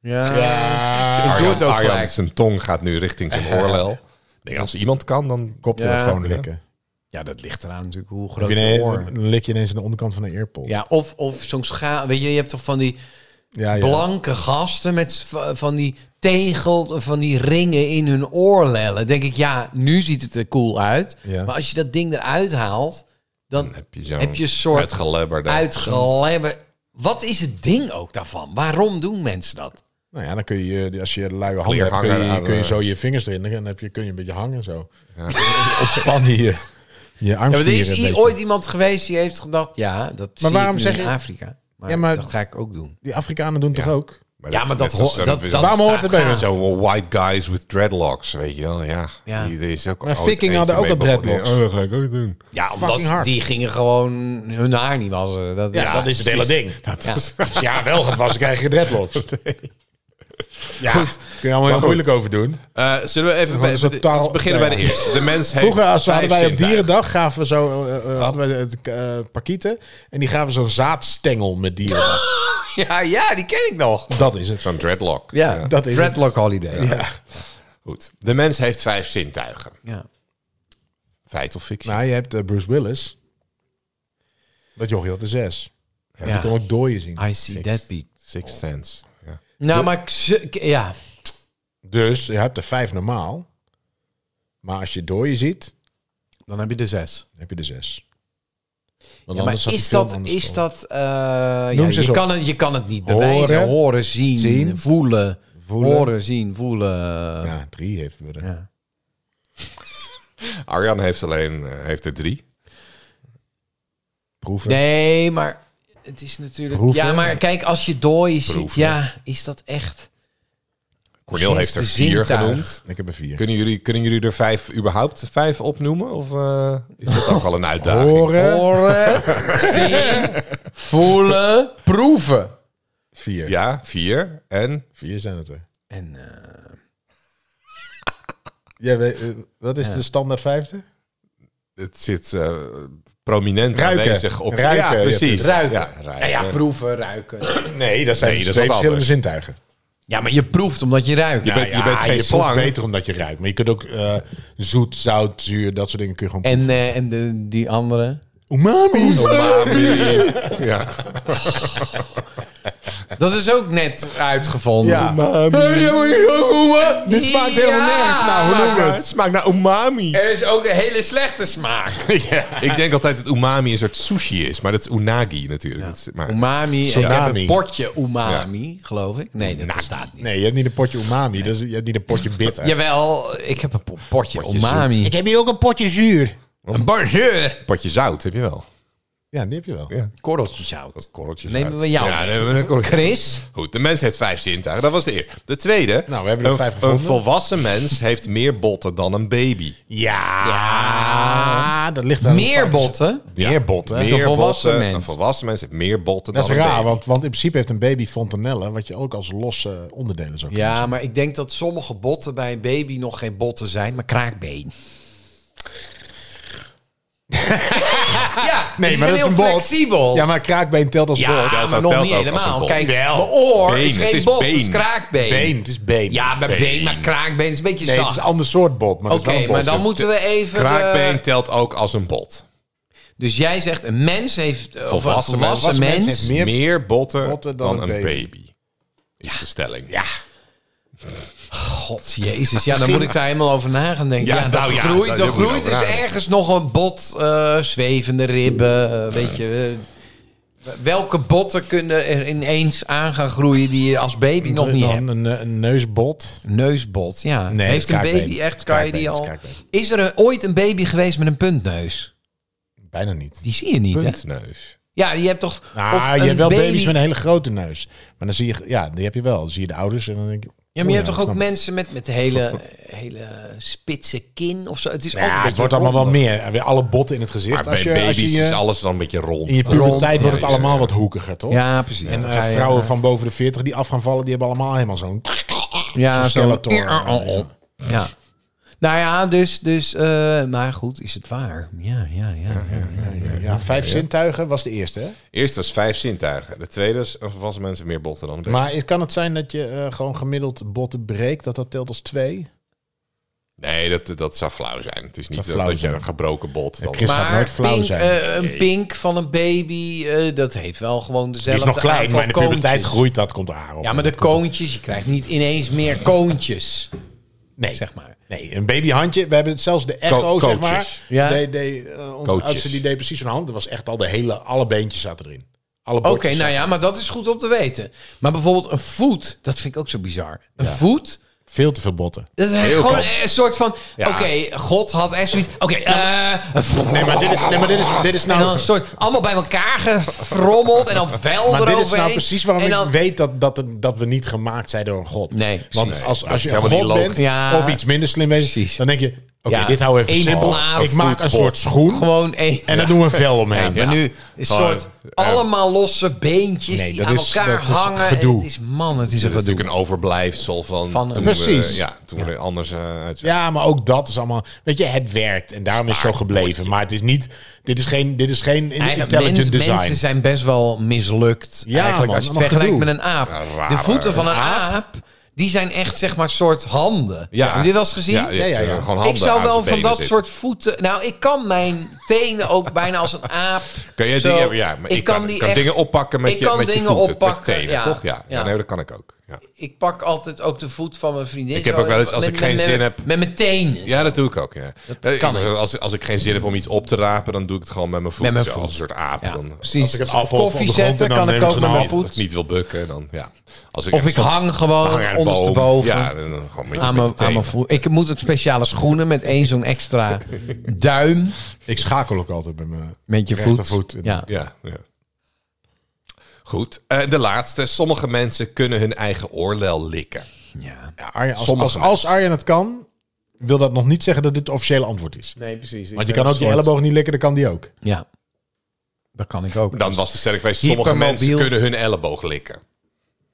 S5: Ja. ja. Ik doe
S2: Arjan,
S5: het ook
S2: Arjan,
S5: gelijk.
S2: zijn tong gaat nu richting zijn oorlel. Nee, als iemand kan, dan...
S3: Koptelefoon
S5: Ja.
S3: likken.
S5: Ja, dat ligt eraan natuurlijk hoe
S3: Heb
S5: groot
S3: je
S5: je
S3: een-
S5: oor.
S3: Dan lik je ineens aan de onderkant van een earpod.
S5: Ja, of, of zo'n scha... Weet je, je hebt toch van die
S3: Ah, ja, ja.
S5: blanke gasten met v- van die tegel, van die ringen in hun oorlellen. Denk ik, ja, nu ziet het er cool uit.
S3: Ja.
S5: Maar als je dat ding eruit haalt, dan
S2: Dan heb je zo'n
S5: heb je een soort
S2: uitgelebberde-
S5: uitgelebber... Wat is het ding ook daarvan? Waarom doen mensen dat?
S3: Nou ja, dan kun je, eh, als je luie handen hebt, kun
S2: Kleerhanger
S3: je,
S2: aan,
S3: kun je
S2: eh,
S3: zo je vingers erin. Dan heb je, kun je een beetje hangen zo. Ontspan je je, je
S5: Ja, maar er
S3: armspieren
S5: is
S3: een
S5: i-
S3: beetje.
S5: ooit iemand geweest die heeft gedacht... Ja, dat zie ik
S3: waarom
S5: nu
S3: zeg
S5: in
S3: je-
S5: Afrika. Maar,
S3: Ja, maar-
S5: dat ga ik ook doen.
S3: Die Afrikanen doen toch ook?
S5: Ja, maar dat
S2: net als
S5: ho-
S2: zo'n-
S5: dat- dat
S3: Waarom hoort het bij
S5: staat
S3: ons?
S2: Zo wel white guys with dreadlocks, weet je wel. Ja,
S5: Ja.
S2: Die, die is ook
S3: Maar
S2: ooit
S3: Viking hadden
S2: eentje
S3: ook
S2: mee
S3: al
S2: begonnen.
S3: dreadlocks.
S2: Oh, dat ga ik ook doen.
S5: Ja,
S3: Fucking
S5: omdat
S3: hard.
S5: die gingen gewoon hun haar niet wassen. Dat,
S3: Ja, dat is het hele ding.
S5: Ja.
S3: Als je haar wel gaat wassen, krijg je dreadlocks. Ja,
S5: Goed.
S3: kun je allemaal heel
S2: goed.
S3: moeilijk over doen.
S2: Eh, zullen we even bij,
S3: een soort
S2: we-
S3: taal-
S2: we beginnen bij de
S3: nou ja.
S2: eerste. De mens heeft
S3: Vroeger als we, hadden
S2: vijf
S3: wij op
S2: zintuigen.
S3: Dierendag gaven we zo, eh, eh, hadden we het eh, parkieten. En die gaven zo'n zaadstengel met dieren.
S5: Ja, ja, die ken ik nog.
S3: dat is het.
S2: Zo'n dreadlock.
S5: Ja,
S3: dat is
S5: Dreadlock Holiday. Ja.
S2: Goed. De mens heeft vijf zintuigen. Feit of fictie?
S3: Nou, je hebt eh, Bruce Willis. Dat jochie had de zes. Ja,
S5: Ja.
S3: Die kon ook dooien zien.
S5: I see that beat.
S2: Six Sense. Ja.
S5: Nou, maar ik ze- ik- ja.
S3: Dus je hebt er vijf normaal. Maar als je dooien ziet,
S5: Dan heb je de zes.
S3: dan heb je de zes.
S5: Ja,
S3: Want
S5: maar
S3: anders had die
S5: is
S3: film
S5: dat,
S3: anders
S5: is
S3: komen.
S5: dat eh, ja,
S3: Noem ze eens
S5: je,
S3: op.
S5: kan het, je kan het niet
S3: Horen,
S5: bewijzen. Horen, zien,
S3: zien,
S5: voelen,
S3: voelen.
S5: Horen, zien, voelen. Ja.
S3: Ja, drie heeft we er.
S2: Arjan heeft alleen eh, heeft er drie.
S3: Proeven.
S5: Nee, maar het is natuurlijk...
S3: Proeven.
S5: Ja, maar kijk, als je dooi ziet,
S2: Proeven.
S5: ja, is dat echt...
S2: Cornel heeft er vier
S5: Zintuig.
S2: genoemd.
S3: Ik heb er vier.
S2: Kunnen jullie, kunnen jullie er vijf überhaupt vijf opnoemen? Of eh, is dat ook al een uitdaging?
S3: Horen.
S5: Horen, zien, voelen, proeven.
S3: Vier.
S2: Ja, vier. En
S3: Vier zijn het er.
S5: En eh,
S3: Ja, we- eh, wat is de standaard vijfde?
S2: het zit eh, prominent
S3: Ruiken.
S2: aanwezig op.
S3: Ruiken,
S2: ja,
S3: je hebt
S2: precies.
S3: het.
S5: ruiken.
S2: Ja,
S3: eh,
S2: ruiken.
S5: Nou ja, proeven, ruiken.
S3: Nee, dat zijn
S2: Nee,
S3: dus
S2: dat is
S3: twee
S2: wat
S3: verschillende
S2: anders.
S3: zintuigen.
S5: Ja, maar je proeft omdat je ruikt.
S2: Je bent, je bent geen
S3: je proeft
S2: slang.
S3: beter omdat je ruikt. Maar je kunt ook eh, zoet, zout, zuur, dat soort dingen kun je gewoon...
S5: En, Oh, eh, en de, die andere?
S3: umami!
S2: Ja.
S5: Dat is ook net uitgevonden.
S3: Ja.
S5: Dit
S3: smaakt helemaal nergens naar, hoe noem je het?
S2: Het smaakt naar umami.
S5: Er is ook een hele slechte smaak.
S2: Ik denk altijd dat umami een soort sushi is, maar dat is unagi natuurlijk. Dat is, maar,
S5: Umami. en Ik heb
S3: Tsunami.
S5: een potje umami, geloof ik. Nee, dat bestaat niet.
S3: Nee, je hebt niet een potje umami. Dat is, je hebt niet een potje bitter.
S5: Jawel, ik heb een po- potje, umami.
S3: heb hier ook een potje zuur.
S5: Een bonjour.
S2: potje zout heb je wel.
S3: Ja, die heb je wel.
S2: Ja.
S5: Korreltje zout.
S2: Korreltjes
S5: Nemen we jou.
S2: Ja, nemen we een korreltje.
S5: Chris.
S2: Goed, de mens heeft vijf zintuigen. Dat was de eerste. De tweede.
S3: Nou, we hebben er
S2: een,
S3: vijf
S2: Een
S3: gevonden.
S2: volwassen mens heeft meer botten dan een baby.
S3: Ja,
S5: Ja.
S3: dat ligt aan
S5: Meer botten.
S3: Meer botten.
S2: Meer
S5: volwassen
S2: botten.
S5: mens.
S2: Een volwassen mens heeft meer botten
S3: Dat is
S2: dan een
S3: raar,
S2: baby.
S3: want, want in principe heeft een baby fontanellen, wat je ook als losse onderdelen zou kunnen.
S5: Ja, maar ik denk dat sommige botten bij een baby nog geen botten zijn, maar kraakbeen. ja, nee, maar
S3: maar
S5: heel
S3: dat is een bot.
S5: flexibel.
S3: Ja, maar kraakbeen telt als
S5: Ja,
S3: bot.
S2: dat
S5: maar
S2: telt
S5: nog niet
S2: ook als een
S5: helemaal.
S2: bot.
S5: Kijk,
S2: Wel.
S5: mijn oor
S2: Been,
S5: is geen
S2: het is
S5: bot, het is
S2: been.
S5: kraakbeen.
S3: Been, het is been.
S5: Ja, maar been.
S2: Been.
S5: maar kraakbeen is een beetje
S3: nee, het
S5: zacht.
S3: is een ander soort bot, maar
S5: Oké,
S3: dat is wel een
S5: maar
S3: bot.
S5: dan moeten we
S3: eh.
S5: even... de-
S2: Kraakbeen telt ook als een bot.
S5: dus jij zegt, een mens heeft... eh, Of een
S2: Volwassen mens.
S5: volwassen
S3: Volwassen mens
S5: mens...
S3: heeft
S2: Meer,
S3: Meer
S2: botten,
S3: botten
S2: dan, een baby. Is de stelling. Ja,
S5: God, jezus. Ja, dan moet ik daar helemaal over na gaan denken.
S2: Ja,
S5: Ja, dat
S2: nou ja,
S5: groeit,
S2: daar
S5: dat
S2: moet je
S5: groeit
S2: over
S5: dus
S2: nadenken.
S5: ergens nog een bot, eh, zwevende ribben, eh, weet je. eh, welke botten kunnen er ineens aan gaan groeien die je als baby nog niet
S3: dan
S5: hebt?
S3: een, eh, een neusbot.
S5: Neusbot, ja.
S3: Nee,
S5: Heeft een
S3: kraakbeen.
S5: baby echt, kan je die
S3: Kraakbeen,
S5: al...
S3: kraakbeen.
S5: Is er een- ooit een baby geweest met een puntneus?
S3: Bijna niet.
S5: Die zie je niet, hè?
S2: puntneus.
S5: Ja, je hebt toch...
S3: Nou,
S5: of
S3: je
S5: een
S3: hebt wel
S5: baby-
S3: baby's met een hele grote neus. Maar dan zie je, ja, die heb je wel. Dan zie je de ouders en dan denk je,
S5: Ja, maar je
S3: Oh,
S5: hebt
S3: ja,
S5: toch ook
S3: snap ik.
S5: mensen met, met hele, hele spitse kin of zo? Het is altijd
S3: Ja,
S5: Oh, een
S3: het
S5: beetje
S3: wordt allemaal wat
S5: ronder.
S3: meer. Weer alle botten in het
S2: Maar
S3: gezicht.
S2: bij
S3: Als je, als
S2: baby's
S3: je,
S2: is
S3: je-
S2: alles dan een beetje rond.
S3: in je
S2: Dan-
S3: puberteit wordt het
S2: Ja,
S3: allemaal wat hoekiger, toch?
S5: Ja, precies.
S3: En
S5: Dan
S3: eh,
S5: ga je-
S3: vrouwen van boven de 40 die af gaan vallen, die hebben allemaal helemaal zo'n
S5: ja,
S3: zo'n
S5: zo-
S3: skeletor. Ja.
S5: Ja. Nou ja, dus, dus eh, maar goed, is het waar? Ja, ja, ja. ja, ja.
S3: Ja, vijf zintuigen was de eerste, hè?
S2: Eerst was vijf zintuigen. De tweede is eh, volwassen mensen meer botten dan baby's.
S3: Maar kan het zijn dat je eh, gewoon gemiddeld botten breekt, dat dat telt als twee?
S2: Nee, dat, dat zou flauw zijn. Het is niet dat,
S3: Zou flauw
S2: dat je
S3: zijn.
S2: een gebroken bot... Dan...
S3: Chris- Dus gaat nooit flauw
S5: pink,
S3: zijn.
S5: eh, een pink van een baby, eh, dat heeft wel gewoon
S3: Die
S5: dezelfde
S3: is nog klein,
S5: aantal
S3: maar in de puberteit
S5: koontjes.
S3: groeit dat, komt haar op.
S5: Ja, maar de koontjes, je krijgt niet ineens meer koontjes,
S3: nee.
S5: zeg maar.
S3: nee, een babyhandje. We hebben het zelfs de echo,
S2: Co-
S3: zeg
S2: coaches.
S3: maar.
S5: Ja.
S3: De, de, eh, onze
S2: Coaches.
S3: oudste die deed precies zo'n hand. Er was echt al de hele, alle beentjes zaten erin. Alle
S5: Oké,
S3: botjes
S5: nou
S3: zaten-
S5: ja, maar dat is goed om te weten. Maar bijvoorbeeld een voet, dat vind ik ook zo bizar. Een voet,
S3: Veel te veel botten.
S5: dat is
S2: Heel
S5: gewoon
S2: veel.
S5: een soort van...
S2: Ja.
S5: Oké, God had echt zoiets... Oké, eh,
S3: Nee, maar dit is, nee, maar dit is, dit is
S5: en dan een
S3: nou...
S5: soort allemaal bij elkaar gefrommeld en dan vel
S3: Maar dit is nou
S5: eroverheen.
S3: precies waarom
S5: En dan-
S3: ik weet dat, dat, het- dat we niet gemaakt zijn door een god.
S5: Nee,
S3: Want
S5: precies.
S3: als, als je
S2: is
S3: een
S2: helemaal
S3: god
S2: niet
S3: bent
S5: logisch. Ja.
S3: of iets minder slim bent,
S5: Precies.
S3: dan denk je... Oké,
S5: Ja,
S3: dit hou even
S5: één
S3: simpel.
S5: blaad
S3: Ik maak een
S2: voetbal.
S3: soort schoen
S5: Gewoon één...
S3: en daar doen we vel omheen.
S5: Ja, maar nu is een
S2: Gewoon,
S5: soort
S2: eh,
S5: allemaal losse beentjes
S3: Nee,
S5: die
S3: dat
S5: aan
S3: is-
S5: elkaar
S3: dat is
S5: hangen. En
S3: gedoe.
S5: het is man, het is een
S2: Dat is
S5: gedoe.
S2: natuurlijk een overblijfsel van,
S5: Van een-
S2: toen
S3: Precies.
S2: we, ja, toen we er anders eh uit
S3: Ja, maar ook dat is allemaal. Weet je, het werkt en daarom is het zo gebleven. Maar het is niet. Dit is geen. Dit is geen
S5: Eigen-
S3: intelligent
S5: mens-
S3: design.
S5: Mensen zijn best wel mislukt.
S3: Ja,
S5: eigenlijk
S3: man,
S5: als je het
S3: allemaal
S5: vergelijkt
S3: gedoe.
S5: met een aap.
S2: Ja, raar,
S5: de voeten
S2: hè?
S5: van een
S2: Een
S5: aap? die zijn echt zeg maar soort handen. Heb je dit wel eens gezien?
S2: Ja, ja, ja,
S3: Ja, ja, ja.
S2: Gewoon handen
S5: ik zou
S2: aan
S5: wel
S2: zijn
S5: van
S2: benen
S5: dat
S2: zitten.
S5: soort voeten. Nou, ik kan mijn tenen ook bijna als een aap.
S2: Kan jij
S5: zo-
S2: dingen, ja, maar ik, kan, ik kan
S5: echt-
S2: dingen oppakken met
S5: ik
S2: je,
S5: kan
S2: met je
S5: dingen
S2: voeten,
S5: oppakken,
S2: met je tenen,
S5: ja.
S2: toch? Ja. Ja.
S5: Ja.
S2: nee, dat kan ik ook. Ja,
S5: Ik pak altijd ook de voet van mijn vriendin.
S2: Ik heb
S5: zo
S2: ook wel eens,
S5: even-
S2: als
S5: met-
S2: ik geen
S5: met-
S2: zin
S5: met-
S2: heb-
S5: Met mijn tenen.
S2: ja dat doe ik ook. Ja. Eh,
S5: kan
S2: ik- als, als ik geen zin heb om iets op te rapen, dan doe ik het gewoon met mijn voeten.
S5: mijn
S2: zo,
S5: voet.
S2: Als een soort aap.
S5: Ja,
S2: dan,
S5: precies.
S3: Als ik een
S5: Of
S3: appel op de
S5: koffie
S3: grond en
S5: zetten
S3: dan
S5: kan
S3: neem
S5: ik
S3: ik
S5: ook
S3: zo'n
S5: met mijn
S3: hand.
S2: Als ik
S5: voet.
S2: niet wil bukken, dan ja. Als
S5: Of
S2: een
S5: ik
S2: soort-
S5: hang
S3: Nou
S2: hang aan
S5: gewoon
S2: een boom.
S5: ondersteboven.
S2: Ja, dan, dan gewoon met je,
S5: Aan
S2: met je
S5: mijn, aan mijn
S2: tenen.
S5: voet. Ik moet ook speciale schoenen met één zo'n extra duim
S3: Ik schakel ook altijd bij mijn
S5: met je voet.
S3: rechtervoet.
S5: Ja.
S2: Ja, ja. Goed. Eh, de laatste. Sommige mensen kunnen hun eigen oorlel likken.
S5: ja.
S3: Ja, Arjen, als,
S2: Sommige
S3: als, als Arjen het kan, wil dat nog niet zeggen dat dit het officiële antwoord is.
S5: Nee, precies.
S3: Want je kan ook je elleboog niet likken, dan kan die ook.
S5: Ja. Dat kan ik ook.
S2: Dan was de sterk geweest. Sommige
S5: Hypermobiel.
S2: mensen kunnen hun elleboog likken.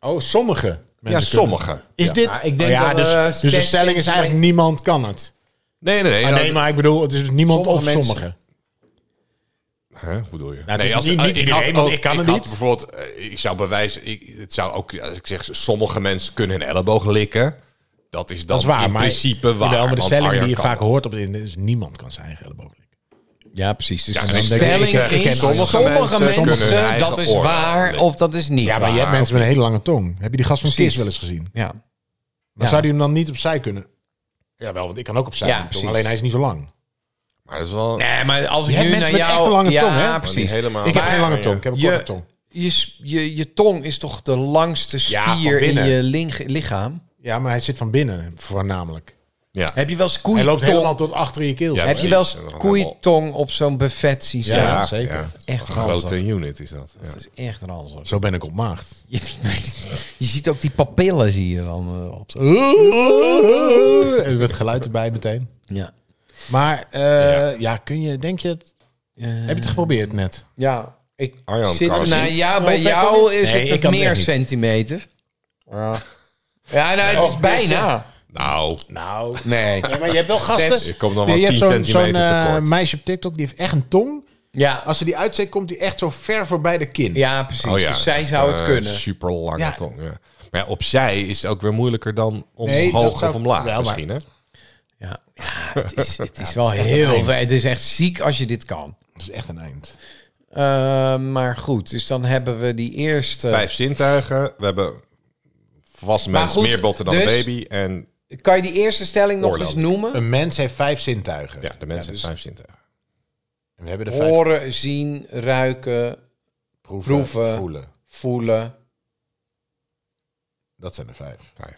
S3: Oh, sommige.
S2: Ja,
S3: mensen kunnen-
S2: sommige.
S3: Is dit?
S5: Ja, ik denk
S3: Oh ja,
S5: dat, eh,
S3: dus, dus de
S5: zes
S3: stelling is
S5: centimeter-
S3: eigenlijk niemand kan het.
S2: Nee, nee, nee.
S3: Ah,
S2: Nou,
S3: nee, maar ik bedoel, het is dus niemand
S5: Sommige
S3: of
S5: mensen-
S3: sommige.
S2: Hè, hoe bedoel je?
S3: het is niet- niet
S2: eh,
S3: iedereen,
S2: had
S3: want ik kan het
S2: had
S3: niet.
S2: bijvoorbeeld, eh, ik zou bewijzen, ik, het zou ook, als ik zeg, sommige mensen kunnen hun elleboog likken. Dat is dan
S3: Dat is waar,
S2: in
S3: maar,
S2: principe waar.
S3: Jawel, maar de
S2: want
S3: stelling
S2: Arjan
S3: die je
S2: kan
S3: vaak
S2: het.
S3: hoort op de internet is niemand kan zijn eigen elleboog likken.
S5: Ja, precies. Dus
S2: Ja,
S5: dan
S2: en de
S5: denk ik,
S2: stelling
S5: ik
S2: is,
S5: ken-
S2: sommige mensen kunnen hun eigen
S5: dat is
S2: oordeel
S5: waar
S2: likken.
S5: of dat is niet
S3: Ja, maar je
S5: waar.
S3: hebt mensen met een hele lange tong. Heb je die gast van
S5: Precies.
S3: Kiss wel eens gezien?
S5: Ja.
S3: Maar
S5: Ja.
S3: zou die hem dan niet opzij kunnen? Ja, wel, want ik kan ook opzij.
S5: Ja,
S3: met mijn tong,
S5: precies.
S3: alleen hij is niet zo lang.
S2: Maar dat is wel...
S5: Nee, maar als
S3: Je
S5: ik
S3: hebt
S5: nu naar
S3: mensen met
S5: jou...
S3: echt een lange
S5: ja,
S3: tong, hè? Maar
S5: Ja,
S3: die
S2: maar niet
S5: precies.
S2: helemaal.
S3: Ik heb geen lange
S2: Ja.
S3: tong, ik heb een
S5: Je-
S3: korte tong.
S5: Je, s- je, je tong is toch de langste
S3: Ja, van
S5: spier in
S3: binnen.
S5: je ling- lichaam?
S3: Ja, maar hij zit van binnen voornamelijk.
S2: Ja.
S5: Heb je wel eens
S3: Hij loopt helemaal
S5: koeitong,
S3: tot achter je keel.
S2: Ja,
S5: heb je wel eens
S2: precies. En dan
S5: koeitong op zo'n buffet zien
S3: Ja,
S5: staan?
S3: zeker.
S5: Echt
S2: Een
S5: ranzig.
S2: grote unit is dat. Ja.
S5: Dat is echt ranzig.
S3: Zo ben ik op maagd.
S5: Je, je ziet ook die papillen zie je dan eh, op.
S3: Eh, Er werd geluid erbij meteen.
S5: Ja.
S3: Maar eh, ja. Eh. kun je, denk je, het, heb je het geprobeerd net?
S5: Ja, ik
S2: Arjan
S5: zit
S2: kan het
S5: nou,
S2: niet.
S5: ja, bij
S3: Hoe ver
S5: jou
S3: kom je?
S5: is
S3: Nee,
S5: het
S3: ik
S5: wat
S3: kan het
S5: meer
S3: echt niet.
S5: centimeter. Ja, ja nou, het is bijna.
S2: Nou,
S3: Nou,
S5: Nee.
S3: maar je hebt wel gasten.
S2: je komt dan wel
S3: Nee, je
S2: 10
S3: hebt zo'n zo'n,
S2: centimeter
S3: eh,
S2: tekort.
S3: meisje op TikTok, die heeft echt een tong.
S5: Ja,
S3: Als ze die uitzet, komt die echt zo ver voorbij de kin.
S5: ja precies.
S2: Oh
S5: Dus zij zou het kunnen.
S2: Super lange
S3: Ja.
S2: eh, tong, ja. Maar ja, opzij is het ook weer moeilijker dan
S3: Nee,
S2: omhoog
S3: dat zou-
S2: of omlaag
S3: Ja, maar-
S2: misschien, hè?
S5: Ja, ja het is, het is wel heel... ver- Het is echt ziek als je dit kan.
S3: Dat is echt een eind.
S5: Eh, maar goed, dus dan hebben we die eerste...
S2: Vijf zintuigen. We hebben volwassen
S5: Maar
S2: mensen
S5: goed,
S2: meer botten dan een
S5: dus-
S2: baby. En
S5: Kan je die eerste stelling nog eens
S2: Oorlog.
S5: noemen?
S3: Een mens heeft vijf zintuigen.
S2: ja, de mensen hebben
S3: dus-
S2: vijf zintuigen.
S3: En we hebben de vijf
S5: Horen, zien, ruiken,
S3: proeven,
S5: proeven.
S3: voelen.
S5: voelen.
S3: Dat zijn er vijf.
S2: Vijf.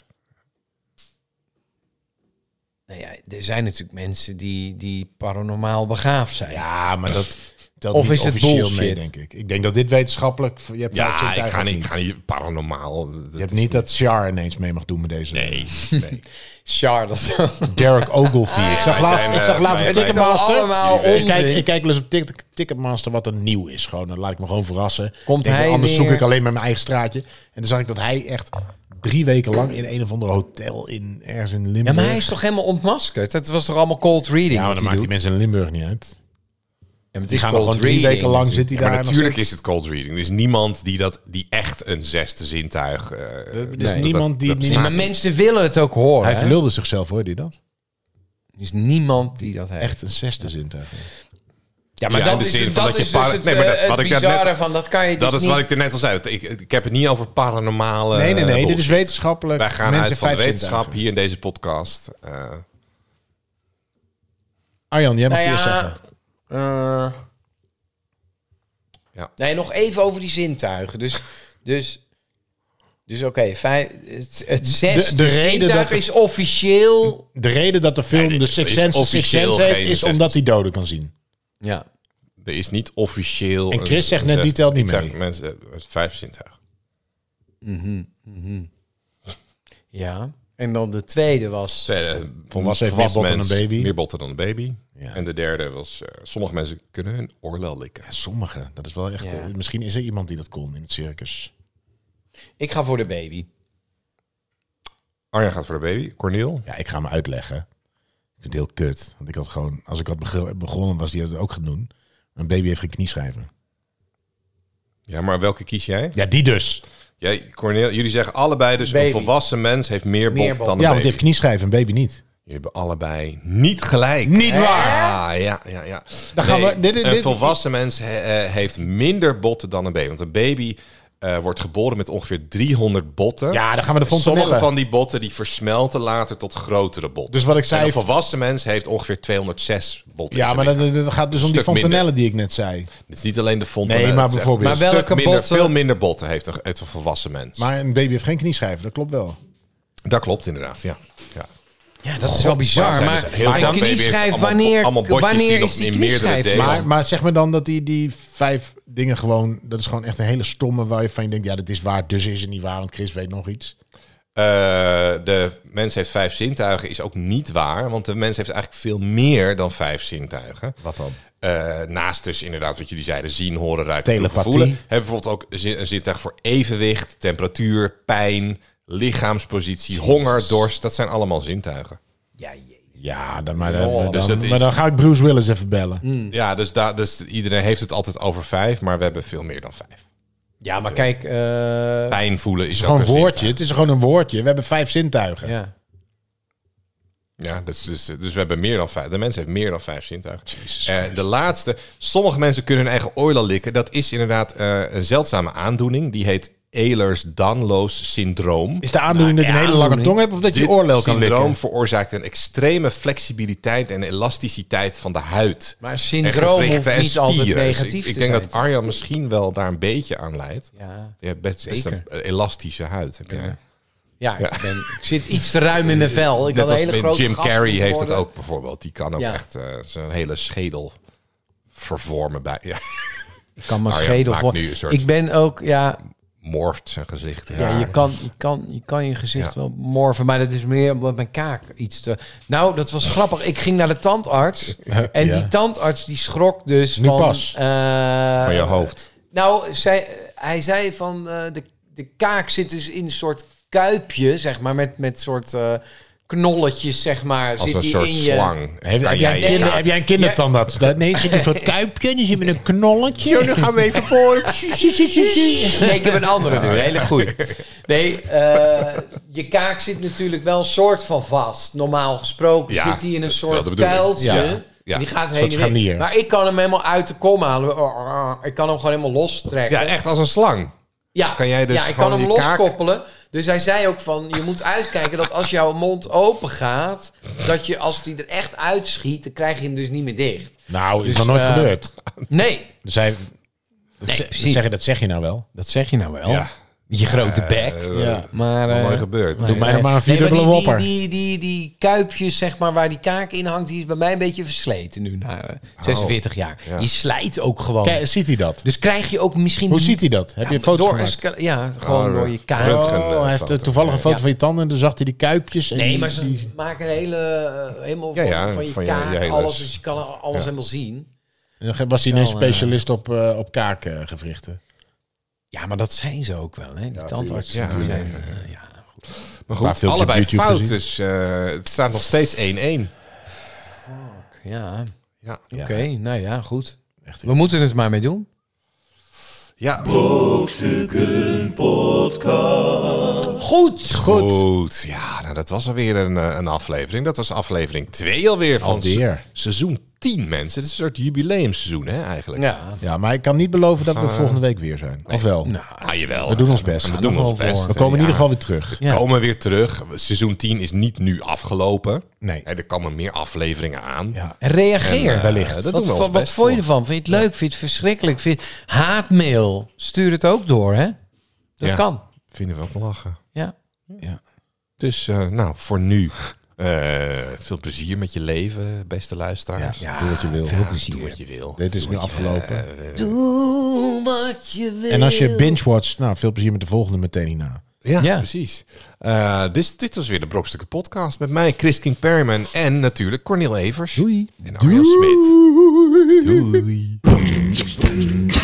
S5: Nou ja, er zijn natuurlijk mensen die, die paranormaal begaafd zijn.
S3: Ja, maar dat... telt
S5: Of
S3: niet
S5: is het
S3: officieel mee,
S5: bullshit?
S3: denk ik. Ik denk dat dit wetenschappelijk... Je hebt
S2: Ja,
S3: 15
S2: ik ga
S3: of
S2: niet, ik ga niet paranormaal. Dat
S3: Je hebt
S2: is
S3: niet dat Char ineens mee mag doen met deze...
S2: Nee, nee.
S5: Char, dat
S3: Derek Ogilvie. Ik zag
S2: wij
S3: laatst,
S2: zijn,
S3: ik
S2: eh,
S3: zag laatst
S2: wij
S3: op
S2: zijn
S3: Ticketmaster.
S5: allemaal
S3: Ik kijk-
S5: onzin.
S3: Ik kijk wel eens op Ticket- Ticketmaster wat er nieuw is. Gewoon, dan laat ik me gewoon verrassen.
S5: Komt
S3: Ik denk,
S5: hij
S3: anders
S5: weer-
S3: zoek ik alleen maar mijn eigen straatje. En dan zag ik dat hij echt drie weken lang in een of ander hotel in ergens in Limburg.
S5: Ja, maar hij is toch helemaal ontmaskerd? Het was toch allemaal cold reading?
S3: Ja, maar
S5: wat
S3: dan
S5: hij
S3: maakt die
S5: doet?
S3: mensen in Limburg niet uit.
S5: Ja, maar het
S3: Die
S5: is
S3: gaan nog
S5: cold
S3: gewoon drie
S5: reading
S3: weken lang
S5: natuurlijk.
S3: zitten.
S2: Ja,
S3: daar
S2: maar
S3: nog
S2: natuurlijk
S3: steeds.
S2: is het cold reading. Er is niemand die, dat, die echt een zesde zintuig... eh,
S3: Er is
S2: dat-
S3: niemand die-
S2: bestaat
S5: Nee, maar
S2: niet.
S5: mensen willen het ook horen.
S3: Hij
S5: hè?
S3: verlulde zichzelf, hoorde je dat?
S5: Er is niemand die dat heeft.
S3: Echt een zesde zintuig.
S5: Ja, maar
S2: Ja, in
S5: dat
S2: de
S5: is,
S2: zin
S5: dat
S2: van dat je
S5: is dus
S2: par-
S5: het,
S2: Nee, maar dat is
S5: eh,
S2: wat
S5: het
S2: ik net-
S5: bizarre van, dat kan je
S2: Dat
S5: dus
S2: is wat
S5: niet-
S2: ik er net al zei. Ik, ik heb het niet over paranormale...
S3: nee, nee,
S2: eh,
S3: nee. Dit is
S2: bullshit.
S3: wetenschappelijk.
S2: Wij gaan
S3: mensen
S2: uit van de
S3: vijf
S2: wetenschap
S3: zintuigen.
S2: hier in deze podcast. Eh,
S3: Arjan, jij mag
S5: Nou
S3: het eerst
S5: ja,
S3: zeggen.
S5: eh,
S2: Ja.
S5: Nee, nog even over die zintuigen. Dus, dus, dus oké, vijf- het, het zesde
S3: de reden
S5: zintuig
S3: dat-
S5: is officieel...
S3: De reden dat de film
S2: Nee,
S3: de
S2: dit
S3: Six
S2: is
S3: Sense Six
S2: officieel
S3: Sense heet,
S2: geen
S3: is
S2: zesde.
S3: omdat hij doden kan zien.
S5: Ja.
S2: er is niet officieel...
S3: En Chris
S2: een-
S3: zegt
S2: een
S3: net, die
S2: zesde-
S3: telt niet
S2: ik zeg
S3: mee.
S2: Mensen, eh, het vijf zintuig.
S5: ja. En dan de tweede was...
S2: Tweede,
S3: Volwassen
S2: eh,
S3: heeft
S2: volwassen
S3: meer botten
S2: mens,
S3: dan een baby.
S2: Meer botten dan een baby.
S3: Ja.
S2: En de derde was... eh, sommige mensen kunnen hun oorlel likken.
S3: Sommigen, dat is wel echt.
S5: Ja.
S3: eh, misschien is er iemand die dat kon in het circus.
S5: Ik ga voor de baby.
S2: Arjan gaat voor de baby. Cornel.
S3: Ja, ik ga me uitleggen. Ik vind het heel kut. Want ik had gewoon, als ik had beg- begonnen, was die dat ook gaan doen. Een baby heeft geen knieschijven.
S2: Ja, maar welke kies jij?
S3: Ja, die dus.
S2: Jij, Cornel, jullie zeggen allebei dus
S5: Baby.
S2: een volwassen mens heeft meer
S5: Meer
S2: bot
S5: bot.
S2: dan een
S3: ja, want
S2: baby.
S3: die heeft knieschijven, een baby niet.
S2: Jullie hebben allebei niet gelijk.
S3: Niet waar.
S2: Ah, ja, ja, ja.
S3: Dan gaan we- dit- dit-
S2: een
S3: dit-
S2: volwassen mens he- eh, heeft minder botten dan een baby. Want een baby eh, wordt geboren met ongeveer 300 botten.
S3: Ja, dan gaan we de
S2: Sommige
S3: fontanellen.
S2: van die botten die versmelten later tot grotere botten.
S3: Dus wat ik zei-
S2: En een volwassen mens heeft ongeveer 206 botten. in
S3: Ja,
S2: zijn
S3: maar
S2: lichaam.
S3: dat, dat gaat dus om die
S2: stuk minder.
S3: fontanellen die ik net zei.
S2: Het is niet alleen de fontanel.
S3: Nee, maar
S2: het is echt
S3: bijvoorbeeld.
S2: een
S5: Maar
S2: stuk
S5: welke
S2: minder,
S5: botten-
S2: Veel minder botten heeft een, heeft een volwassen mens.
S3: Maar een baby heeft geen knieschijven, dat klopt wel.
S2: Dat klopt inderdaad, ja. ja.
S5: Ja, dat is wel bizar.
S2: zijn
S5: Maar,
S2: dus heel
S5: maar
S2: veel
S5: een knieschijf,
S2: baby's, allemaal-
S5: wanneer,
S2: allemaal botjes
S5: wanneer
S2: die
S5: is
S2: nog
S5: die
S2: in meerdere
S5: knieschijf?
S2: delen-
S5: Maar-
S3: Maar, maar zeg me dan dat die, die vijf dingen gewoon, dat is gewoon echt een hele stomme waar je van je denkt, ja, dat is waar, dus is het niet waar, want Chris weet nog iets.
S2: Eh, de mens heeft vijf zintuigen is ook niet waar. Want de mens heeft eigenlijk veel meer dan vijf zintuigen.
S3: Wat dan?
S2: Eh, naast dus inderdaad wat jullie zeiden, zien, horen, ruiken,
S3: Telepathie.
S2: voelen. Hebben we bijvoorbeeld ook zi- een zintuig voor evenwicht, temperatuur, pijn, lichaamspositie, honger, dorst. Dat zijn allemaal zintuigen.
S5: Ja, jee.
S3: Ja, dan, maar, dan,
S5: Oh,
S3: dan-
S2: dus dat is-
S3: maar dan ga ik Bruce Willis even bellen.
S2: Ja, dus, daar dus iedereen heeft het altijd over vijf, maar we hebben veel meer dan vijf.
S5: ja, maar kijk... eh,
S2: Pijn voelen is,
S3: Het is
S2: ook
S3: gewoon
S2: een
S3: een woordje.
S2: zintuig.
S3: Het is gewoon een woordje. We hebben vijf zintuigen.
S5: ja.
S2: Ja, dus, dus, dus we hebben meer dan vijf. De mens heeft meer dan vijf zintuigen. Eh, de laatste. Sommige mensen kunnen hun eigen oorlel likken. Dat is inderdaad eh, een zeldzame aandoening. Die heet Ehlers-Danlos syndroom.
S3: Is de aandoening
S2: Nou
S3: dat je een hele lange
S5: aandoening.
S3: tong hebt of dat je je oorlel kan
S2: syndroom
S3: likken?
S2: veroorzaakt een extreme flexibiliteit en elasticiteit van de huid.
S5: Maar
S2: En
S5: syndroom hoeft
S2: gewrichten en
S5: niet altijd
S2: spieren. Dus
S5: negatief
S2: Ik, ik
S5: te
S2: denk
S5: zijn.
S2: dat Arjan misschien wel daar een beetje aan leidt.
S5: Ja,
S2: Je hebt best, best
S5: Zeker.
S2: een elastische huid. Heb jij.
S5: ja, Ik, ben, ik zit iets te ruim in mijn vel. Ik
S2: Net
S5: had een
S2: als
S5: hele
S2: met
S5: grote
S2: Jim
S5: gast
S2: Carrey heeft dat
S5: worden.
S2: ook bijvoorbeeld. Die kan ook
S5: Ja.
S2: echt eh, zijn hele schedel vervormen bij. Ja,
S5: Ik kan mijn
S2: Arjan
S5: schedel
S2: maakt
S5: voor.
S2: Nou nu een soort-
S5: Ik ben ook, ja,
S2: morft zijn gezicht.
S5: ja, je, kan, je, kan, je kan je gezicht wel morven, maar dat is meer omdat mijn kaak iets te... Nou, dat was grappig. Ik ging naar de tandarts en
S3: Ja.
S5: die tandarts die schrok dus
S3: Nu
S5: van...
S3: pas.
S5: eh,
S2: Van je hoofd.
S5: Nou, zij, hij zei van eh, de, de kaak zit dus in een soort kuipje, zeg maar, met, met soort eh, knolletjes, zeg maar.
S2: Als
S5: zit
S2: een
S5: die
S2: soort
S5: in je...
S2: slang.
S5: Nou
S3: Heeft-
S2: Kan
S3: heb, jij
S2: jij
S3: een
S2: je
S3: kinder-
S2: kaak-
S3: heb jij een kindertandarts? Dat- Nee, zit een soort kuipje, die zit met een knolletje.
S2: Zo, nu gaan we even boren.
S5: Nee, ik heb een andere nu. Hele goed. Nee, eh, je kaak zit natuurlijk wel een soort van vast. Normaal gesproken
S2: Ja,
S5: zit hij in een
S2: dat is wel de
S5: soort
S2: bedoeling.
S5: kuiltje.
S2: Ja, ja.
S5: Die gaat
S3: soort
S5: heen en weer.
S3: scharnier.
S5: Maar ik kan hem helemaal uit de kom halen. Oh, Ik kan hem gewoon helemaal lostrekken.
S2: Ja, echt als een slang.
S5: Ja,
S2: Kan jij dus
S5: ja ik
S2: gewoon
S5: kan hem
S2: je kaak-
S5: loskoppelen. Dus hij zei ook van, je moet uitkijken dat als jouw mond open gaat... dat je als die er echt uitschiet, dan krijg je hem dus niet meer dicht.
S3: Nou, is
S5: Dus,
S3: nog nooit
S5: eh,
S3: gebeurd.
S5: Nee,
S3: Dus hij, dat, ze- dat
S5: precies.
S3: zeg, je- dat zeg je nou wel.
S5: dat zeg je nou wel.
S2: Ja.
S5: Je
S2: Eh,
S5: grote bek.
S2: ja.
S5: Maar,
S2: Nog
S5: eh,
S2: nooit gebeurd.
S5: nee,
S2: Doe
S3: mij
S5: nee.
S3: nog maar een vierdubbele
S5: Nee, maar die-
S3: whopper.
S5: Die, die, die, die kuipjes, zeg maar, waar die kaak in hangt, die is bij mij een beetje versleten nu na eh, 46 jaar. Die slijt ook gewoon.
S3: Kijk, ziet hij dat?
S5: dus krijg je ook misschien...
S3: Hoe ziet hij dat? Heb je
S5: Ja,
S3: foto's
S5: door een
S3: gemaakt?
S5: sca- Ja, gewoon
S2: Oh,
S5: door je kaak.
S2: röntgen, eh,
S3: Oh, hij heeft
S2: foto.
S3: eh, toevallig een foto
S5: Ja.
S3: van je tanden en dan zag hij die kuipjes. En
S5: Nee,
S3: die-
S5: maar ze
S3: die-
S5: maken een hele... eh,
S2: Ja,
S5: helemaal van,
S2: ja,
S5: van je
S2: van je-
S5: kaak,
S2: je hele-
S5: alles. Dus je kan alles helemaal zien.
S3: en dan was hij ineens
S5: Zo, eh,
S3: specialist op, eh, op kaakgewrichten.
S5: Ja, maar dat zijn ze ook wel, hè? Die tandartsen,
S2: tuurlijk.
S5: die
S2: Ja,
S5: zijn... eh, ja, goed.
S2: Maar goed,
S3: Paar filmpjes op
S2: allebei
S3: YouTube
S2: fout.
S3: gezien.
S2: Dus eh, het staat nog steeds 1-1.
S5: Ja,
S2: Ja.
S5: oké. Nou ja, goed.
S3: Echt.
S5: We moeten het maar mee doen.
S2: ja.
S5: Goed!
S2: Goed. Ja, nou, dat was alweer een, eh, een aflevering. Dat was aflevering 2 alweer van
S3: Alweer.
S2: se- seizoen 10, mensen. Het is een soort jubileumseizoen, hè, eigenlijk.
S5: Ja.
S3: Ja, maar ik kan niet beloven dat we volgende week weer zijn. Of wel?
S5: Nou.
S2: Ah, jawel.
S3: we doen ons best.
S2: We doen ons best.
S3: We komen in
S2: Ja.
S3: ieder geval weer terug.
S5: Ja.
S2: Komen weer terug. Seizoen 10 is niet nu afgelopen.
S3: Nee.
S2: Hè, er komen meer afleveringen aan.
S3: Ja.
S5: En Reageer
S2: En, eh,
S5: wellicht.
S2: dat
S5: wat
S2: doen we ons
S5: wat
S2: best
S5: vond je
S2: voor.
S5: ervan? Vind je het leuk? Vind je het verschrikkelijk? Vind je... Haatmail. Stuur het ook door, hè? Dat
S2: Ja.
S5: kan.
S2: Vinden we ook wel lachen.
S5: Ja.
S2: Dus eh, nou, voor nu. eh, veel plezier met je leven, beste luisteraars.
S3: Doe wat je wil.
S2: Doe wat je wil.
S3: Dit is nu afgelopen.
S5: Doe wat je wil.
S3: en als je binge-watcht, nou, veel plezier met de volgende meteen hierna.
S2: Ja,
S5: Ja.
S2: precies. Eh, dus dit was weer de Brokstukken podcast met mij, Chris King Perryman en natuurlijk Cornel Evers.
S3: Doei.
S2: En Arjan Smit. Doei.